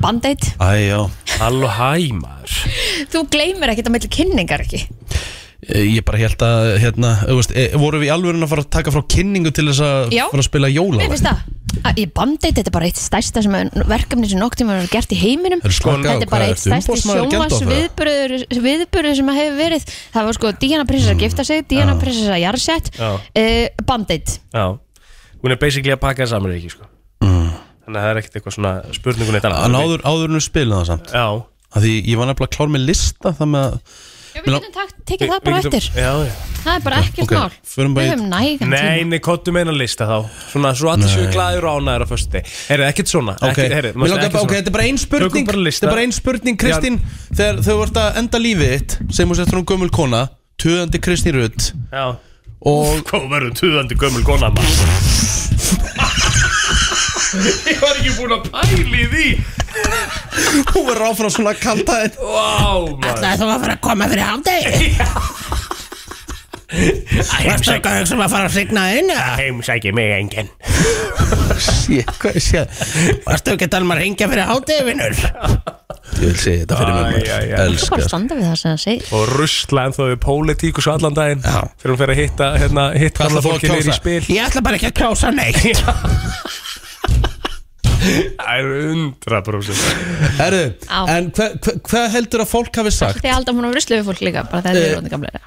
Band-Aid Æ, já Halló hæ maður Þú gleymir ekkert á milli kynningar ekki Eh, Ég bara held að, hérna, þú veist, e, vorum við í alvörun að fara að taka frá kynningu til þess að Já. fara að spila jóla Mér finnst það Að- Í Band-Aid, þetta er bara eitt stærsta sem er- verkefni sem nokk tíma verið gert í heiminum Herru, sko, Þetta hvað- er hvað bara eitt ertu, stærsti umboðsmaður sjómas viðburður, viðburður sem hefur verið Það var sko Diana prinsessa gifta sig, Diana prinsessa jarðsett Já. uh, Band-Aid Já Hún er basically að pakka það saman ekki sko Mm. Þannig að það er ekkert eitthvað svona spurningun eitt En áður, áður en við spilum það samt Já að Því ég var nefnilega klár með lista Það með að Já, við Mér getum takt, tekið það bara Við eftir getum- Já, já Það er bara ekkert ok, mál förum bara í- Við höfum nægan Nei, tíma nei, kottum einan lista þá Svona, svo allir séu glæður og ánæður á föstu deg Herri, ekkert svona Ok, ekkert, herri, Mér langar bara- ok, þetta er bara ein spurning Tökum bara lista. Þetta er bara ein spurning, Kristín Þegar þau vart að enda lífið þitt Sem þú settur hún gömul kona Töðandi Kristín Rutt Já Og Hvað verður tuðandi gömul kona maður Ég var ekki búin að pæli því hún verður áfram svona kaltaðin Vá, maður Það er það að fara að koma fyrir hádegi Varstu eitthvað að hugsa um að fara að signa inn? Heimsæki mig enginn Sér, hvað er sér? Varstu ekki talma að ringja fyrir hátíðvinur? Ég vil segja þetta fyrir mig maður. Hvað Elskar standa við það sem það segir? Og rusla en þó við pólitíkus allan daginn Já. Fyrir hún fer að hitta hérna, hitta Hvað ætlar þú að fólkið niður í kjósa? spil Ég ætla bara ekki að kjósa neitt Það er undra brúsin Herru, en hvað hva, hva heldur að fólk hafi sagt? Þið halda hún á ruslu við fólk líka bara þegar þið Eh. eru orðin gamlega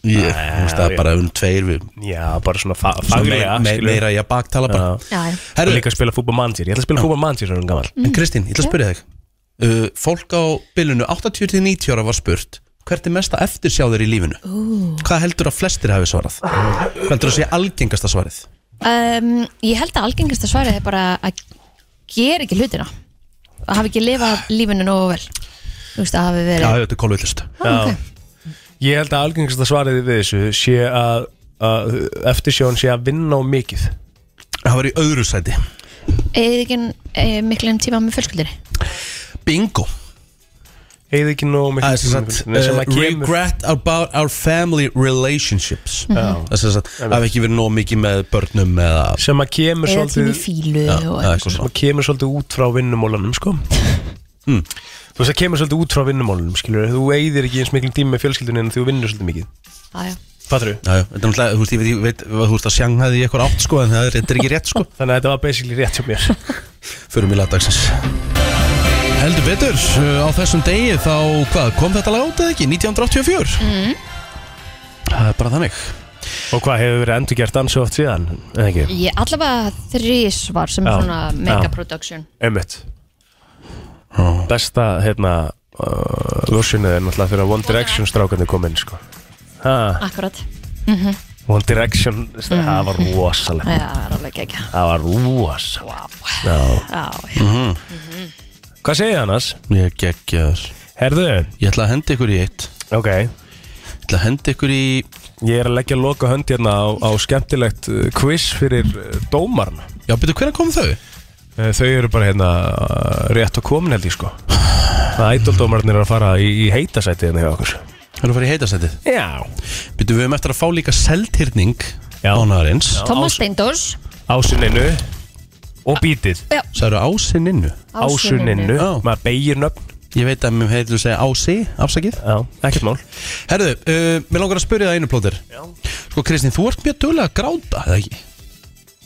Ég, þú veist það er bara um tveir við Já, bara svona fa- Svona faglega, me- me- skilur. Meira ég að baktala bara Já, já. Herru- Herru Líka að spila fútbol mannsýr Ég ætla að spila fútbol mannsýr Svona gammal En Kristín, ég ætla að spyrja þig uh, Fólk á bylunu 80-90 ára var spurt Hvert er mesta eftirsjáður í lífinu? Ú. Hvað heldur að flestir hafi svarað? Hvað heldur að sé algengasta svarið? um, Ég held að algengasta svarið er bara að gera ekki hlutina að hafa ekki lifað lífinu nógu vel Þú veist að hafi verið þetta er kólvillust Ah, Ég held að algengasta svarið við þessu sé að, að eftirsjón sé að vinna á mikið Það var í öðru sæti Eða ekki e, miklu um tíma með fjölskyldinni Bingo Eða ekki nóg Það er sem tíma með sagt fjölskyldunni, sem uh, að kemur- Regret about our family relationships Já. Það er sem sagt Það hafi ekki verið nóg mikið með börnum eða Sem að kemur Eða tími svolítið fílu Já, og það er eitthvað svo. svona. sem að kemur svolítið út frá vinnumólanum sko Hmm. Þú veist að kemur svolítið út frá vinnumólanum skilur Þú eigðir ekki eins miklum tíma með fjölskyldunni en þú vinnur svolítið mikið Já, já. Fattur Já, já, þetta er náttúrulega, þú veist, ég veit, ég veit, þú veist að sjanghaði í eitthvað átt sko, en það er þetta er ekki rétt sko Þannig að þetta var basically rétt hjá mér Förum í lagdagsins Heldur betur, uh, á þessum degi þá, hvað, kom þetta lag út eða ekki? 1984? mm. Það er bara þannig Og hvað hefur verið endur gert ansi oft síðan? Eða ekki? Ég allavega þrísvar sem Já, svona já. mega production Einmitt Besta, hérna uh, Versinu er náttúrulega þegar One Direction strákarnir kom inn sko ha, Akkurat mm One Direction, það var rosalegt Já, það er alveg ekki Það var rosalegt wow. Já, Mhm. Mhm. Hvað segir þið annars? Ég geggja þess Herðu Ég ætla að henda ykkur í eitt Ok Ég ætla að henda ykkur í Ég er að leggja að loka hönd hérna á, á skemmtilegt uh, quiz fyrir uh, dómarna Já, betur hvernig kom þau? Þau eru bara hérna uh, rétt og komin held ég sko Það ædoldómarnir er að fara í, í heitasætið hérna hjá okkur Það er að fara í heitasætið Já Býtu, við höfum eftir að fá líka seldhyrning Mánaðarins Thomas Steindors Ásuninu Og bítið Já. Það eru ásinninnu Ásuninu. Já. Maður beigir nöfn Ég veit að mér heyrðu að segja ási, afsakið Já, ekkert mál Herðu, uh, mér langar að spyrja það einu plótir Já Sko Kristín, þú ert mjög duglega að gráta, eða ekki?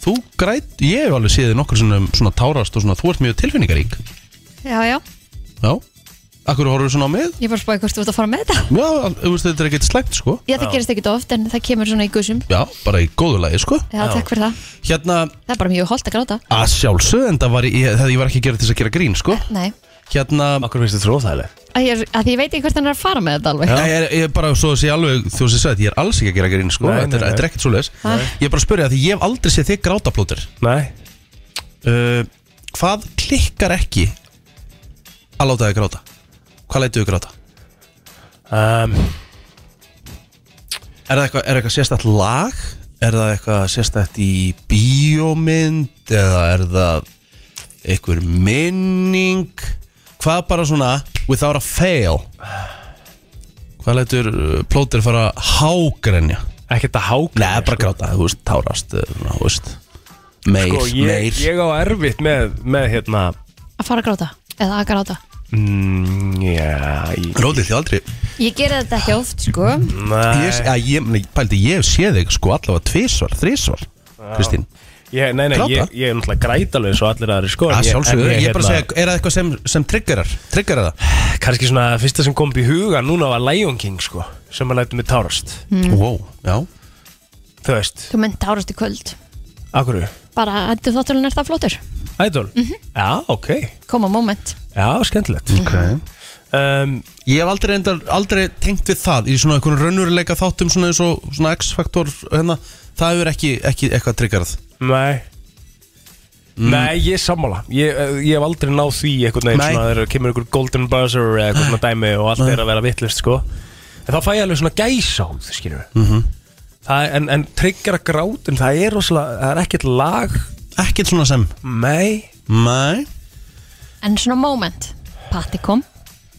Þú græt, ég hef alveg séð þig nokkur svona, svona tárast og svona, þú ert mjög tilfinningarík Já, já, Já Akkur horfur svona á mig? ég bara spáði hvort þú ert að fara með þetta Já, al- þú veist þetta er ekkert slæmt, sko Já, það gerist ekki oft en það kemur svona í gusum Já, bara í góðu lagi, sko Já, takk fyrir það Hérna, Það er bara mjög holdt að gráta að sjálfsög, en það var, ég, það ég var ekki að gera til þess að gera grín, sko Nei, Hérna Akkur finnst þetta svo óþægileg? að ég, að ég veit ekki hvert hann er að fara með þetta alveg Já, ég er, ég er bara svo að segja alveg, þú veist að ég er alls ekki að gera grín sko, Nei, nei, þetta, er, nei. þetta er ekkert svo leiðis Nei. Ég er bara að spyrja að því ég hef aldrei séð þig grátaplótir Nei uh, Hvað klikkar ekki að láta þig gráta? Hvað lætu þig gráta? Um, er það eitthvað, er eitthvað sérstætt lag? Er það eitthvað sérstætt í bíómynd? Eða er það einhver minning? Hvað bara svona without a fail? Hvað lætur uh, plótir fara að hágrenja? Ekkert að hágrenja? Nei, bara gráta, þú veist, tárast, uh, svona, þú veist Meir, sko, ég, meir ég á erfitt með, með hérna Að fara að gráta eða að gráta mm, yeah, ég... Róðið því aldrei Ég gera þetta ekki oft sko Nei Ég, að ég, nei, pældi, ég hef séð þig sko allavega tvisvar, þrisvar Kristín Ég, nei, nei, Gráta? ég, ég er náttúrulega græt alveg svo allir aðri sko en Að sjálfsögðu, en ég er bara að segja, er það eitthvað sem, sem triggerar? Triggerar það? Kanski svona fyrsta sem kom upp í huga núna var Lion King sko Sem að læta mig tárast Mm. Wow, já Þú veist, Þú mynd tárast í kvöld akkur Bara að þú þátturinn er það flottur Idol? Já, ok Koma moment Já, skemmtilegt okay. um, Ég hef aldrei, endar, aldrei tengt við það í svona einhvern raunveruleika þáttum svona eins og svona X-faktor hérna, það hefur ekki, ekki eitthvað triggerað Mm. Nei Nei, ég er sammála ég, eh, ég hef aldrei náð því einhvern veginn Nei. svona þegar kemur einhver golden buzzer eða eitthvað svona dæmi og allt Nei. er að vera vittlist sko En þá fæ ég alveg svona gæsáð, skilur við mm -hmm. Það, er- en, en tryggjara grátum, það er rosalega, það er ekkert lag Ekkert svona sem Nei Nei En svona moment Patti kom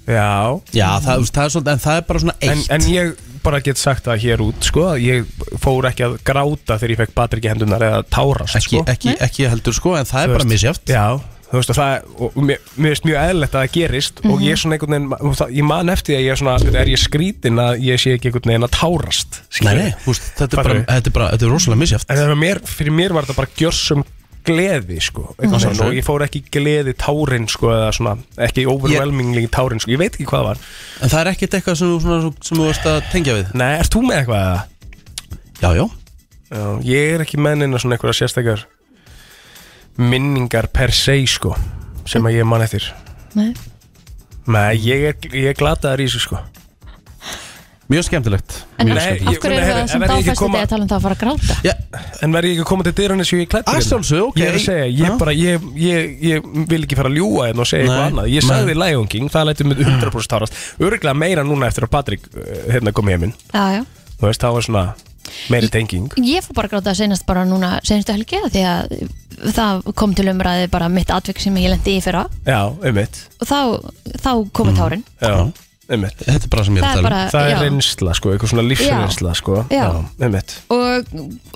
Já Já, það, þú veist, það er svolítið, en það er bara svona En, eitt en ég bara get sagt það hér út sko, að ég fór ekki að gráta þegar ég fekk Patrik í hendunar eða tárast Ekki- sko. ekki- ekki heldur sko, en það er bara misjafnt. Já, þú veist og það er- og mér, mér finnst mjög eðlilegt að það gerist og ég er svona einhvern veginn, og það- ég man eftir því að ég er svona er ég skrítin að ég sé ekki einhvern veginn að tárast Nei, nei, þú veist, þetta er bara, þetta er bara, þetta er rosalega misjæft En það var mér, fyrir mér var þetta bara gjörsum gleði sko Mhm. mm. svona, og ég fór ekki gleði tárin sko eða svona, ekki overwhelmingly tárin sko, ég veit ekki hvað það var En það er ekkert eitthvað sem, þú- svona, sem þú veist að tengja við Nei, ert þú með eitthvað eða? Já, já Já, ég er ekki mennina svona einhverja sérstakar minningar per se sko sem að ég man eftir Nei. Nei, ég er, ég er glataðar í þessu sko Mjög skemmtilegt En af, af hverju eru það sem dáfæsti þegar tala um það að fara að gráta? Já, En verði ég ekki að koma til dyrunni sem ég er klættur Að sjálfsögðu, ok. Ég er að segja, ég, bara, ég, ég, ég vil ekki fara að ljúa hérna og segja Nei, eitthvað annað Ég nei. sagði Lion King, það lætur mig 100% tárast Örglega meira núna eftir að Patrik uh, hérna kom heiminn Já, já. Þú veist, það var svona meiri tenging Ég fór bara að gráta senast bara núna senastu helgi af því að það kom til umræði bara mitt atvik sem ég lendi í fyrra Já, einmitt og þá, þá Mhm. komið tárin Já, einmitt Þetta er bara sem ég er að Það er tala um. bara- Það já. er reynsla, sko, eitthvað svona lífsreynsla, sko Já. einmitt og,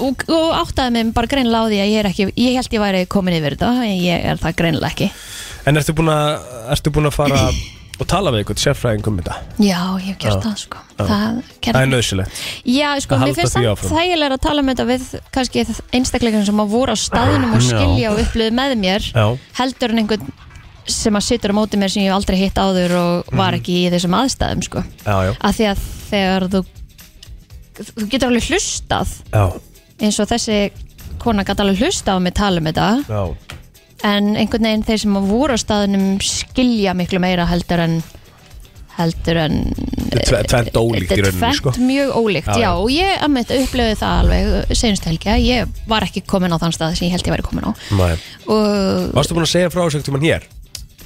og, og áttaði mig bara greinlega á því að ég er ekki ég held ég væri komin yfir þetta en ég er það greinlega ekki En ertu búin að, ertu búin að fara og tala við eitthvað sérfræðing um þetta? Já, ég hef gert Já. það sko Já. Það Það er gerði nöðsilegt Já, sko, Að mér halda því finnst samt áfram. þægilega að tala um þetta við kannski einstakleikum sem að voru á staðinum og Já. skilja og upplöðu með mér Já. heldur en einhvern sem að situr á móti mér sem ég hef aldrei hitt áður og var Mhm. ekki í þessum aðstæðum sko. Já, já, að því að þegar þú þú getur alveg hlustað já, eins og þessi kona gæti alveg hlustað á mig tala um þetta já. en einhvern veginn þeir sem að voru á staðinum skilja miklu meira heldur en heldur en Tve- Tvennt ólíkt í Þetta er rauninu, sko tvennt mjög ólíkt, Já, já, já. og ég að mitt upplöði það alveg senst helgi að ég var ekki komin á þann stað sem ég held ég væri komin á Nei. og Varstu búin að segja frá þessu einhvern tímann hér?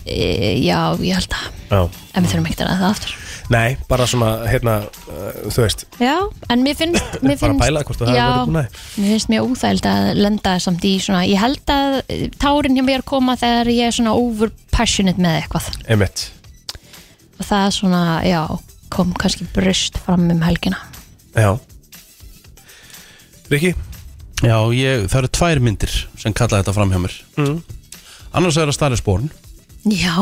e, já, ég held að Já en við þurfum ekkert að ræða það aftur Nei, bara svona, hérna, uh, þú veist já, en mér finnst, Bara mér finnst pæla hvort þú hafir já, verið búin að því. mér finnst mjög óþægild að lenda samt í svona, ég held að eh, tárin hjá mér koma þegar ég er svona over passionate með eitthvað Einmitt og það svona, já, kom kannski brust fram um helgina Já Riki? Já, ég, það eru tvær myndir sem kalla þetta fram hjá mér Mm. Annars er það starri spórn já,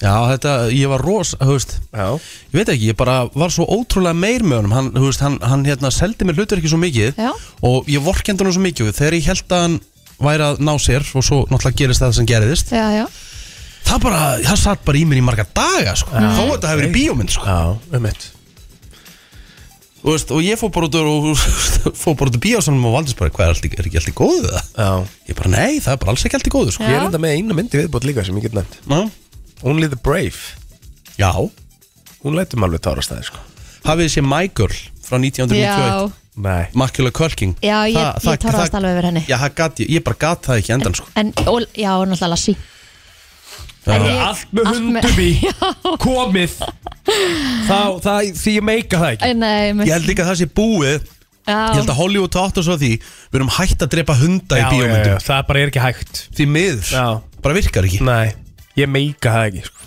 Já, þetta, ég var ros, þú veist Já Ég veit ekki, ég bara var svo ótrúlega meir með honum Hann, þú veist, hann, hann hérna seldi mér hlutur ekki svo mikið Já. Og ég vorkendi hann svo mikið og Þegar ég held að hann væri að ná sér Og svo náttúrulega gerist það sem gerðist já, já Það bara, það satt bara í mér í marga daga, sko Já. Þó þetta hefur verið bíómynd, sko Já, einmitt Þú veist, og ég fór bara út úr- og fór bara út úr bíósanum og valdist bara hvað er, allt, í- er ekki allt í góðu það? Já Ég bara, nei, það er bara alls ekki allt í góðu, sko Ég er enda með eina myndi viðbót líka sem ég get nefnt Já. Only the Brave Já Hún lætur mig alveg tárast það, sko Hafið þessi My Girl frá 1991 Já. Nei Makkjöla Kölking Já, ég, ég torðast alveg yfir henni Já, það gat ég, ég bara gat það ekki endan sko En, og, já, og náttúrulega lassi Já. ég- Allt með allt með- hundum í Komið Þá, það, því ég meika það ekki Æ, Nei, Ég held líka að það sé búið Ég held að Hollywood tátt og svo því Við erum hægt að drepa hunda í Já, já, já, bíómyndum Það bara er ekki hægt Því miður Já Bara virkar ekki Nei, ég meika það ekki sko.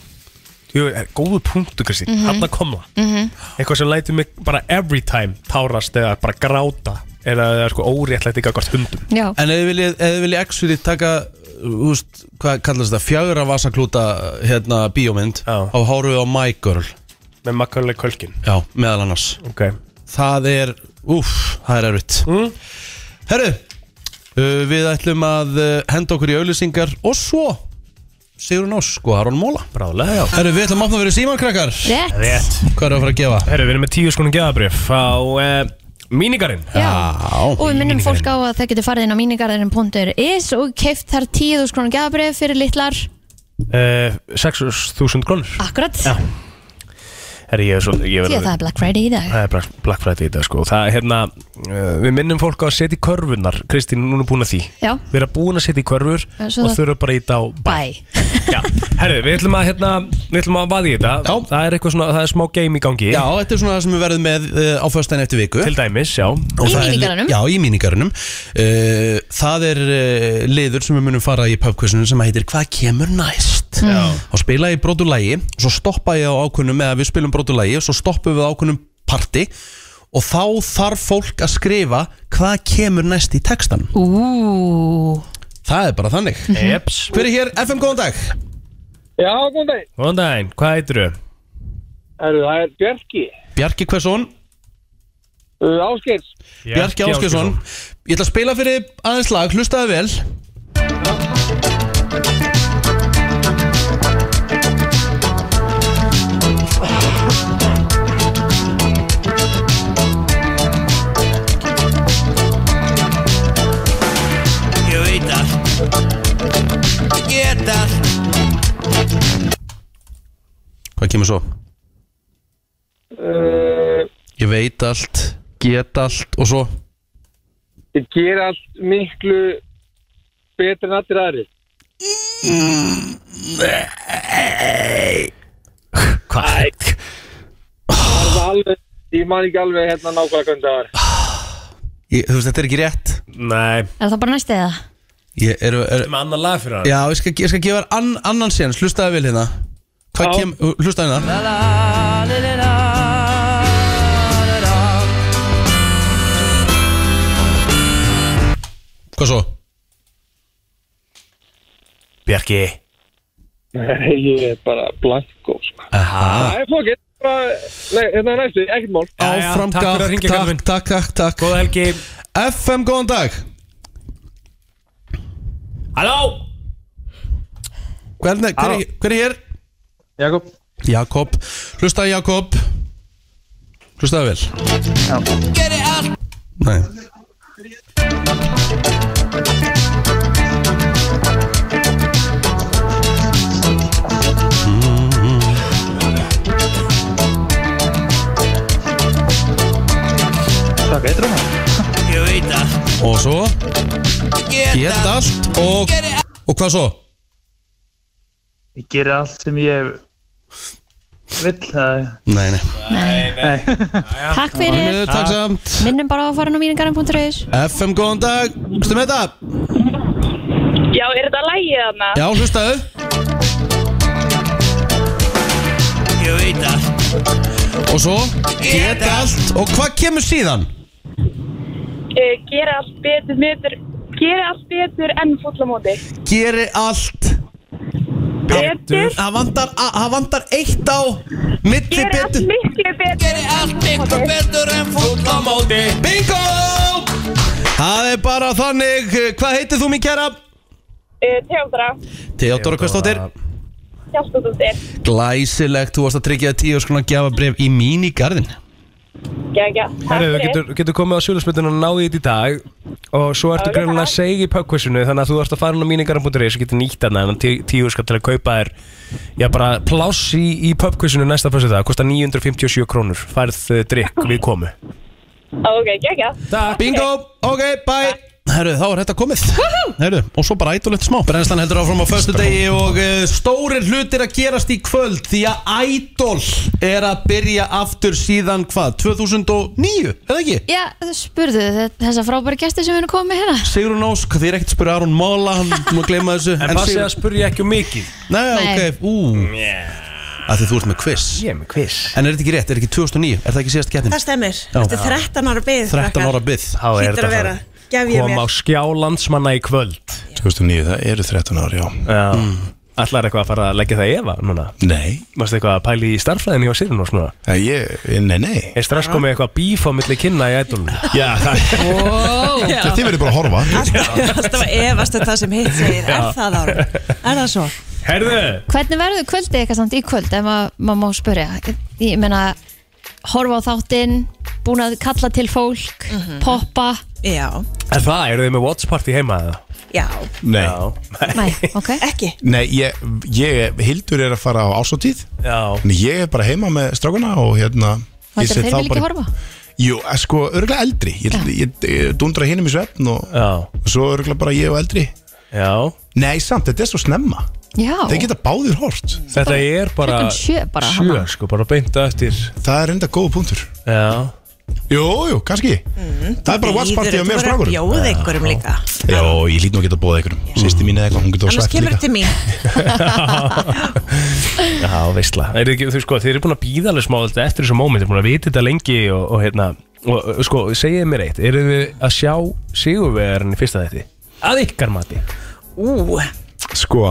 Jú, er góðu punktu Kristín mm Mhm. -hmm. Hanna kom það Mhm. Eitthvað sem lætur mig bara every time tárast eða bara gráta eða, eða sko óréttlætt ekki akkvart hundum Já En ef þið viljið, ef þið viljið actually taka Þú veist, hvað kallast það Fjögra vasaklúta hérna bíómynd Já Á hóruðu á My Girl Með makkarlega kölkin Já, meðal annars Ok Það er, úff, það er erfitt mm. Herru, uh, við ætlum að uh, henda okkur í auðlýsingar Og svo Sigurinn Ós, sko, Aron Móla Bráðlega, já Herru, við ætlum að opna fyrir símankrakkar Rétt. Rétt Hvað er að fara að gefa? Herru, við erum með tíu skonum geðabrif á uh, mínigarinn Já. Og við minnum fólk Mínigarinn. á að það getur farið inn á mínigarðurinn.is og keift þar 10.000 krónu gafabrið fyrir litlar Eh, 6.000 krónur Akkurat, Já. Herru, ég er svo Því því að það er Black Friday í dag Það er Black- Black Friday í dag sko Það er hérna, uh, við minnum fólk á að setja í körfunar Kristín, núna búin að því Já. Við erum búin að setja í körfur Já, svo og það- þurfum bara að íta á Bæ Já, herru, við ætlum að, hérna, við ætlum að vaði í þetta Já. Það er eitthvað svona, það er smá game í gangi Já, þetta er svona það sem við verðum með uh, á föstudaginn eftir viku Til dæmis, já Í mínigarðinum. Já, í mínigarunum uh, Það er uh, liður sem við munum fara í pubquizinu sem heitir Hvað kemur næst? Mm. Já. Þá spila ég brotulægi og svo stoppa ég á ákvönum eða við spilum brotulægi og svo stoppum við á ákvönum parti og þá þarf fólk að skrifa hvað kemur næst í textan Ú. Það er bara þannig Jeps. Hver er hér? FM, góðan dag Já, góðan dag Góðan daginn, hvað heitir þau? Herru, það er Bjarki Bjarki Hversson uh, Áskeirs Bjarki Áskjesson Ég ætla að spila fyrir þig aðeins lag, hlustaðu vel Ég veit allt Ég get allt Hvað kemur svo? uh, Eh. Ég veit allt, get allt og svo Ég ger allt miklu betur en allir aðri Nei Hvað? Það var alveg, ég man ekki alveg hérna nákvæmlega hvernig það var ég, Þú veist, þetta er ekki rétt Nei Er það bara næst eða? Ég er, er, Með annan lag fyrir það Já, ég skal, ég skal gefa þér ann, annan séns, hlustaðu vel hérna Hvað kem, hlustaðu hérna Hvað svo? Bjarki Nei, ég er bara blanko sko. Það er fókitt Nei, þetta er næstu, ekkert mál Ah. Áfram gaf, takk, takk, takk, takk Góða helgi FM, góðan dag Halló Hvernig, hver, er, hver er hér? Jakob Jakob, hlustaðu Jakob Hlustaðu vel Gerði allt Nei Takk, eitthvað Ég veit allt Og svo Get Get allt og, og hvað svo? Ég gerir allt sem ég vill það Nei, nei Nei, nei Takk fyrir Takk samt Minnum bara á að fara inn á míningarinn.is FM, góðan dag Hlustu með þetta? Já, er þetta lægið hérna. þarna? Já, hlustaðu Ég veit allt Og svo Get allt Og hvað kemur síðan? Eh, Gera allt betur, betur Gera allt betur enn fóllamóti Geri allt Betur. Það vantar, a- það vantar eitt á Milli Gera allt betur miklu betur Gera allt miklu betur enn fóllamóti Bingo! Það er bara þannig Hvað heitir þú mín kæra? Eh, Teodra Theodora Kvistdóttir Hjaltadóttir Glæsilegt, þú varst að tryggja þér tíu skona gjafabref í mínigarðin Gægja Herru, þú getur, getur komið á sjölusmyndinu og náðið þetta í dag og svo ertu greinlega að segja í pubquizinu þannig að þú ert að fara inn á míningaran.is og getur nýtt hana en tí, tíu skall til að kaupa þér já bara pláss í, í pubquizinu næsta fyrstu dag, kostar 957 krónur færð uh, drikk við komu Ok, gægja Bingo, ok, bye Herru, þá er þetta komið Herru, og svo bara ædolegt smá Brennslan heldur áfram á föstu degi og eh, uh, stórir hlutir að gerast í kvöld Því að ædol er að byrja aftur síðan hvað, 2009, eða ekki? Já, spurðu þið þessa frábæri gesti sem við erum komið hérna Sigrun Ósk, þið er ekkert að spyrja Aron Mála, hann má gleyma þessu En passið að spurja ekki um mikið Nei, Nei. ok, ú Af því þú ert með quiz Ég er með quiz En er þetta ekki rétt, er ekki 2009, er það ekki síðast gettin? Það stemmir, Já. þetta er 13 ára byggð 13 ára byggð Hlýtur að vera. Gef ég Kom á mér. skjá landsmanna í kvöld 2009, það eru 13 ár, já Mm. Já Ætlar eitthvað að fara að leggja það í efa núna? Nei Varstu eitthvað að pæli í starfræðinni hjá Sirinn og svona? Æ, ég, nei, nei Er strax komið eitthvað bíf á milli kynna í ædolunum? Já, það Wow. Þetta þið verður bara að horfa Alltaf að efast um það sem hitt segir Er Já. það ára? Er það svo? Herðu Hvernig verður kvöldið eitthvað samt í kvöld ef maður ma má spyrja Ég- Ég meina, horfa á þáttinn Búin að kalla til fólk Poppa Mhm. Já, Er það, eru þið með watch party heima eða? já Nei, Nei, ok Ekki nei ég, ég, Hildur er að fara á ásóttíð Já En ég er bara heima með strákuna og hérna Það ég er set þeir þá vil ekki bara- horfa Jú, eh, sko, örgulega eldri Ég, ég, ég dundra hinnum í svefn og, og svo örgulega bara ég og eldri Já Nei, samt, þetta er svo snemma Já. Þeir geta báðir hort Þetta er bara Klukkan sjö bara, sjö, hana. sko, bara beinta eftir Það er enda góð punktur Já Jú, jú, kannski Það er bara watch party á mér og strákurum. Bjóð einhverjum líka Já, ég lít nú að geta bóðið einhverjum Sýsti mín eða eitthvað, hún getur Annars sagt kemur líka þetta til mín Já, veistla er ekki, Þú sko, þeir eru búin að býða alveg smá þetta eftir þessu móment, þeir eru búin að vita þetta lengi og, og hérna, og og, sko, segið mér eitt Eru þið að sjá sigurvegarinn í fyrsta þætti? Að ykkar mati Ú, Sko,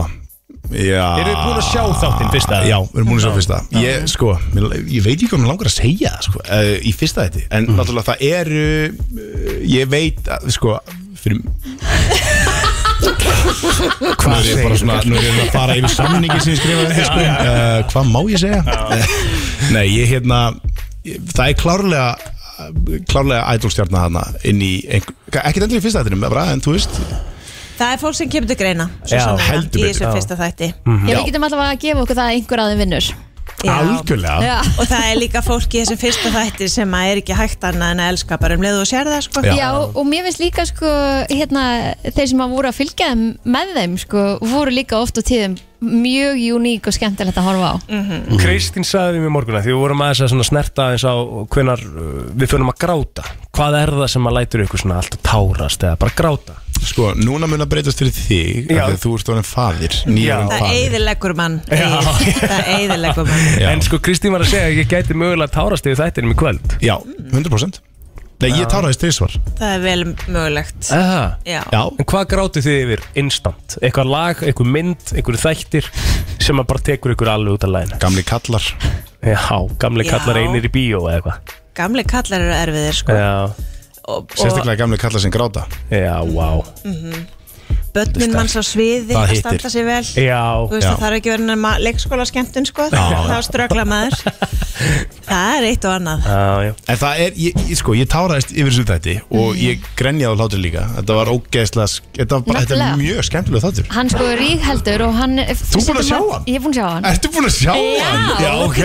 já Eru þið búin að sjá þáttinn fyrsta? Já, við erum búin að sjá fyrsta Ég, sko, mér- ég veit ekki hvað mér langar að segja það, sko, uh, Í fyrsta þetta En Mm. náttúrulega það eru uh, Ég veit að, sko Fyrir Hvað er ég bara svona Nú er ég að fara yfir samningi sem ég skrifaði sko. uh, Hvað má ég segja? Nei, ég hérna ég- Það er klárlega klárlega idolstjarnar hana inn í einhver, ekkert endur í fyrsta þættinum bara, en þú veist það er fólk sem kemur til greina svo Já, sannarlega, heldur Í betur. þessu Já. fyrsta þætti Mhm. Já, við getum allavega að gefa okkur það að einhver aðeins vinnur Algjörlega. Já. Og það er líka fólk í þessum fyrsta þætti sem að er ekki hægt annað en að elska bara um leið og sér það sko. Já. og mér finnst líka sko hérna, þeir sem að voru að fylgja þeim með þeim sko, voru líka oft og tíðum mjög uník og skemmtilegt að horfa á Mm. Mhm. Kristín sagði mér morguna því við vorum aðeins að svona snerta aðeins á hvenar uh, við fyrir að gráta hvað er það sem að lætur ykkur svona alltaf tárast eða bara gráta Sko, núna mun að breytast fyrir þig Já. af því að þú ert orðin fadir, nýjörðin Það fadir eiðilegur mann Já. Egill. Það eiðilegur mann en sko Kristín var að segja að ég gæti mögulega tárast yfir þættinum í kvöld Já, 100% Nei, ég táraðist þrísvar Það er vel mögulegt Já. Já. En hvað grátið þið yfir instant? Eitthvað lag, eitthvað mynd, eitthvað þættir sem að bara tekur ykkur alveg út af læna Gamli kallar Já, gamli Já. kallar einir í bíó eða eitthvað Gamli kallar eru erfiðir sko. Já, og, og Sérstaklega gamlega kallar sem gráta já, vá Mhm. börnin manns á sviði Það að hittir. standa sig vel Já. Þú veist Já. það þarf ekki verið nema leikskóla skemmtun sko. Já. þá strögla maður Það er eitt og annað Já, já En það er, ég, ég- sko, ég táraðist yfir þessu þætti og ég grenjaði á hlátur líka Þetta var ógeðslega, sk- þetta var bara, þetta Nefnilega. er mjög skemmtilega þáttur hann sko er ríkheldur og hann Þú búin að sjá hann? Ég er búin að sjá hann Ertu búin að sjá hann? Já. Já, ok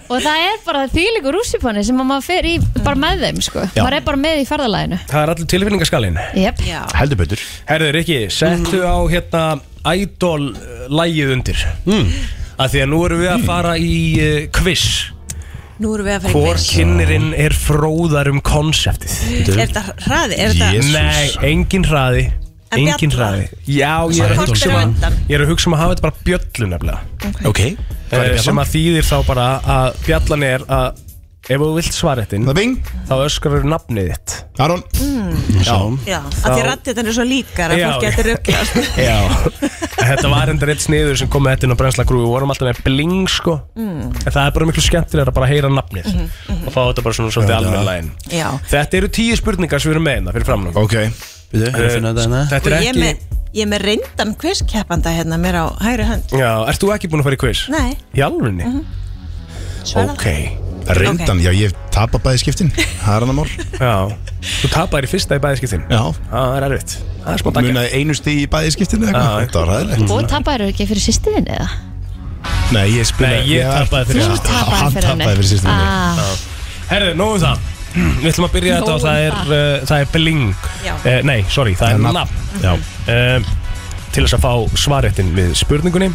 og það er bara þýliku rússipanni sem að maður fer í bara með þeim sko, Já. maður er bara með í ferðalæðinu Það er allir tilfinningaskalinn Jep. Heldur betur Herður ekki, settu á hérna idol uh, lægið undir mm. að því að nú erum við að fara í uh, quiz Nú erum við að fara í Hvor quiz. kynnerinn er fróðar um konseptið Er þetta hraði? Er þetta Nei, engin hraði En Engin bjalla? hraði Já, ég er, Hvort að hugsa er á um undan? að, ég er að hugsa um að hafa þetta bara bjöllu nefnilega Ok Hvað er Eh, Sem bjallan? að þýðir þá bara að bjallan er að Ef þú vilt svaretinn Þá öskrar nafnið þitt Aron Já, Mm. Já, að því rætti þetta er svo líkar að Já. fólk getur rugglast Já, þetta var enda eitt sniður sem komið þetta inn á brensla grúi Við vorum alltaf með bling sko Mm. Mhm, En það er bara miklu skemmtilega að bara heyra nafnið Og fá þetta bara svona svolítið almennilegin Já. Þetta eru tíu spurningar sem við erum með hérna fyrir framlum Ok Býtu, ég finna þetta hérna. Og Þetta er ég er ekki með, ég er með reyndan quizkeppanda hérna mér á hægri hönd Já, ert þú ekki búin að fara í quiz? Nei, Í alvörinni? Svaraðu. Reyndan, Ok. já, ég tapa bæði skiptin Það er hann að mál Já Þú tapar í fyrsta í bæðiskiptin Já Það er erfitt Það er smá dækja Munaði einu stig í bæði skiptinu eitthvað Þetta var ræðilegt og tapar eru ekki fyrir sýstiðin eða Nei, ég spilaði Nei, ég tapaði fyrir Þú hann. tapaði Hann fyrir hann tapaði fyrir sýstur minni Ah. Herðu, nógu það Við ætlum að byrja þetta Nóg og það er, um uh, það er bling Já. uh, Nei, sorry, það er nafn Já uh, Til þess að fá svarettin við spurningunni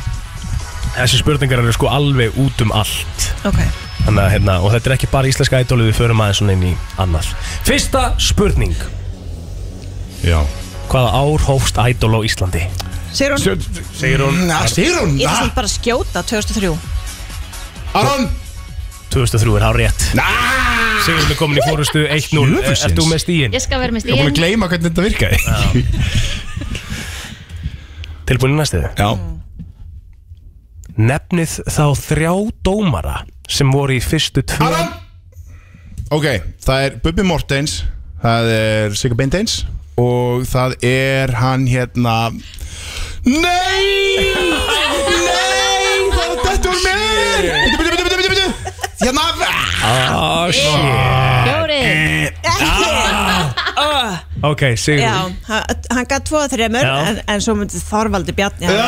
Þessi spurningar eru sko alveg út um allt ok Þannig að, hérna, og þetta er ekki bara íslenska ædólu Við förum aðeins svona inn í annað Fyrsta spurning Já Hvaða ár hófst ædól á Íslandi? Sigrún Sigrún Mm, Mm, Ég er svona bara að skjóta 2003 Aron 2003 er hár rétt Sigrún er komin í fórustu 1-0 Eh, Ert þú með stíin? ég skal vera með Ég er búin að stíðin gleyma hvernig þetta virkaði Tilbúin í næstuðu? Já Nefnið þá þrjá dómara sem voru í fyrstu tvö Aran! Ok, það er Bubbi Mortens Það er Sigur Beinteins Og það er hann hérna Nei Nei Það var þetta úr mér Bitu, bitu, bitu, bitu, bitu Hérna Ah, shit Eh, Fjórið Ah. Ok, Sigur Já, hann, hann gaf tvo að þreymur Já. en, en svo myndi Þorvaldi Bjarni Já,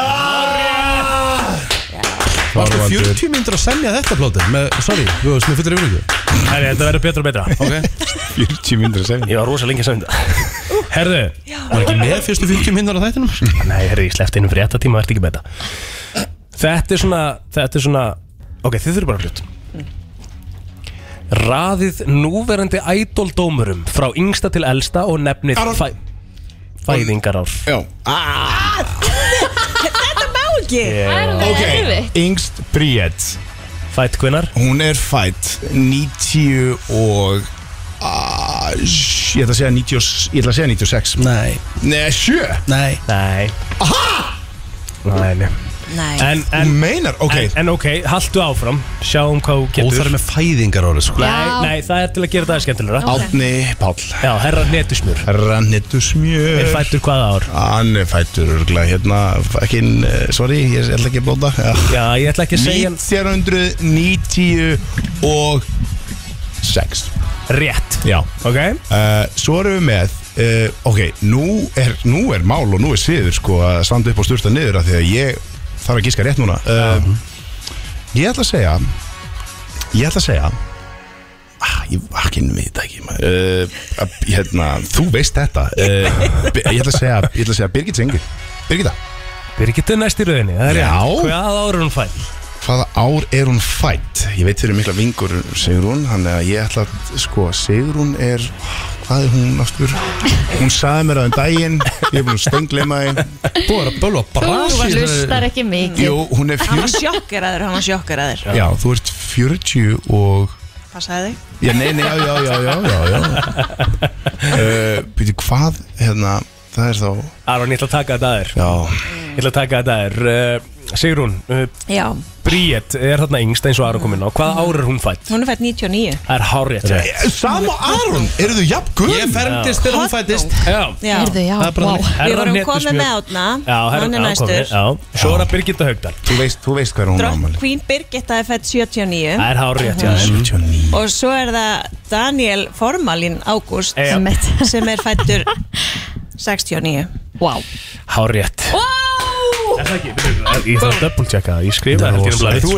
Varstu 40 myndir að semja þetta plótið með, sorry, þú veist, með fyrir yfirleiku Herri, þetta verður betra og betra Ok 40 myndir að semja Ég var rosa lengi að um semja Herðu Var ekki með fyrstu 40 myndir á þættinum? Nei, herri, ég sleppti innum fyrir þetta tíma, verður ekki með þetta Þetta er svona, þetta er svona Ok, þið þurfum bara að hlut Raðið núverandi ædoldómurum frá yngsta til elsta og nefnið Aron. fæ, fæðingarár Já Þetta má ekki Það er alveg Ok. erfitt. Yngst Bríett Fætt hvenar? Hún er fætt 90 og uh, ég ætla að segja 90, og- ég ætla að segja 96 Nei Nei, sjö Nei Nei Aha Nei, Nei En, en meinar, ok En, en ok, haltu áfram Sjáum hvað þú getur Óþarfi með fæðingar ára sko Nei, nei, það er til að gera það skemmtilegra Ok. Árni Páll Já, herra hnetusmjör Herra hnetusmjör Er fæddur hvaða ár? Hann er fættur örgulega hérna Fucking, uh, sorry, ég ætla ekki að blóta Já, ég ætla ekki að segja- 1990 og 6 Rétt Já Ok Eh, Svo erum við með uh, Ok, nú er, nú er mál og nú er sviður sko að standa upp og sturta niður af því að ég þarf að gíska rétt núna uh, Ég ætla að segja Ég ætla að segja ah, Ég vakinn við þetta ekki maður. uh, að- hérna, Þú veist þetta uh, Ég ætla að segja, ég ætla að segja Birgit Sengi Birgitta Birgitta er næst í rauninni, það er Já rétt. Hvað ár er hún fætt? Hvaða ár er hún fætt? Ég veit þér eru mikla vingur Sigrún Þannig að ég ætla að sko Sigrún er Hvað er hún aftur? Hún sagði mér að um daginn Ég er búin að stöngleima því Búið er að bölva Þú hlustar ekki mikið Jú, hún er Hann var fjör- sjokkeraður, hann var sjokkeraður Já, þú ert 40 og Passaði þig Já, nei, nei, já, já, já, já, já, já. Uh, Býtu, hvað, hérna, það er þá Aron, ég ætla að taka þetta aður Já Ég ætla að taka þetta aður uh, Sigrún uh, Já, Bríett er þarna yngst eins og Aron kom inn á Hvað ár er hún fætt? hún er fætt 99 Það er hárétt hjá þér. Sam og Aron, eru þau jafn guð? Ég fermdist þegar hún fættist Já, Já, Heyrðu, já, Það er bara þannig. vá. Við vorum Herra komið hnetusmjör. með átna Já, herra, Hann er já, komin, næstur já Svo er það Birgitta Haugdal Þú veist, þú veist hvað er hún Drott ámali Queen Birgitta er fætt 79 Það er hárétt hjá þér. 79 Og svo er það Daniel Formalin Ágúst Já. sem er fættur 69 Wow Hárétt Er það ekki? Ég þarf að double checka það Ég skrifa það Rosa. held ég Þú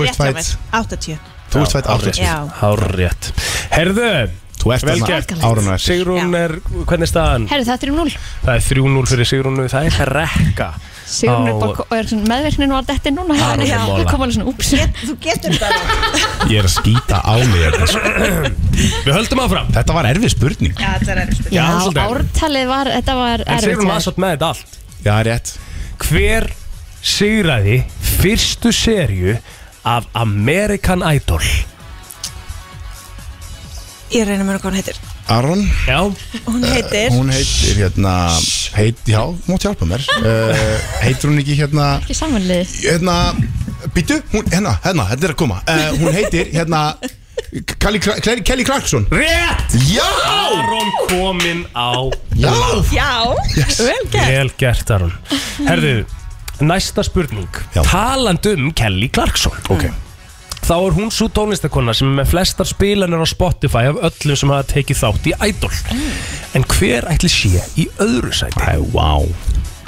ert fædd- Þetta er rétt hjá mér 80 Þú ert fædd 80. Já. Hárétt Herðu Þú ert Vel þarna gert árinu eftir. Sigrún er, hvernig er staðan? Herru, það er 3-0 Það er 3-0 fyrir Sigrúnu Það er rekka Sigrun er á- bara og er svona meðverknin var detti núna hjá Það er henni. alveg Það mála. kom alveg svona úps Þú getur þetta Ég er að skýta á mig hérna, sko. Við höldum áfram Þetta var erfið spurning Já, þetta er erfitt Já, Já, svolítið. ártalið var, þetta var En erfitt Sigrún var hjá þér. satt með þetta allt Já, rétt Hver sigraði fyrstu serju af American Idol? Ég reynir mér að hvað hún heitir Aron Já Hún heitir Eh, Hún heitir hérna heit, Já, þú mátt hjálpa mér uh, Heitir hún ekki hérna Ekki samanlið Hérna, býtu, hún, hérna, hérna, þetta er að koma uh, Hún heitir hérna Kelly, Cla- Kelly, Kelly Clarkson Rétt! Já! Aron kominn á Já! Já, vel gert Vel gert Aron Herðu, næsta spurning Talandi um Kelly Clarkson okay. Þá er hún svo tónlistakonna sem er með flestar spilanir á Spotify af öllum sem hafa tekið þátt í Idol En hver ætli sé í öðru sæti? Æ, wow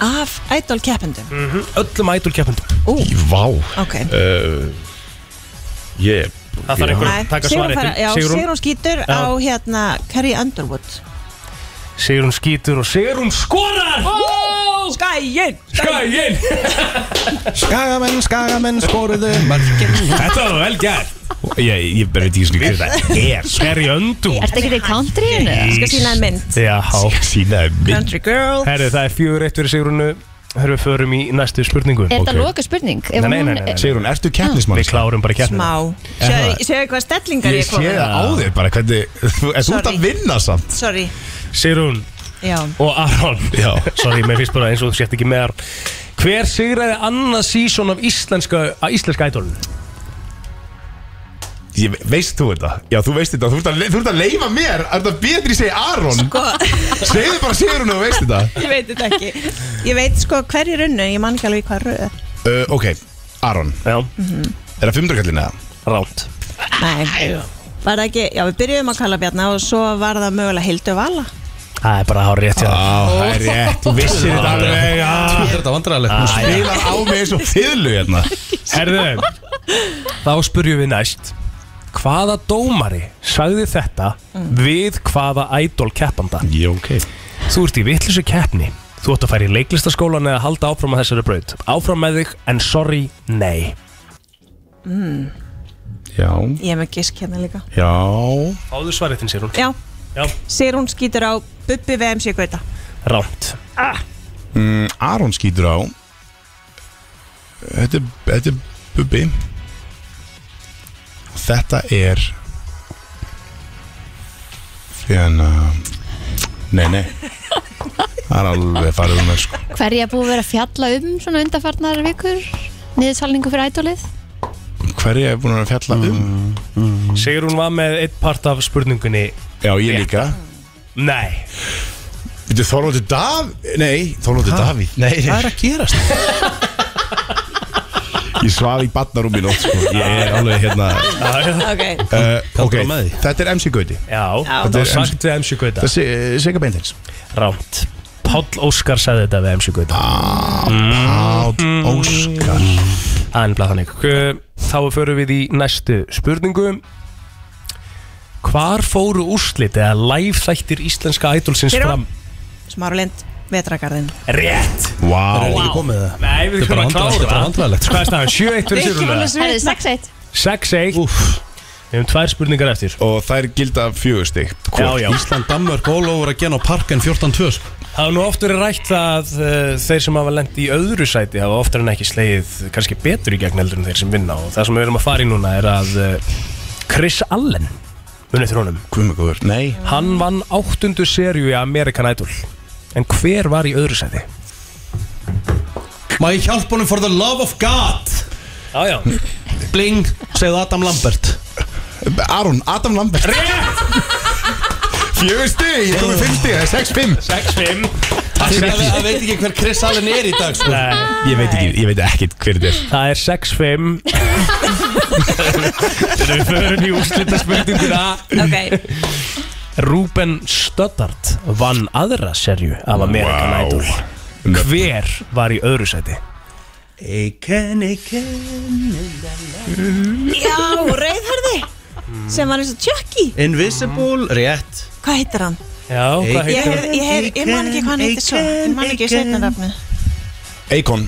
Af Idol keppendum Mhm. Öllum Idol keppendum Ú, Vá ok uh, Ég Það þarf einhver Nei, að taka Sigrún svarið fara- Já, Sigrún skýtur Já. á hérna Carrie Underwood Sigrún skýtur og Sigrún skorar Skæin Skæin Skagamenn, skagamenn, skoruðu mörkin Þetta var vel gert Ég, ég bara veit ekki svona hver það er Sverri öndu Ertu ekki í countryinu? Ég skal sína þér mynd Já Sínaði Country girl Herru, það er fjögur eitt fyrir Sigrúnu Herru, við förum í næstu spurningu Er þetta loka spurning? Ef Nei, nei, hún nei, Ah. nei, nei. er- Sigrún, ertu keppnismann? Við klárum bara keppnina Smá Er það? Sjáðu sjáðu hvað stellingar Ég ég kom sé það á þér bara hvernig Þú ert út Sorry. að vinna samt Sorry Sigrún Já og Aron Já Sorry, mér finnst bara eins og þú sért ekki með Aron Hver sigraði annað sísón af íslenska, að íslenska ædolun? Ég ve- veist þú þetta? Já, þú veist þetta Þú ert að, le- þú ert að leifa mér Er þetta betri segja Aron? Sko Segðu bara Sigrún og þú veist þetta Ég veit þetta ekki Ég veit sko hverjir unnu Ég man ekki alveg í hvað röð uh, Ok, Aron Já Er það fimmdurkallin eða? Ránt Nei Var það ekki Já, við byrjuðum að kalla Bjarna Og svo var það mögulega Hildu Vala Það er bara að hafa rétt hjá Á, það er rétt Þú vissir þetta alveg já. Þú er þetta vandræðilegt Þú Hún spilar- spilar á mig eins og fiðlu hérna Herðu, þá spurjum við næst Hvaða dómari sagði þetta við hvaða idol keppanda? Jó, ok Þú ert í vittlusu keppni Þú ætti að færa í leiklistaskólan eða halda áfram að þessari braut Áfram með þig, en sorry, nei mm, Já Ég er með gísk hérna líka Já Fáðu svarið þinn, Sirún Já, Já. Sirún skýtur á Bubbi VMC Gauta Rámt mm, Aron skýtur á Þetta, er- þetta er Bubbi Þetta er Fjöna Nei, nei Það er alveg farið um mér sko Hverja búið að vera að fjalla um svona undarfarnar vikur? Niðursalningu fyrir ædólið? Hverja er búin að fjalla um? Mm. Sigrún var með eitt part af spurningunni Já, ég líka Nei Þetta er Þorvaldur Dav... Nei, Þorvaldur Ha? Davíð Nei, nei. Hvað er að gerast? ég svaf í barnarúmi í nótt sko. Ég er alveg hérna Ok. uh, Ok, Kallar á með því. þetta er MC Gauti Já, Þetta það var er sagt við MC Gauta Þetta er Se- eh, Sigga Beintins Rámt Páll Óskar sagði þetta við MC Gauta Páll Óskar Það er nefnilega þannig Hve- Þá förum við í næstu spurningu Hvar fóru úrslit eða live þættir íslenska ædolsins Fyrir fram? Smárulind, Vetragarðin Rétt Vá Er ekki komið það? Nei, við Þetta er þurfum að bara handra- klára þetta er bara handralegt, sko. Hvað er staðan? 7-1 fyrir Sigrúnu? Herðu, 6-1 6-1 Við hefum tvær spurningar eftir Og þær gilda fjögustig Já, já Ísland, Danmark, all over again á parken 14-2 sko. Það hafa nú oft verið rætt að uh, þeir sem hafa lent í öðru sæti hafa oftar en ekki slegið kannski betur í gegn heldur en þeir sem vinna og það sem við erum að fara í núna er að uh, Chris Allen munið þrónum Guðmugurður, nei Hann vann áttundu serju í American Idol en hver var í öðru sæti? Má ég hjálpa honum for the love of God Já, já Bling, segðu Adam Lambert Aron, Adam Lambert Fjögusti, ég komið 50, það er 6-5 6-5 Það það veit ekki hver Chris Allen er í dag sko. Ég veit ekki, ég veit ekki hver þetta er Það er 6-5 Þegar við förum í úrslita spurninguna Ok, Ruben Stoddard vann aðra serju af American Vá. Idol Hver var í öðru sæti? Eiken, eiken Já, reyðherði sem var eins og tjökki Invisible, rétt Hvað heitir hann? Já, hvað Ég, hef, ég, hef, ég man ekki hvað hann heitir svo Ég man ekki setna nafni Eikon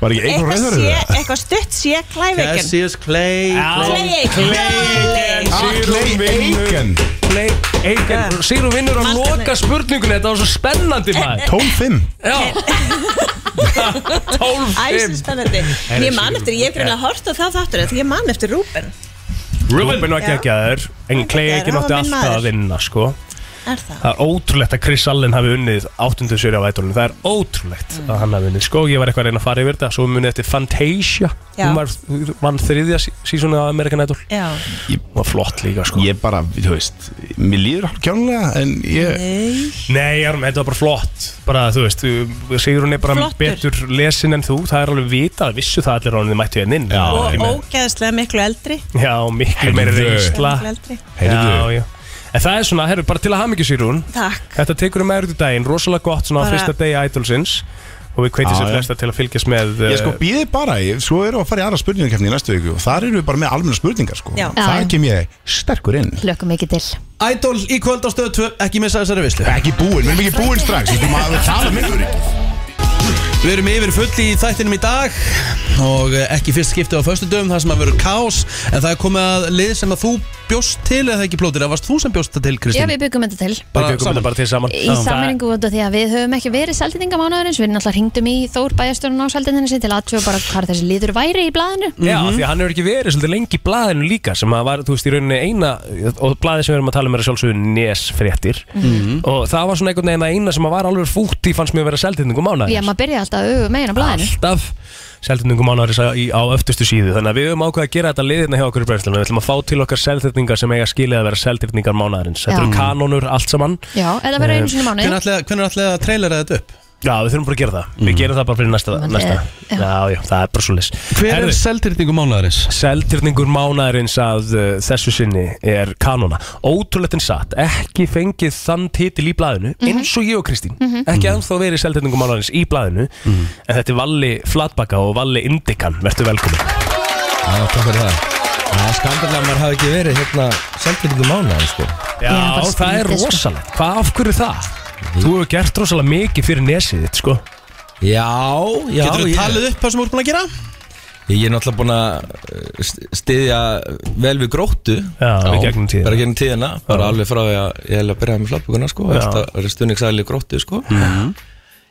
Var ekki Eikon Eitthvað reyður sé, þetta? eitthvað stutt sé klæveikin Cassius Clay Clay Clay Eiken Eiken Sigrun vinnur að loka spurningunni Þetta var svo spennandi maður 12-5 Æsir spennandi En ég man eftir, ég er fyrir að horta það þáttur Því ég man eftir Rúben Ruben var Já. geggjaður En Clay geggjaður, Eiken hann átti var alltaf minn maður. að vinna sko Er það? Það er ótrúlegt að Chris Allen hafi unnið 8. séri á ædolunum Það er ótrúlegt Mm. að hann hafi unnið Sko, ég var eitthvað að reyna að fara yfir þetta Svo munið eftir Fantasia Já. Hún var, vann þriðja sísónu á American Idol Já Hún var flott líka sko Ég bara, þú veist, mér líður hálf kjónulega En ég Nei Nei, Aron, þetta var bara flott bara, þú veist, uh, Sigrún er bara Flottur. betur lesin en þú það er alveg vitað, vissu það allir ráðinni mættu hérna inn Já, Og ógeðslega miklu eldri já miklu meiri Heyrðu. reynsla Miklu eldri. Já, já En það er svona, herru, bara til að hafa mikið Sigrún Takk Þetta tekur um erðu daginn, rosalega gott svona á Bara- fyrsta degi Idolsins og við kveitum Já, sér já. flesta til að fylgjast með eh, Ég sko býði bara, ég, svo erum við að fara í aðra spurningakefni í næstu viku og þar erum við bara með almenna spurningar sko. Já. Já, Það já. kem ég sterkur inn Hlökkum ekki til Idol í kvöld á stöðu 2 Ekki missa þessari vislu Ekki búin, við erum ekki búin strax Þú maður að tala með ykkur Við erum yfir full í þættinum í dag og eh, ekki fyrst skiptið á föstudöfum það sem að vera kás en það er komið að lið sem að þú bjóst til eða ekki plótir, eða varst þú sem bjóst það til Já, Kristín? við byggum þetta til Bara saman bara til saman Í sammenningu út af því að við höfum ekki verið sæltendingamánaðurins, við náttúrulega hringdum í Þór bæjastjórun á sæltendinni sinni til aðtjóða bara hvað þessi liður væri í blaðinu Mm. Já, Mhm. því að hann hefur ekki verið svolítið lengi í blaðinu líka sem að var, þú veist, í rauninni eina og blaði sem við erum að tala um er að sjálfsögðu nesfréttir Mhm. og það var svona einhvern veginn að eina sem að var alveg fútt í fannst mér að vera seldindingum Já, mánaðis maður byrja alltaf að auðvitað megin á blaðinu alltaf seldindingum mánaðis á, í- á öftustu síðu þannig að við höfum ákveð að gera þetta liðina hjá okkur í brennslunum við ætlum að fá til okkar seldindingar sem eiga skilið að vera seldindingar mánaðarins þetta Já. eru kanónur allt saman Eh, Já, eða vera einu sinni í mánuði. Hvernig ætlaði hvernig ætlaði að Mm. trailera þetta upp? Já, við þurfum bara að gera það Við gerum það bara fyrir næsta, Maður næsta. er- Já. já, það er bara svo leys Hver er seldýrningur mánaðarins? Seldýrningur mánaðarins að uh, þessu sinni er kanona Ótrúlegt en satt, ekki fengið þann titil í blaðinu Mhm. eins og ég og Kristín Mhm. Ekki ennþá verið seldýrningur mánaðarins í blaðinu En þetta er Valli Flatbaka og Valli Indikan Vertu velkomin Já, takk fyrir það Það er skandalega að maður hafi ekki verið hérna Selvfylgjum mánuðan, sko Já, Ég bara það er skrítið, sko. rosalegt Hvað af hverju það? Þú hefur gert rosalega mikið fyrir nesið þitt, sko Já, já Geturðu ég- talið upp það sem þú ert búin að gera? Ég er náttúrulega búin að uh, styðja vel við gróttu Já, í gegnum tíðina. Bara gegnum tíðina, bara alveg frá því að ég hef að byrjaði með flabbuguna sko Já. Það er stunningsæli gróttu sko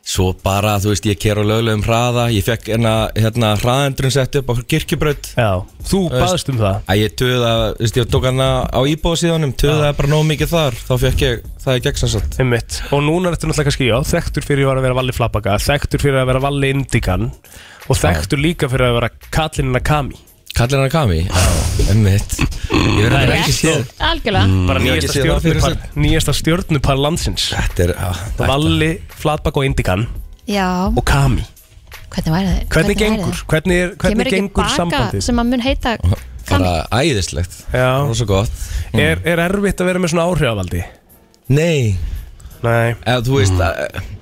Svo bara, þú veist, ég ker á lögulegum hraða Ég fekk hérna, hérna hraðendurinn sett upp á kirkjubraut Já, þú baðst um það Að ég töða, þú veist, ég tók hana á íbóð síðanum Töðaði bara nóg mikið þar, þá fekk ég það í gegnsansat Einmitt. Og núna ertu náttúrulega kannski, já, þekktur fyrir að vera Valli Flabbaka Þekktur fyrir að vera Valli Indikan Og þekktur líka fyrir að vera Kallinina Kami Kallinina Kami? Já, emmitt Ég verður Það er ekki ekki séð Mm, stóð Algjörlega Bara Ég nýjasta hef ekki séð það fyrir stjórnupar, nýjasta stjórnupar landsins Þetta er, já Valli, Flabbaka og Indikan Já, Og Kami hvernig væri það? Hvernig væri gengur? það? Hvernig er- hvernig Kemur ekki gengur baka sambandið? sem að mun heita Bara æðislegt Já Rósa gott Er, er erfitt að vera með svona áhrifavaldi? Nei Nei Eða þú veist að,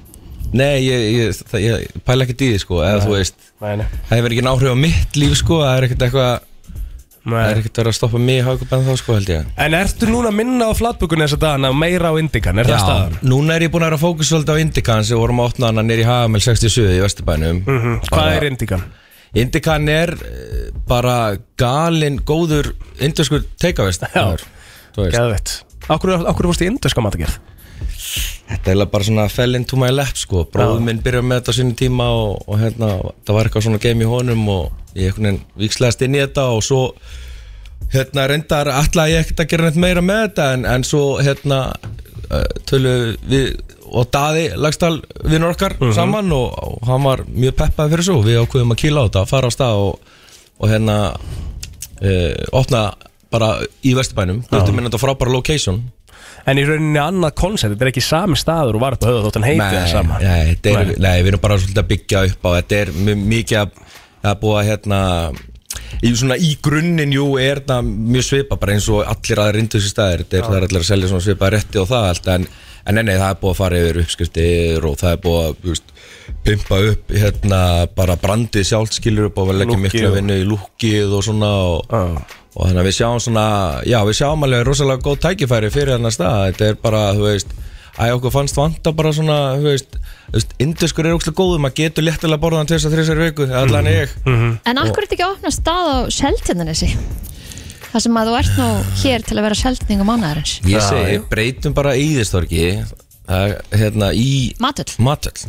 Nei, ég, ég, það, ég pæla ekkert í því sko Eða þú veist nei, nei. Það hefur ekki náhrif á mitt líf sko Það er ekkert eitthvað Það er ekkert að vera að stoppa mig í haugum en þá sko held ég En ertu núna að minna á flatbökunni þess að dagana og meira á Indikan, er Já, það staðan? núna er ég búin að vera að fókusa svolítið á Indikan sem vorum að opna hana nýri í Hagamil 67 í Vesturbænum Mhm. Hvað er Indikan? Indikan er eh, bara galinn góður induskur teikavest Já, geðvett Akkur, akkur fórst í indurska matagerð? Þetta er eiginlega bara svona fell into my lap sko Bróður minn byrjaði með þetta á sinni tíma og, og hérna, það var eitthvað svona game í honum og ég einhvern veginn vikslegast inn í þetta og svo hérna reyndar ætlaði ég ekkert að gera neitt meira með þetta en, en svo hérna eh, tölu við og Daði Lagstall vinnur okkar saman og, og hann var mjög peppaði fyrir svo við ákveðum að kýla á þetta, fara á stað og, og hérna uh, opna bara í Vesturbænum Gutti minn þetta frábæra location En í rauninni annað koncept, þetta er ekki sami staður og var upp á höfða þótt hann heiti það sama Nei, þetta er, Nei. nei. við erum bara svolítið að byggja upp á Þetta er mjög mikið að, að búa hérna Í, svona, í grunninn, jú, er þetta mjög svipa bara eins og allir aðra rindu þessi staðir þetta er, Já. það er allir að selja svona svipa rétti og það allt en, en nei, nei, það er búið að fara yfir uppskriftir og það er búið að þú veist, pimpa upp hérna bara brandið sjálfskilur upp og vel ekki Lúkkið miklu og- vinnu í lúkkið og svona og, og þannig að við sjáum svona já, við sjáum alveg rosalega góð tækifæri fyrir þennan stað, þetta er bara, þú veist að okkur fannst vanta bara svona þú veist, þú veist induskur er ókslega góðum maður getur léttilega borðan til þess að þrjusar viku allan Mhm. ég En akkur er þetta ekki að opna stað á seltjarnanessi? Það sem að þú ert nú hér til að vera seltningum mánaðarins Ég segi, breytum bara Íðistorgi það er hérna í Matöll Matöll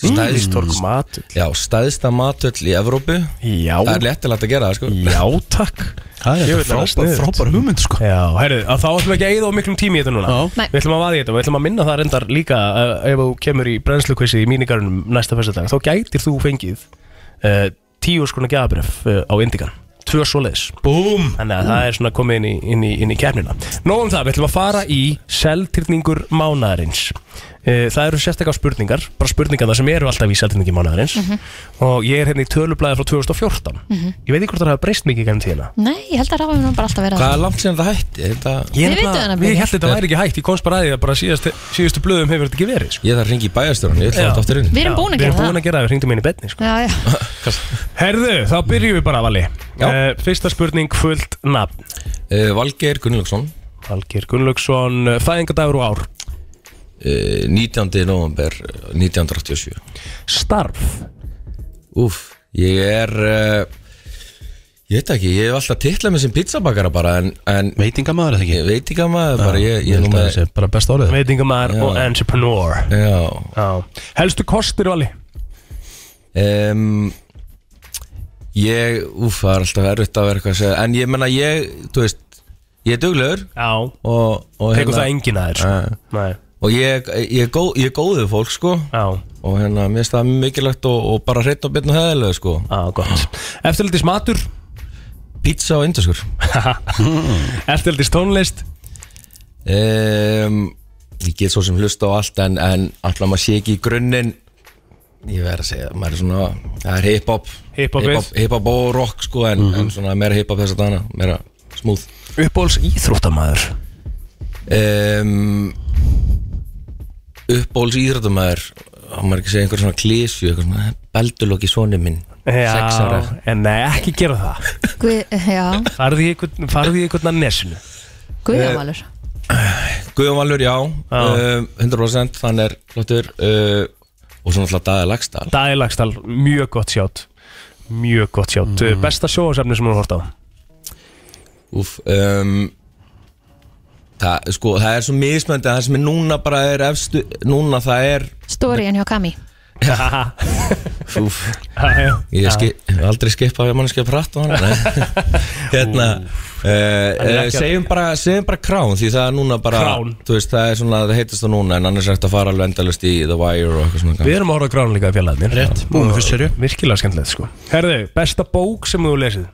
Íðistorg matöll Já, stæðsta matöll í Evrópu Já Það er léttilegt að gera það sko Já, takk Það Ég veit það er sniðugt. frábær hugmynd sko Já, herru, að þá ætlum við ekki að eyða á miklum tími í þetta núna Nei. Við ætlum að vaða í þetta og við ætlum að minna það reyndar líka uh, ef þú kemur í brennslukvissi í mínigarunum næsta fyrstadag þá gætir þú fengið uh, tíu skona gjafabref uh, á Indikan Tvö svoleiðis Búm Þannig að það er svona komið inn í, inn í, inn í kefnina Nóðum það, við ætlum að fara í seltirningur mánaðarins uh, Það eru sérstakar spurningar Bara spurningar sem eru alltaf í seltirningi mánaðarins Og ég er hérna í tölublaði frá 2014 Mhm. Ég veit ekki hvort það hafa breyst mikið gæm tíðina Nei, ég held að rafa mér nú bara alltaf vera Hvað er langt síðan það hætti? Þetta... Ég, Þið vitið nefnilega- hana, Björn. ég held að þetta væri ekki hægt, ég komst bara að því að bara síðast, síðustu blöðum hefur þetta ekki verið sko. Ég þarf að ringi í bæjarstjórn, ég ætla Já. þetta aftur inn Við erum Já, búin að Við erum gera búin að gera það, við ringdum inn í betni sko. Já, já Herðu, þá byrjum við bara vali uh, Fyrsta spurning, fullt nafn uh, Valgeir Gunnlaugsson Valgeir Gunnlaugsson, uh, fæðingadagur og ár uh, 19. november 1987 Starf Úf, ég er uh, Ég veit það ekki, ég hef alltaf titlað mig sem pizzabakara bara en, en Veitingamaður eða ekki? Veitingamaður bara, ég, ég, ég held að það sé bara besta orðið Veitingamæður og entrepreneur Já, Já. Helstu kostir vali um, Ég, úf, það er alltaf erfitt að vera eitthvað að segja En ég menna, ég, þú veist Ég er duglegur Já Og, og hérna- Tekur það enginn að þér, sko. Nei. Og ég, ég, er góð, ég er góðu fólk, sko Já Og hérna, mér finnst það mikilvægt og, og bara hreitt og byrn og heðilega, sko Já, gott Eftirlitist matur Pizza og indaskur Eftirlitist tónlist um, Ég get svo sem hlusta á allt En, en alltaf maður sé ekki í grunninn Ég verð að segja, maður er svona Það er hip-hop Hip-hopið. Hip-hop og rock, sko En, en svona meira hip-hop þess að dana Meira smúð Uppbóls íþróttamæður um, Uppbóls íþróttamæður Hann maður ekki að segja einhver svona klísju Eitthvað svona Beldulokki sonu minn Sex ára Já, en nei, ekki gera það Guð, eh, já, Farðu í einhvern- farðu í einhvern að nesinu guðjávalur Guðjón Valur, já, um, 100% Hann er flottur uh, Og svo náttúrulega Daði Lagstall Daði Lagstall, mjög gott sjátt Mjög gott sjátt mm. Besta sjóasefni sem hún hort á Úf, um, það, sko, það er svo mismöndi að það sem er núna bara er efstu, núna það er Storyin hjá Kami úf, ég hef ski, hef aldrei skipað að mannskja pratt og hann hérna Hann er uh, ekki að- segjum, bara, segjum bara krán því það er núna bara Crown. þú veist, það, er svona, það heitist það núna en annars er þetta að fara alveg endalust í The Wire og eitthvað svona Við erum að horfa á grána líka í fjallaðinir Rétt, búin með fyrstu serju Virkilega skemmtilegt sko Herðu, besta bók sem þú lesið?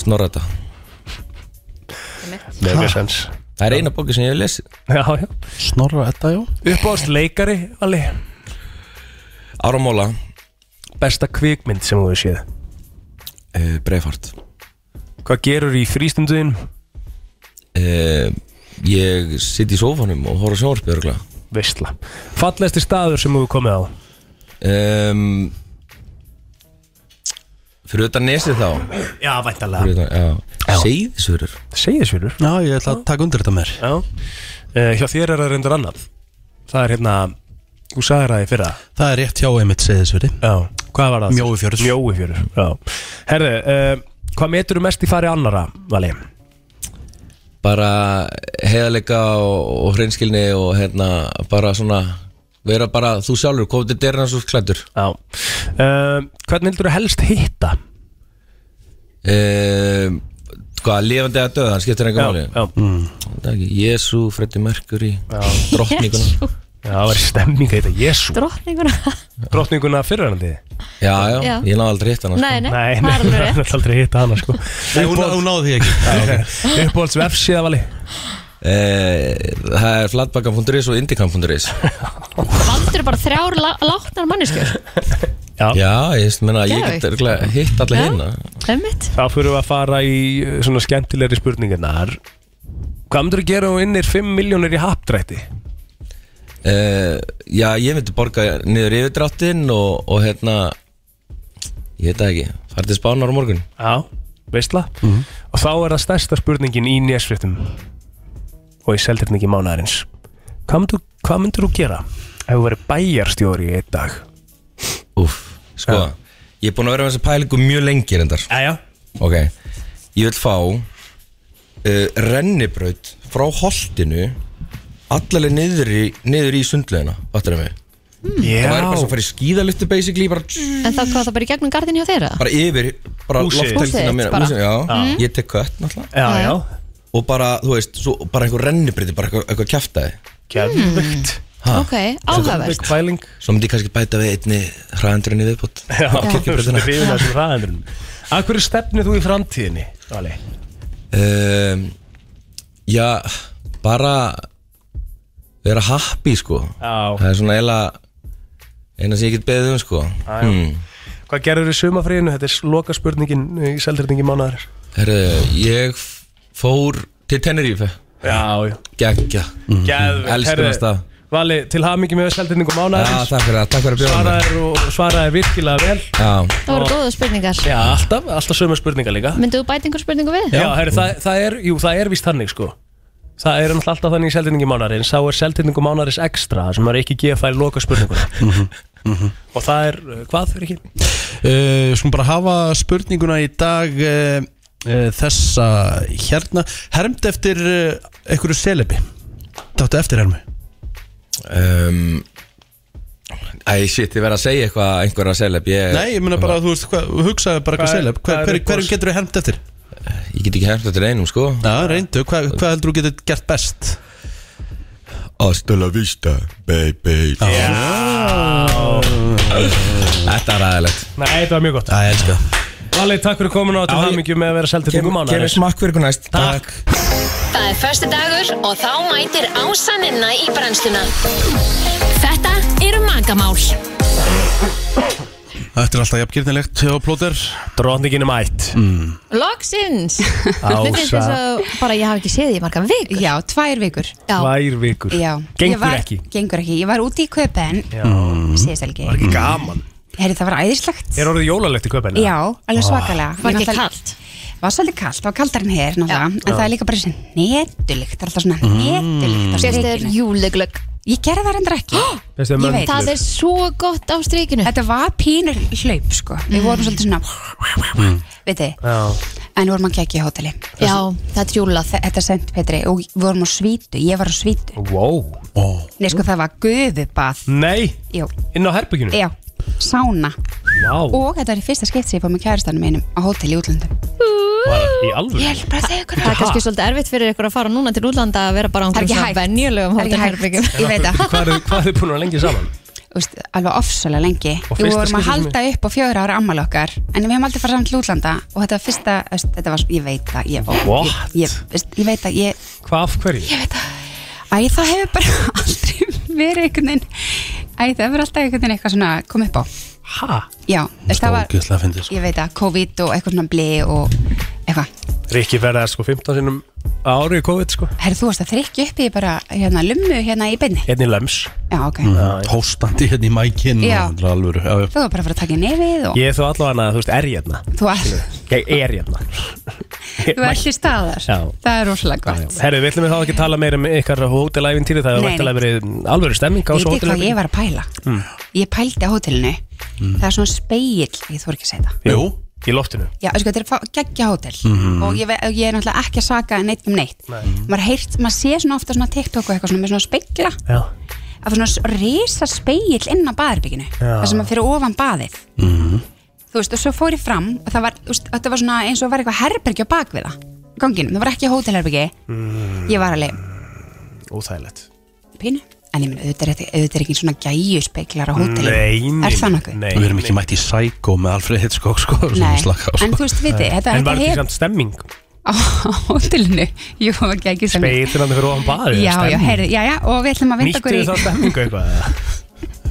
Snorra þetta Nei, mér sens það er eina bóki sem ég hef lesið Já, já Snorra þetta, já Uppáðast leikari, Valli Áramóla Besta kvikmynd sem þú hefur séð? uh, Breifart Hvað gerur í frístunduðin? uh, ég sitt í sófanum og horf á sjónvarpið örgulega Veistla Fallegasti staður sem þú hefur komið á? um, Fyrir utan nesið þá Já, Fyrir væntalega utan, já. Seyðisvörur Seyðisvörur? Já, ég ætla að taka undir þetta mér Já uh, Hjá þér er það reyndar annað Það er hérna Þú sagðir það í fyrra Það er rétt hjá einmitt seðisverði Já, hvað var það? Mjóifjörður Mjóifjörður, já Herðu, uh, hvað metur mest í fari annara, Vali? Bara heiðarleika og, og hreinskilni og hérna bara svona vera bara þú sjálfur, komið til derna svo klættur Já uh, Hvernig heldur þú helst hitta? um, Hvað, lifandi eða döðan, skiptir Já, einhver máli já. mm. Jésu, Freddy Mercury Jesú. Drottninguna Já, það var stemning að hitta Jésu Drottninguna Drottninguna fyrirhandi Já, já, Já. ég náði aldrei hitt hana sko. Nei, nei, Nei, það er nei, alveg rétt. hann ætla aldrei að hitta hana sko Nei, hún, hún náði því ekki Uppbólds vefsíða vali Eh, Það er flatbakkan.is og indikam.is Valdur er bara þrjár lá- látnar manneskjur Já, já ég veist, menna, ég Geðveikt. get örugglega hitt alla Já. hérna Emmitt Þá fyrir við að fara í uh, svona skemmtilegri spurningarnar Hvað myndur þú gera og innir 5 miljónir í hapdrætti? uh, Já, ég myndi borga niður yfirdráttinn og, og hérna Ég veit það ekki, farið til Spánar á morgun Já, veistla Og þá er það stærsta spurningin í nésviftum Og í seldirningi mánæðarins Hvað myndur, hvað myndur þú gera ef þú verið bæjarstjóri í einn dag? Úff, sko Ég er búin að vera með þessa pælingu mjög lengi reyndar Jæja Ok, ég vil fá uh, rennibraut frá holtinu allalegi niður í, niður í sundlegina, vatnum við Hmm. Já. Það væri bara svo að fara í skíðaluttu basically bara, En það hvað það bara í gegnum gardinu hjá þeirra? bara yfir bara Húsið. lofthelgina Húsið, mína bara. húsið, já. Já. Ég tek kött náttúrulega Mhm. Já, já Og bara, þú veist, svo, bara einhver rennibriti bara eitthvað, eitthvað kjaftaði Gæðvögt Ha? Ok, áhugavert Pæling Svo myndi ég kannski bæta við einni hraðendurinn í viðbútt Já, við hrifin þessum hraðendurinn Að hverju stefnir þú í framtíðinni, Vali? um, Já, bara vera happy sko Já. Það er svona eila eina sem ég get beðið um sko já. Hvað gerður þú í sumafríðinu? Þetta er loka spurningin í seldirningi mánuðar Herru, ég f- fór til Tenerife Já, já Gekka Geðveikt. Elskur Herri, hans það Vali, til hamingi með seldirningu Já, mánuðarins takk fyrir það, takk fyrir að bjóða mér Svaraðir og svaraðir virkilega vel Já, Það voru góða spurningar Já, alltaf, alltaf sömu spurningar líka Myndu þú bæta einhver spurningu við? Já, herri, það, það er, jú, það er víst þannig sko Það er náttúrulega alltaf þannig í seldirningi mánarins Þá er seldirningu mánarins ekstra sem maður ekki gefa færi loka spurninguna Mhm. Og það er, uh, hvað fyrir ekki? uh, Skulum bara hafa spurninguna í dag uh, uh, Þessa hérna Hermd eftir uh, einhverju selebi Dáttu eftir hermu um, Æ, shit, ég verð að segja eitthvað einhverja seleb ég, Nei, ég meina bara, þú veist, hva, hugsaðu bara Hvað eitthvað er- seleb hver, hvað er hver, uppáhalds- Hverjum getur þú hermt eftir? ég get ekki hefnt eftir einum, sko Já, reyndu, hva, hvað heldur þú getur gert best? Hasta la vista, baby Þetta er aðeinslegt Nei, þetta var mjög gott Já, ég elska Vali, takk fyrir komin á til hamingju með að vera seldirningu Kemur kemur mánarins smakk fyrir ykkur næst Takk Það er förstu dagur og þá mætir ásaninna í brennsluna. Þetta eru magamál. Þetta er alltaf jafngirnilegt hjá plóter Drotningin er mætt mm. Loksins Mér finnst þess að bara ég hafi ekki séð því margar vikur Já, tvær vikur Tvær vikur Já Gengur Ég var, ekki. Gengur ekki, ég var úti í köpen Já. Mm. Síðast helgi Var ekki gaman Heri, Það var æðislegt Er orðið jólalegt í köpenni? Já, alveg svakalega Var ekki kallt? var svolítið kallt, það var kaldar en hér náttúrulega, en Já. það er líka bara þessi netulikt, það er alltaf svona Mm. netulikt á Fékkstu þér strikinu. júleglögg? Ég gerði það reyndar ekki. Fékkstu þér Ég veit. möndlur? það er svo gott á strikinu. Þetta var pínur hlaup, sko. Við vorum svolítið svona, veit þið, Já en vorum að gegja í hóteli. Já, það er júlað. Þetta er sent, Petri, og við vorum á svítu, ég var á svítu. Wow Nei, sko, það var guðubað. Nei Jú. Inn á herbygginu Já, sána. Vá Og þetta var í fyrsta skipt sem ég fór með kærastanum mínum á hóteli í útlöndum. Var í alveg Ég held bara að segja ykkur Það er kannski svolítið erfitt fyrir ykkur að fara núna til útlanda að vera bara á Það er ekki einhverjum svona hægt. venjulegum Það er ekki hægt. hótelherbyggjum. Ég veit það. Hvað eru- hvað eru búin að vera lengi saman? Úst, alveg ofsalega lengi Og við fyrsta vorum að skipti sem halda upp á fjögur ára ammali okkar en við hefum aldrei farið saman til útlanda og þetta var fyrsta, veist, þetta var, ég veit það ég, ég, What? ég, ég, veist, ég veit það, ég Hvað af hverju? ég veit það, æ það hefur bara aldrei verið einhvern veginn æ það hefur alltaf einhvern veginn eitthvað svona kom upp á ha? já, veist, það var, ógeðslega fyndið, sko. Sko. ég veit það, COVID og eitthvað svona bli og eitthvað Rikki verða sko 15 sinum ári í COVID sko herru þú varst að þrykja upp í bara hérna lummu hérna í beinni Hérna í lems já, ok, Mhm. Hóstandi hérna í mækinn Já. og þetta er alvöru, já, já. þú var bara að fara að taka í nefið og Ég er þó allavega að þú veist er hérna þú, all, Ég er hérna þú hérna. ert í staðar Já það er rosalega gott Herru, við ætlum við þá ekki að tala meira um ykkar hótelæfintýri Það hefur Nei, nei. vantilega verið alvöru stemming á Vitið þessu þið hvað hótelæfintýri ég var að pæla? Mm. Ég pældi á hótelinu Það er svona speill, ég þú ekki að segja það Jú, í loftinu Já, sko, þetta er fá- geggja hótel Mhm. Og ég, ve- og ég er náttúrulega ekki að saka neitt um neitt Maður heyrt, maður sé svona ofta svona TikTok og eitthvað svona með svona speigla Já. Að svona s- risa speill inn á baðherbygginu Já. Það sem að fyrir ofan baðið Mhm. Þú veist, og svo fór ég fram Og það var, þú veist, þetta var svona eins og var eitthvað herbergi á bak við það í Ganginum, það var ekki hótelherbergi Mm. Ég var alveg Óþægilegt pínu En ég minn, auðvitað er ekki- auðvitað er ekki svona gæju speiklar á hótelinu Nei, nei, Er það nokkuð? Nei, Við erum ekki mætt í Psycho með Alfred Hitchcock sko, sem Nei, slaka á, en þú veist, viti, þetta- En þetta var þetta hef- samt stemming? á hótelinu Jú, ekki ekki sem Speitilandi fyrir ofan baðið Já, já, stemming. heyrðu, já, já, og við ætlum að vinda okkur Nýttu í þið þá stemmingu eitthvað eða?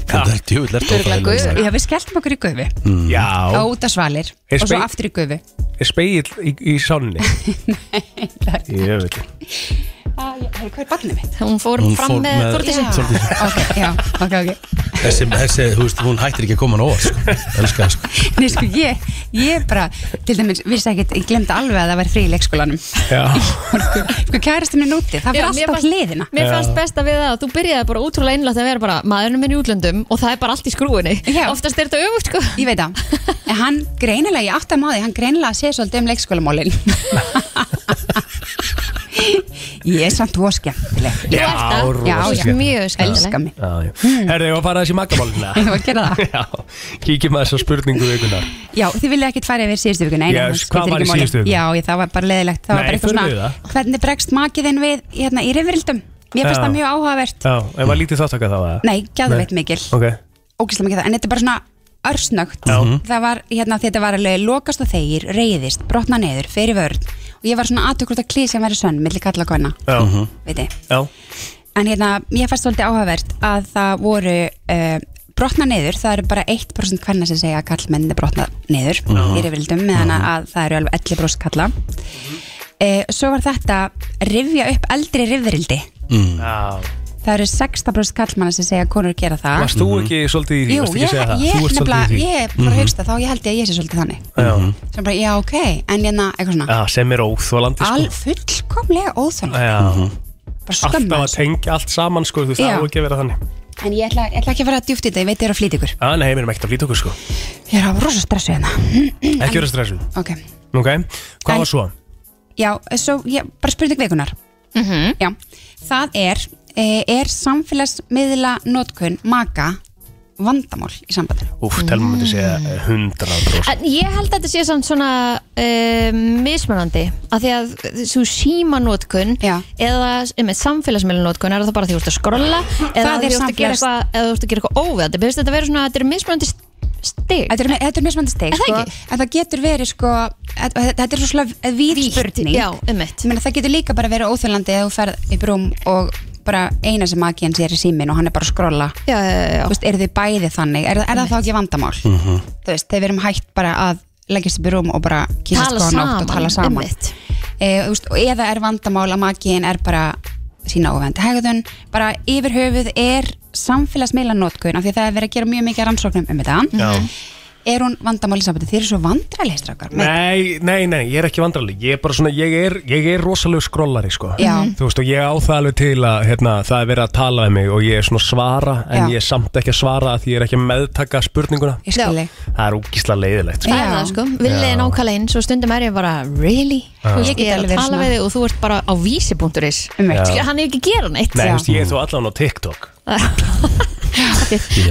Þetta er djúvill eftir gufu Já, við skelltum okkur í gufu Já, og út á svalir Er og svo spegl- aftur í gufu er speill í, í sánni? Nei, ég veit ekki Ah, Hver er barnið mitt? Hún fór Hún fram fór með með Þórdísi. Þórdísi. Ah, Ok, já, ok, ok þessi, þessi, þú veist, hún hættir ekki að koma nóg sko. Elskar það sko Nei, sko, ég, ég bara, til dæmis, vissi ekkert, ég glemdi alveg að það væri frí í leikskólanum Sko, kærasti minn úti, það Já, fyrir mér alltaf fannst- hliðina Mér fannst best að við það að þú byrjaði bara útrúlega einlægt að vera bara maðurinn minn í útlöndum og það er bara allt í skrúinni Já. Oftast er þetta öfugt sko Ég veit það En hann greinilega, ég átti að maður Hann greinilega sé svolítið um leikskólamálin Ég er samt voskjæmtileg Já, rosa Já, já, skemmtileg. mjög skemmtileg Elskar mig Já, já. Herðu, ég var að fara þessi magamálina Ég var að gera það Já, kíkjum að þessar spurningu vikunar Já, þið viljið ekkert fara yfir síðustu vikuna Yes, hvað var í síðustu viku? vikuna? Já, ég, það var bara leðilegt Það Nei, var bara eitthvað förum við svona, hvernig bregst makiðinn við hérna, í rifrildum? Mér finnst Já. það mjög áhugavert Já, en var lítið þáttaka þá að Nei, gæðveit mikil, Ok, ógæslega mikil það En þetta er bara svona örsnögt Já. Mhm. Það var, hérna, þetta var alveg lokast og þeir, reyðist, brotna neður, fer í vörn Og ég var svona aðtökur að klísi að vera sönn, milli kalla og kona, já Mhm. veit ég Já, En hérna, ég fannst svolítið áhugavert að það voru uh, brotna niður, það eru bara 1% hvernig sem segja að kallmenn er brotna niður Já. Mhm. Mhm. í rifildum, meðan að það eru alveg 11% kalla. Uh, svo var þetta rifja upp eldri rifrildi. mm. já Það eru 6% kallmanna sem segja að konur gera það. Varst þú ekki svolítið í því? Jú, Varstu ekki ég, að segja það? ég, Þú ég, varst svolítið í nefnilega, því. ég er bara að Mhm. hugsa þá, ég held ég að ég sé svolítið þannig. Já, Svo bara, já, ok, en hérna, eitthvað svona, Já, sem er óþólandi sko. all fullkomlega óþjóð, Já bara Alltaf skömmu. að tengja allt saman sko, þú veist, Já. það á ekki að vera þannig En ég ætla, ég ætla ekki að fara að djúft í þetta, ég veit þér að flýta ykkur. Já, nei, við erum ekkert að flýta okkur sko Ég er á rosa stressu hérna. Ekki vera stressuð Ok, Ok, hvað var svo? já, svo ég bara spurning vikunar Mhm. Já, það er eh, Er samfélagsmiðla notkun maka vandamál í sambandinu? Úf, telma myndi segja eh, 100% En ég held að þetta sé samt svona um, mismunandi að því að svo símanótkun eða um, samfélagsmiðlunótkun er það bara því að þú ert að skrolla eða Það því er þú ert að samfélags- gera eitthvað eða þú ert að gera eitthvað óveðandi þetta verður svona, þetta er mismunandi stig Þetta er, þetta er mismunandi stig Er það sko, ekki? En það getur verið sko að- að- Þetta er svo slag víð spurning já, ummitt Það getur líka bara verið óþjólandi eða þú ferð upp í rúm og bara eina sem maki hans er í símin og hann er bara að skrolla Já, já, já. Þú veist, eru þið bæði þannig? Er, er það þá ekki vandamál? þú veist, þegar við erum hægt bara að leggjast upp í rúm og bara Tala kýrst góða nátt saman, og tala saman einmitt. e, veist, og eða er vandamál að makiðin er bara sína ofendi hegðun bara yfir höfuð er samfélagsmiðlanótkun af því að það er verið að gera mjög mikið rannsóknum um þetta Já. er hún vandamál í sambandi? Þið eru svo vandralegir strákar Mm-hmm. Nei, nei, nei, ég er ekki vandrarleg Ég er bara svona, ég er, ég er rosalega skrollari sko. Já. Þú veist og ég á það alveg til að hérna, það er verið að tala um mig og ég er svona að svara en Já. ég er samt ekki að svara af því ég er ekki að meðtaka spurninguna Ég skil þig. Það er úkislega leiðilegt Það er það sko, villið er nákvæmlega eins og stundum er ég bara, really? Já. Þú veist, Ég get Ég er alveg að verið tala svona. við þig og þú ert bara á vísi.is Einmitt. Já. Skilur, Hann er ekki að gera neitt Nei, þú veist, ég er þú allan á TikTok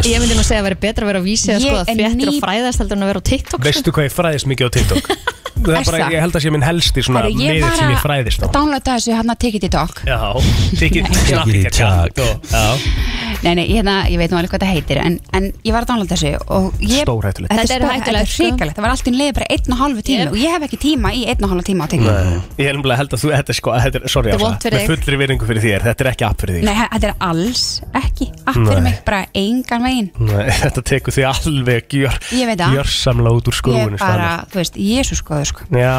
Ég myndi nú segja að vera betra að vera á vísi að Ég skoða er fréttir og ný- fræðast heldur en að vera á TikTok sko. Veistu hvað ég fræðist mikið á TikTok? það Er er bara, það? ég held að sé minn helsti svona Herru, ég miðill var sem ég að- fræðist á Downloada þessu hann að tekið í tók Já, tikið knappið Stór Nei, nei, hérna, ég veit nú alveg hvað það heitir En, en ég var að downloada þessu og ég, hættulegt Þetta er hættulegt sko. Það var allt í leið bara einn og halvu tími Og ég hef ekki tíma í einn og halvu tíma á tekið Nei. Ég er nefnilega held að þú, þetta er sko, þetta er, sorry Þetta er Ása, vont fyrir með þig. fullri veringu fyrir þér, þetta er ekki app fyrir þig Nei, þetta er alls ekki App fyrir Nei. mig, bara engan veginn Nei, þetta tekur því alveg gjör, Ég veit það. gjörsamlega út úr Ég skrúinu bara, þú veist, Jésus skoður sko Já,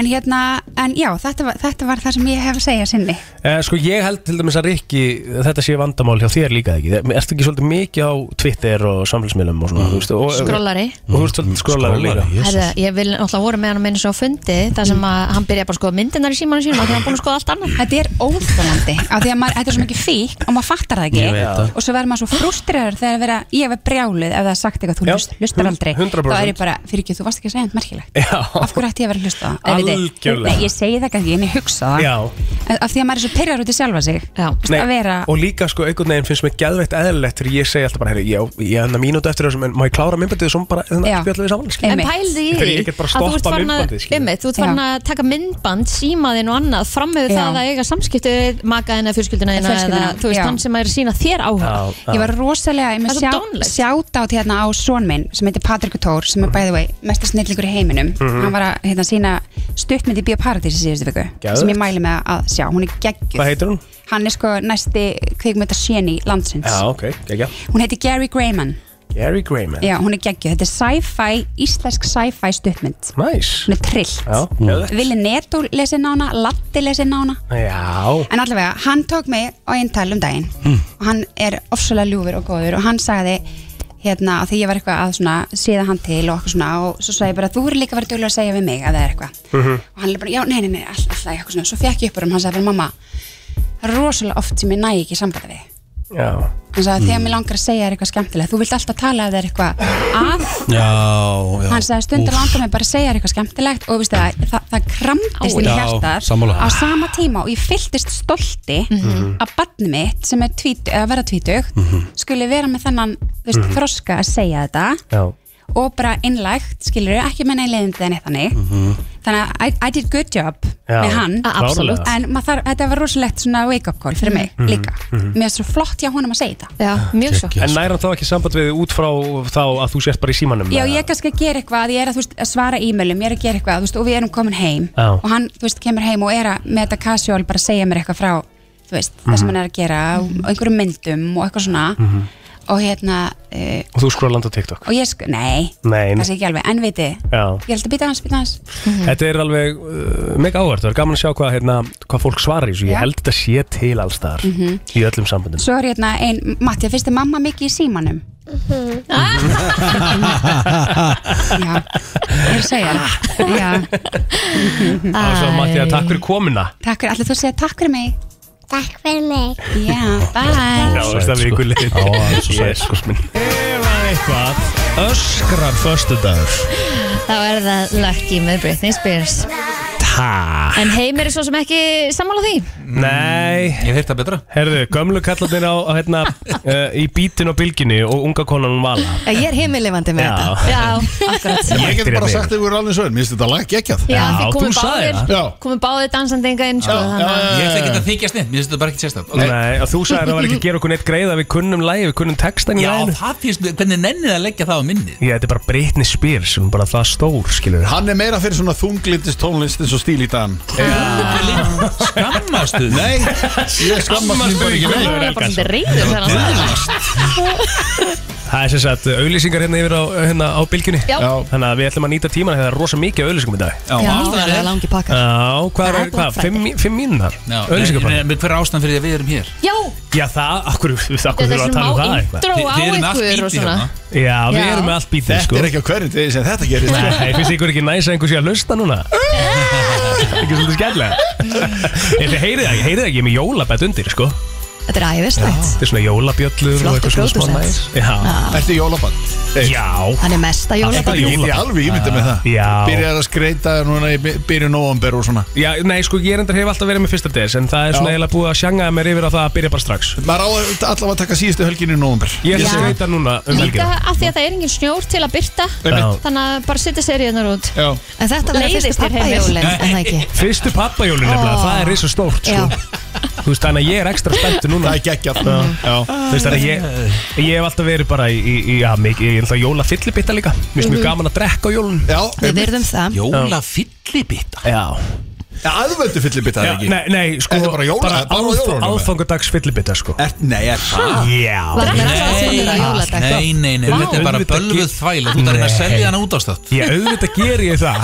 En hérna, en já, þetta var, þetta var það sem ég hef að segja sinni eh, sko ég held til dæmis að Rikki þetta sé vandamál hjá þér líka ekki Ertu ekki svolítið mikið á Twitter og samfélagsmiðlum og svona, þú veist og, Skrollari. Og þú veist svolítið skrollari líka Herða, ég vil náttúrulega voru með hann meins á fundi þar sem að hann byrja bara að skoða myndinar í símanum sínum af því að hann búin að skoða allt annað Þetta er óþólandi af því að maður, þetta er svo mikið fík og maður fattar það Ég ekki veit það. og svo verður maður svo frustreraður þegar að vera, ég verð brjáluð ef það er sagt eitthvað, þú hlust, hlustar hund- aldrei 100%. þá er ég bara, fyrir ekki, þú varst ekki að segja þetta merkilegt Já, af hverju ætti ég að vera að hlusta á það? Eða veit ég- Algjörlega. Nei, ég segi það ekki, en ég hugsa það Já. En af því að maður er svo pyrjar út í sjálfa sig Þú veist, Nei, að vera, og líka sko einhvern veginn finnst mér geðveitt eðlilegt þegar ég segi alltaf bara, herri, ég, ég enna mínútu eftir þessu, en má ég klára minnbandið sem bara, þannig Já. að spjalla við saman skilur? En pældi í Þegar því ég get bara að þú ert stoppað farin að- myndbandið, skilur. einmitt, Þú ert farin að taka myndband, símaðin og annað fram með Já. það að eiga samskipti við makaðina, fjölskyldina þína eða Fjölskylduna, þú veist já. hann sem er að sína þér áhuga ég var rosalega, ég Það er með svo sjá, sjátátt hérna á son minn sem heitir Patrik Tór sem er by the way mestar snillingur í heiminum Mhm. hann var að hérna, sína stuttmynd í Bíóparadís í síðustu viku Geðvegt. sem ég mæli með að sjá, hún er geggjuð Hvað heitir hún? hann er sko næsti kvikmynda séni landsins Já, ok, geggja hún heitir Gary Grayman Gary Grayman Já, hún er geggjuð, þetta er sci-fi, íslensk sci-fi stuttmynd nice. hún er trillt Já, geðveikt. Vili Netto lesi nána, Latti lesi nána Já en allavega, hann tók mig á einn tal um daginn Hmm. og hann er ofsalega ljúfur og góður og hann sagði hérna, að því ég var eitthvað að svona, síða hann til og eitthvað svona og svo sagði ég bara, þú eru líka verið duglega að segja við mig að það er eitthvað Mhm. og hann er bara, já, nei, nei, nei, all- alltaf eitthvað svona, svo fekk ég upp úr um, hann sagði bara, mamma það er rosalega oft sem ég næ ekki sambandi við Já hann sagði, Hmm. þegar mér langar að segja þér eitthvað skemmtilegt þú vilt alltaf tala ef það er eitthvað að Já, já hann sagði stundur Úff. langar mig bara að segja þér eitthvað skemmtilegt og veistu það, það, það kramtist inn í Já, hjartað sammála. á sama tíma og ég fylltist stolti Mhm. að barni mitt sem er tvít, að vera tvítug Mhm. skuli vera með þennan þú veist, Mhm. þroska að segja þetta Já og bara innlægt, skilur ekki með neinleðindi en eitt þannig Mhm. þannig að I, I did good job Mhm. Já, með hann A- absolutt. klárlega. en maður þarf, þetta var rosalegt svona wake up call fyrir mig Mhm. líka Mhm. mér er svo flott hjá honum að segja þetta já, mjög svo En næra þá ekki samband við út frá þá að þú sért bara í símanum Já, ég er kannski að gera eitthvað, ég er að, þú veist, að svara e-mailum, ég er að gera eitthvað, þú veist, og við eða komin heim Já. og hann, þú veist, kemur heim og er að með þetta casual bara að segja mér eitthvað frá, þú veist, það sem Mhm. hann er að gera og einhverjum myndum og eitthvað svona Mhm. og hérna, uh, Og þú skrolland á TikTok og ég sko, nei, Nei, það sé ekki alveg, en viti, Já ég held að býta hans, býta hans. Þetta er alveg uh, mega áhvert, það er gaman að sjá hvað, hérna, hvað fólk svarar í þessu, Já. ég held þetta sé til alls þar Mhm. í öllum sambundum Svo er hérna ein, Matti, finnst þið mamma mikið í símanum? Mhm. Mm. Já, ég er að segja það. Já, Ása, Mattia, takk fyrir komuna takk fyrir, allir þú segja takk fyrir mig. Takk fyrir mig. Já, bye. Já, veist það við ykkur lið Já, það er svo sæt sko minn Eitthvað Öskrar föstudagur Þá er það Lucky með Britney Spears Takk En heimir er svo sem ekki sammála því Nei Ég hef þetta betra Herðu, gömlu kallarnir á, á hérna, uh, í bítin og bylginni og unga konan hún vala Já, Ég er heimilifandi með Já. þetta Já, akkurat Ég Ég get bara sagt ykkur alveg svo, mér finnst þetta lag geggjað Já, þið komu það Já, báðir, komu báðir dansandinga inn sko, þannig að- Ég ætla ekki að Eh. þykjast neitt, mér finnst þetta bara ekki sérstætt Nei, og þú sagðir að það var ekki að gera okkur neitt greið að við kunnum lægi, við kunnum textan í Já, læginu það finnst mér, hvernig nennið að leggja það á minni Já, þetta er bara Britney Spears, hún er bara það stór, skilur Hann er meira fyrir svona þunglindist tónlist eins og stíl í dan Skammastu Nei, ég skammast mín bara ekki Hann var bara svolítið reyður þegar hann sagði það. Það er sem sagt auðlýsingar hérna yfir á, hérna á bylgjunni Já. Já. Þannig að við ætlum að nýta tíman Það er rosa mikið auðlýsingum í dag Já, það eru langi pakkar. Já, hvað er, Það er Black hvað, Friday. fimm, mí- fimm mínunar Já, Auðlýsingapakki en- en Hver er ástæðan fyrir því að við erum hér? Já, Já, það, akkur, akkur Þetta fyrir er að tala um svona það má eitthvað intro á Þið- þið erum með allt ykkur bítið og svona hérna. Já, við Já. erum með allt bítið Þetta sko er ekki á hverjum degi sem þetta gerist. Nei, finnst ykkur ekki næs að einhver sé að hlusta núna? ekki svolítið skemmlega En þið heyrið það, ég heyrið það ekki, ég er með jólabett undir sko Þetta er æðislegt Þetta er svona jólabjöllur og Flottur eitthvað svona smá næs pródusent. Já. Ertu jólaband? Já Hann er mesta Ég jólabandi geti alveg ímyndið með það Já. Byrjar að skreita núna í byrju nóvamber og svona Já, nei, sko, ég reyndar hef alltaf verið með fyrsta des En það er svona Já. eiginlega búið að sjangaða mér yfir á það að byrja bara strax Maður á að- allavega að taka síðustu helgin í nóvamber Ég ætla Já. að skreita núna um Líka helgina af því að það er engin snjór til að byrta Einmitt. Þannig að bara setja seriðunar út Já. En þetta verður Leiðist fyrstu þér heimir? pappajólin En það ekki Fyrstu pappajólin nefnilega, Ó. það er risa stórt sko. Þú veist, þannig að ég er ekstra spenntur núna Það er geggjað Já. Já. Þú veist, þannig að ég, ég hef alltaf verið bara í, í, í já, mikið, ég er alltaf jóla fyllibitta líka Mér finnst mjög Mhm. gaman að drekka á jólun Já, Við verðum það Jólafyllibitta Já Aðvöldu fyllibitta Já, ekki Nei, nei, sko Þetta er bara jóla- bara á áf- jólunum, eða? Aðfangadags fyllibitta, sko Nei, er Ha? Já Var það aðfangadag á jóladag? Nei, nei, nei, Vá. þetta er bara Auðvitað bölvuð ge- þvæla Þú ert að reyna að Nei. selja hana út ástátt Ég auðvitað ger ég það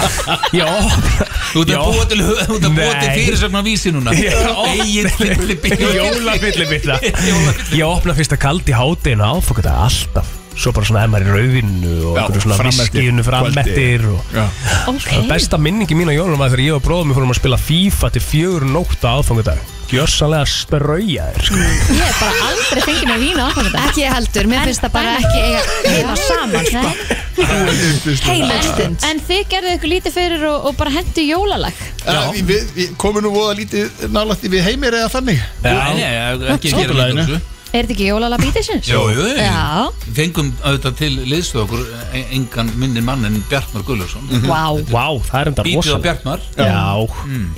Já Þú ert að búa til- þú ert að búa til fyrirsögn á Vísi núna. Egil fyllibitta. Jólafyllibilla Ég opna fyrst að kaldi hátinu áfokata alltaf Svo bara svona emmar í rauðinu og Já, einhverju svona frameftir, viskinu frammettir kvöldi. og Já. okay. Besta minningi mín á jólum var þegar ég og bróðum við fórum að spila FIFA til fjögur nótt á aðfangadag Gjörsanlega straujaðir sko. Ég hef bara aldrei fengið mér vína á þetta Ekki ég heldur, mér finnst það bara ekki eiga heima saman sko. Heilög en, stund. en þið gerðu ykkur lítið fyrir og, og bara hendu jólalag Já. Við, við, við komum nú voða lítið nálægt í við heimir eða þannig Já, nei, ekki að gera lítið úr þessu. Er þetta ekki jólalag bítisins? Jú, jú, jú. Já, Við Fengum auðvitað til liðstu okkur e- engan minni mann en Bjartmar Gullarsson Mhm. Vá. Mhm. Vá, það er enda Bítið rosa á Bjartmar Já,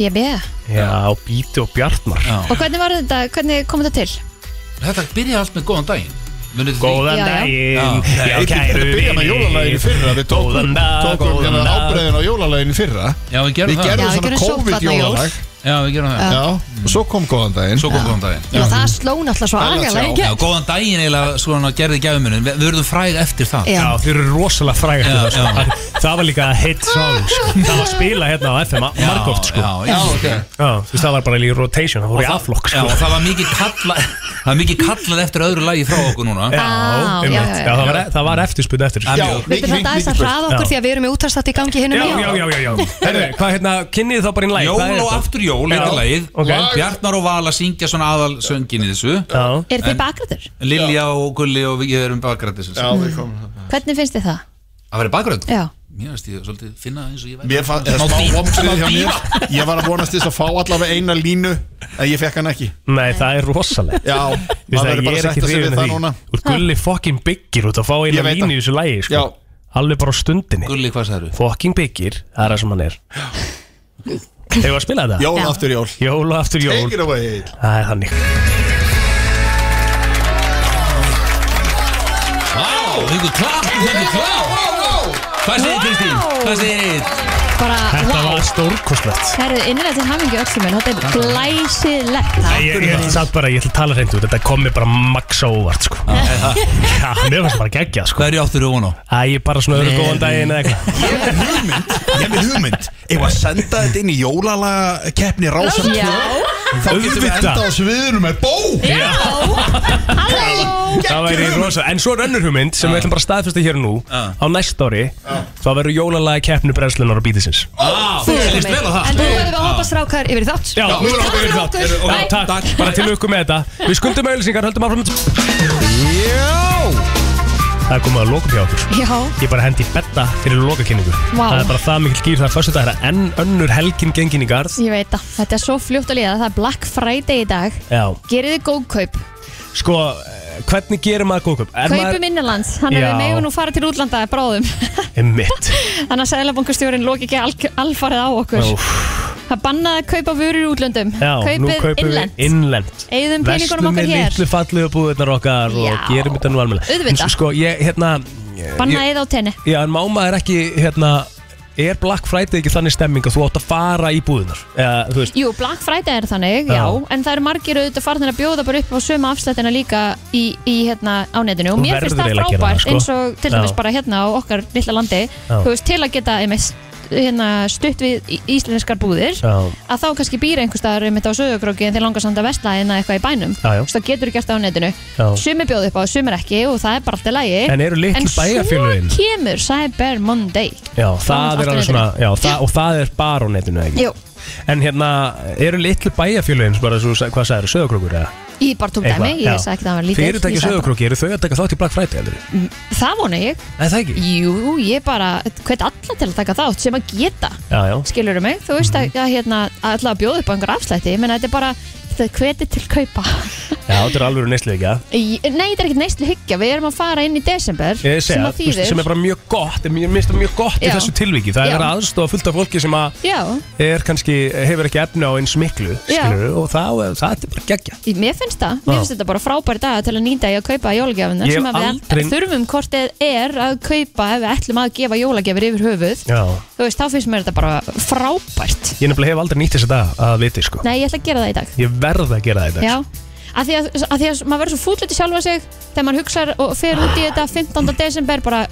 ég beða já, bíti og bjartmar Og hvernig var þetta, hvernig kom þetta til? Þetta byrjaði allt með góðan daginn Munið þið því? Góðan Já, já. daginn Já, kæru Við byrjum með jólalægin í fyrra Við tókum, Góðan dag, tókum góðan hérna dag. ábreiðin á jólalægin í fyrra Já, við Við gerum það gerðum Já, við svona gerum COVID sóttvarnajól. jólalag Já, við gerum það Já, og svo kom góðan daginn Svo kom góðan daginn Já, það sló náttúrulega svo agalega í Já, gegn. góðan daginn eiginlega svona gerði gæfumunum Við verðum fræg eftir það Já. Já, þeir eru rosalega frægir Já, já. Það- Það var líka hit song sko. Það var spila hérna á FM Já, margóft sko. já, já, ok. já, Þú veist það var bara í rotation Það voru í aflokk Já, sko. og það var mikið kallað Það var mikið kallað eftir öðru lagi frá okkur núna Já, einmitt. Ah, já, já, já, það var, e- það var eftirspunni eftir sko. Já, mjög. Við byrjum þetta aðeins að hraða okkur Já. því að við erum í útvarstátt í gangi hinn Já, um já, já, já, já. Herru, hvað hérna, kynnið þið þá bara inn læg Jól og aftur jól Já, er lagið ok. Bjarnar og Vala syngja svona aðal söngin í þessu Já Er þið bakrættur? Lilja og Gulli og við erum bakgrættis Já, við komum Hvernig finnst þið það? Að vera bakgrætt? Já Mér finnst ég svolítið finna það eins og ég væri Mér fann, eða Smá smá dýfa. vomsið Smá hjá dýfa. mér Ég var að vonast til þess að fá allavega eina línu En ég fekk hann ekki Nei, það er rosalegt Já, Þú veist maður það, verður ég bara að er ekki setja sig hrifin við af það því núna Úr gulli fokkin byggir út að fá Ég eina veit línu í það. þessu lægi sko. Já. Alveg bara á stundinni Gulli, hvað sagður? Fokkin byggir, það er það sem hann er Hefur að spila þetta? Jól aftur jól Jól og aftur jól Take it away Það er þannig Vá, þengur klap, þengur klap Hvað segir Kristín? Hvað segir þið? Bara, Þetta wow var stórkostlegt Herðu, innlega til hamingi öxi minn, þetta er glæsilegt Ég, ég, ég, satt bara, ég ætla að tala hreint út Þetta kom mér bara max á óvart sko. Já, mér fannst bara geggja sko. Hverju áttur þú vona? Æ, ég bara svona öðru Nei. góðan daginn eða eitthvað Ég er með hugmynd Ég var að senda þetta inn í jólalaga keppni Rása 2 Þá getum við Auðvitað. enda á sviðinu með bó Já. Það væri rosa En svo er önnur hugmynd sem við ætlum bara að staðfesta hér og nú Á næsta ári Þá verður jólalagi keppnu brennslunar og bítisins Á, þú skilist vel á það En nú erum við að hoppa strákar yfir í þátt Já, nú erum við að Takk fyrir okkur. byrja það Takk, bara til lukku með þetta Við skundum auðlýsingar, höldum áfram Já Það er komið að lokum hjá okkur Já, Ég bara hendi í betta fyrir lokakynningu Vá. Það er bara það mikil gýr það er fyrstu dag Það er enn önnur helgin gengin í garð Ég veit það, þetta er svo fljótt að líða, það er Black Friday í dag Já, Gerið þið góðkaup, sko, eh, hvernig gerir maður góðköp? Er kaupum innanlands Þannig að Já. við megum nú fara til útlanda bráðum Einmitt Þannig að sæðlabankustjórin lóki ekki al alfarið á okkur Óff. Það bannaði að kaupa vörur í útlöndum Já, nú Kaupið kaupum innlend við innlend Eyðum peningunum okkar með hér litlu fallegu búðirnar okkar og Já. gerum þetta nú alveg Auðvitað. Sko, ég, hérna ég- Bannaði það á tenni Já, en máma er ekki, hérna er Black Friday ekki þannig stemming að þú átt að fara í búðunar? Eða, þú veist, Jú, Black Friday er þannig, já, Já. en það eru margir auðvitað farnir að bjóða bara upp á sömu afslættina líka í, í hérna á netinu og Þú mér verður finnst það eiginlega að gera það, frábært sko. eins og til dæmis Já. bara hérna á okkar lilla landi, Já. þú veist, til að geta einmitt, hérna, stutt við í- íslenskar búðir Já. að þá kannski býr einhvers staðar einmitt á sögurkróki en þeir langar samt að vestla hérna eitthvað í bænum Já, já. Þú veist, það getur gert það á netinu Já. sumir bjóða upp á, sumir ekki og það er bara alltaf lægi En eru litlu bæjarfélögin? En svo kemur Cyber Monday já, Fram það er aftur alveg netinu. svona, já, það, og það er bara á netinu, ekki? Jú. En hérna, eru litlu bæjarfélögin, sem bara, svo, hvað sagður, söðakrúkur eða? Ég bara tók dæmi, ég sagði ekki að það var lítið Fyrirtæki Ég sagði bara- söðakrúki, eru þau að taka þátt í Black Friday, heldur? Mm, Það vona ég Nei, það ekki? Jú, ég bara, hvert alla til að taka þátt sem að geta Já, já. Skilurðu mig, þú veist Mhm. að, að hérna að alla að bjóða upp á einhver afslætti Ég meina, þetta er bara, þetta er hveti til kaupa Já, þetta er alveg neyslu, ekki? ja? Í- Nei, þetta er ekkert neyslu hyggja, við erum að fara inn í desember Ég segi Sem að, að þú veist, þýðir sem er bara mjög gott, en mér minnst það mjög gott í Já. þessu tilviki. Það Já. er verið að aðstofa fullt af fólki sem að Já, er kannski, hefur ekki efni á eins miklu, Já. skilur, og það, það er bara geggja. í- mér finnst það, Já. mér finnst þetta bara frábæri dag til að nýta í að kaupa jólagjafinna Ég sem að við aldrei- aldrei... þurfum hvort eð er að kaupa ef við ætlum að gefa jólagjafir yfir höfuð Já. Þú veist, þá finnst mér þetta bara frábært Ég nefnilega hef aldrei nýtt þess að dag að viti sko Nei, ég ætla að gera það í dag Ég verð að gera þetta Já, af því að, að, því að maður verður svo fúllið til sjálfa sig þegar maður hugsar og fer út í þetta 15. desember bara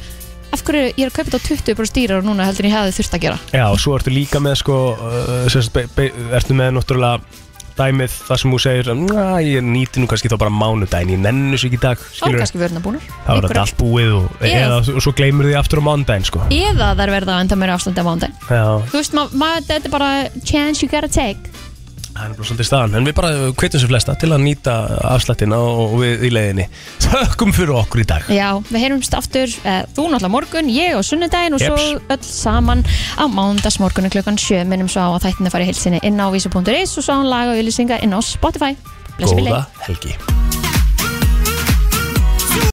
af hverju ég er að kaupa þetta á 20 bara stýrar og núna heldur en ég hefði þurft að gera Já, og svo ertu líka með sko uh, sérst, be, be, Ertu með náttúrulega dæmið það sem þú segir "Næ, Ég nýti nú kannski þá bara mánudaginn Ég nennu svo ekki í dag þá er skilurðu." kannski vörna búnar Þá er þetta allt búið og, Ég- eða, og svo gleymur því aftur á mánudaginn sko eða þær verða enda meira afslandi á mándaginn Já, þú veist, ma- maður, þetta er bara chance you gotta take það er bara svolítið staðan En við bara kveitum sér flesta til að nýta afslættina og, og við í leiðinni Þökkum fyrir okkur í dag já, við heyrumst aftur, eh, þú náttúrulega morgun ég á sunnudaginn og svo Jeps. öll saman á mándagsmorgunu klukkan 7 minnum svo á að þættin að fara í heilsinni inn á vísi.is og svo á laga og inn á Spotify Blessi Góða helgi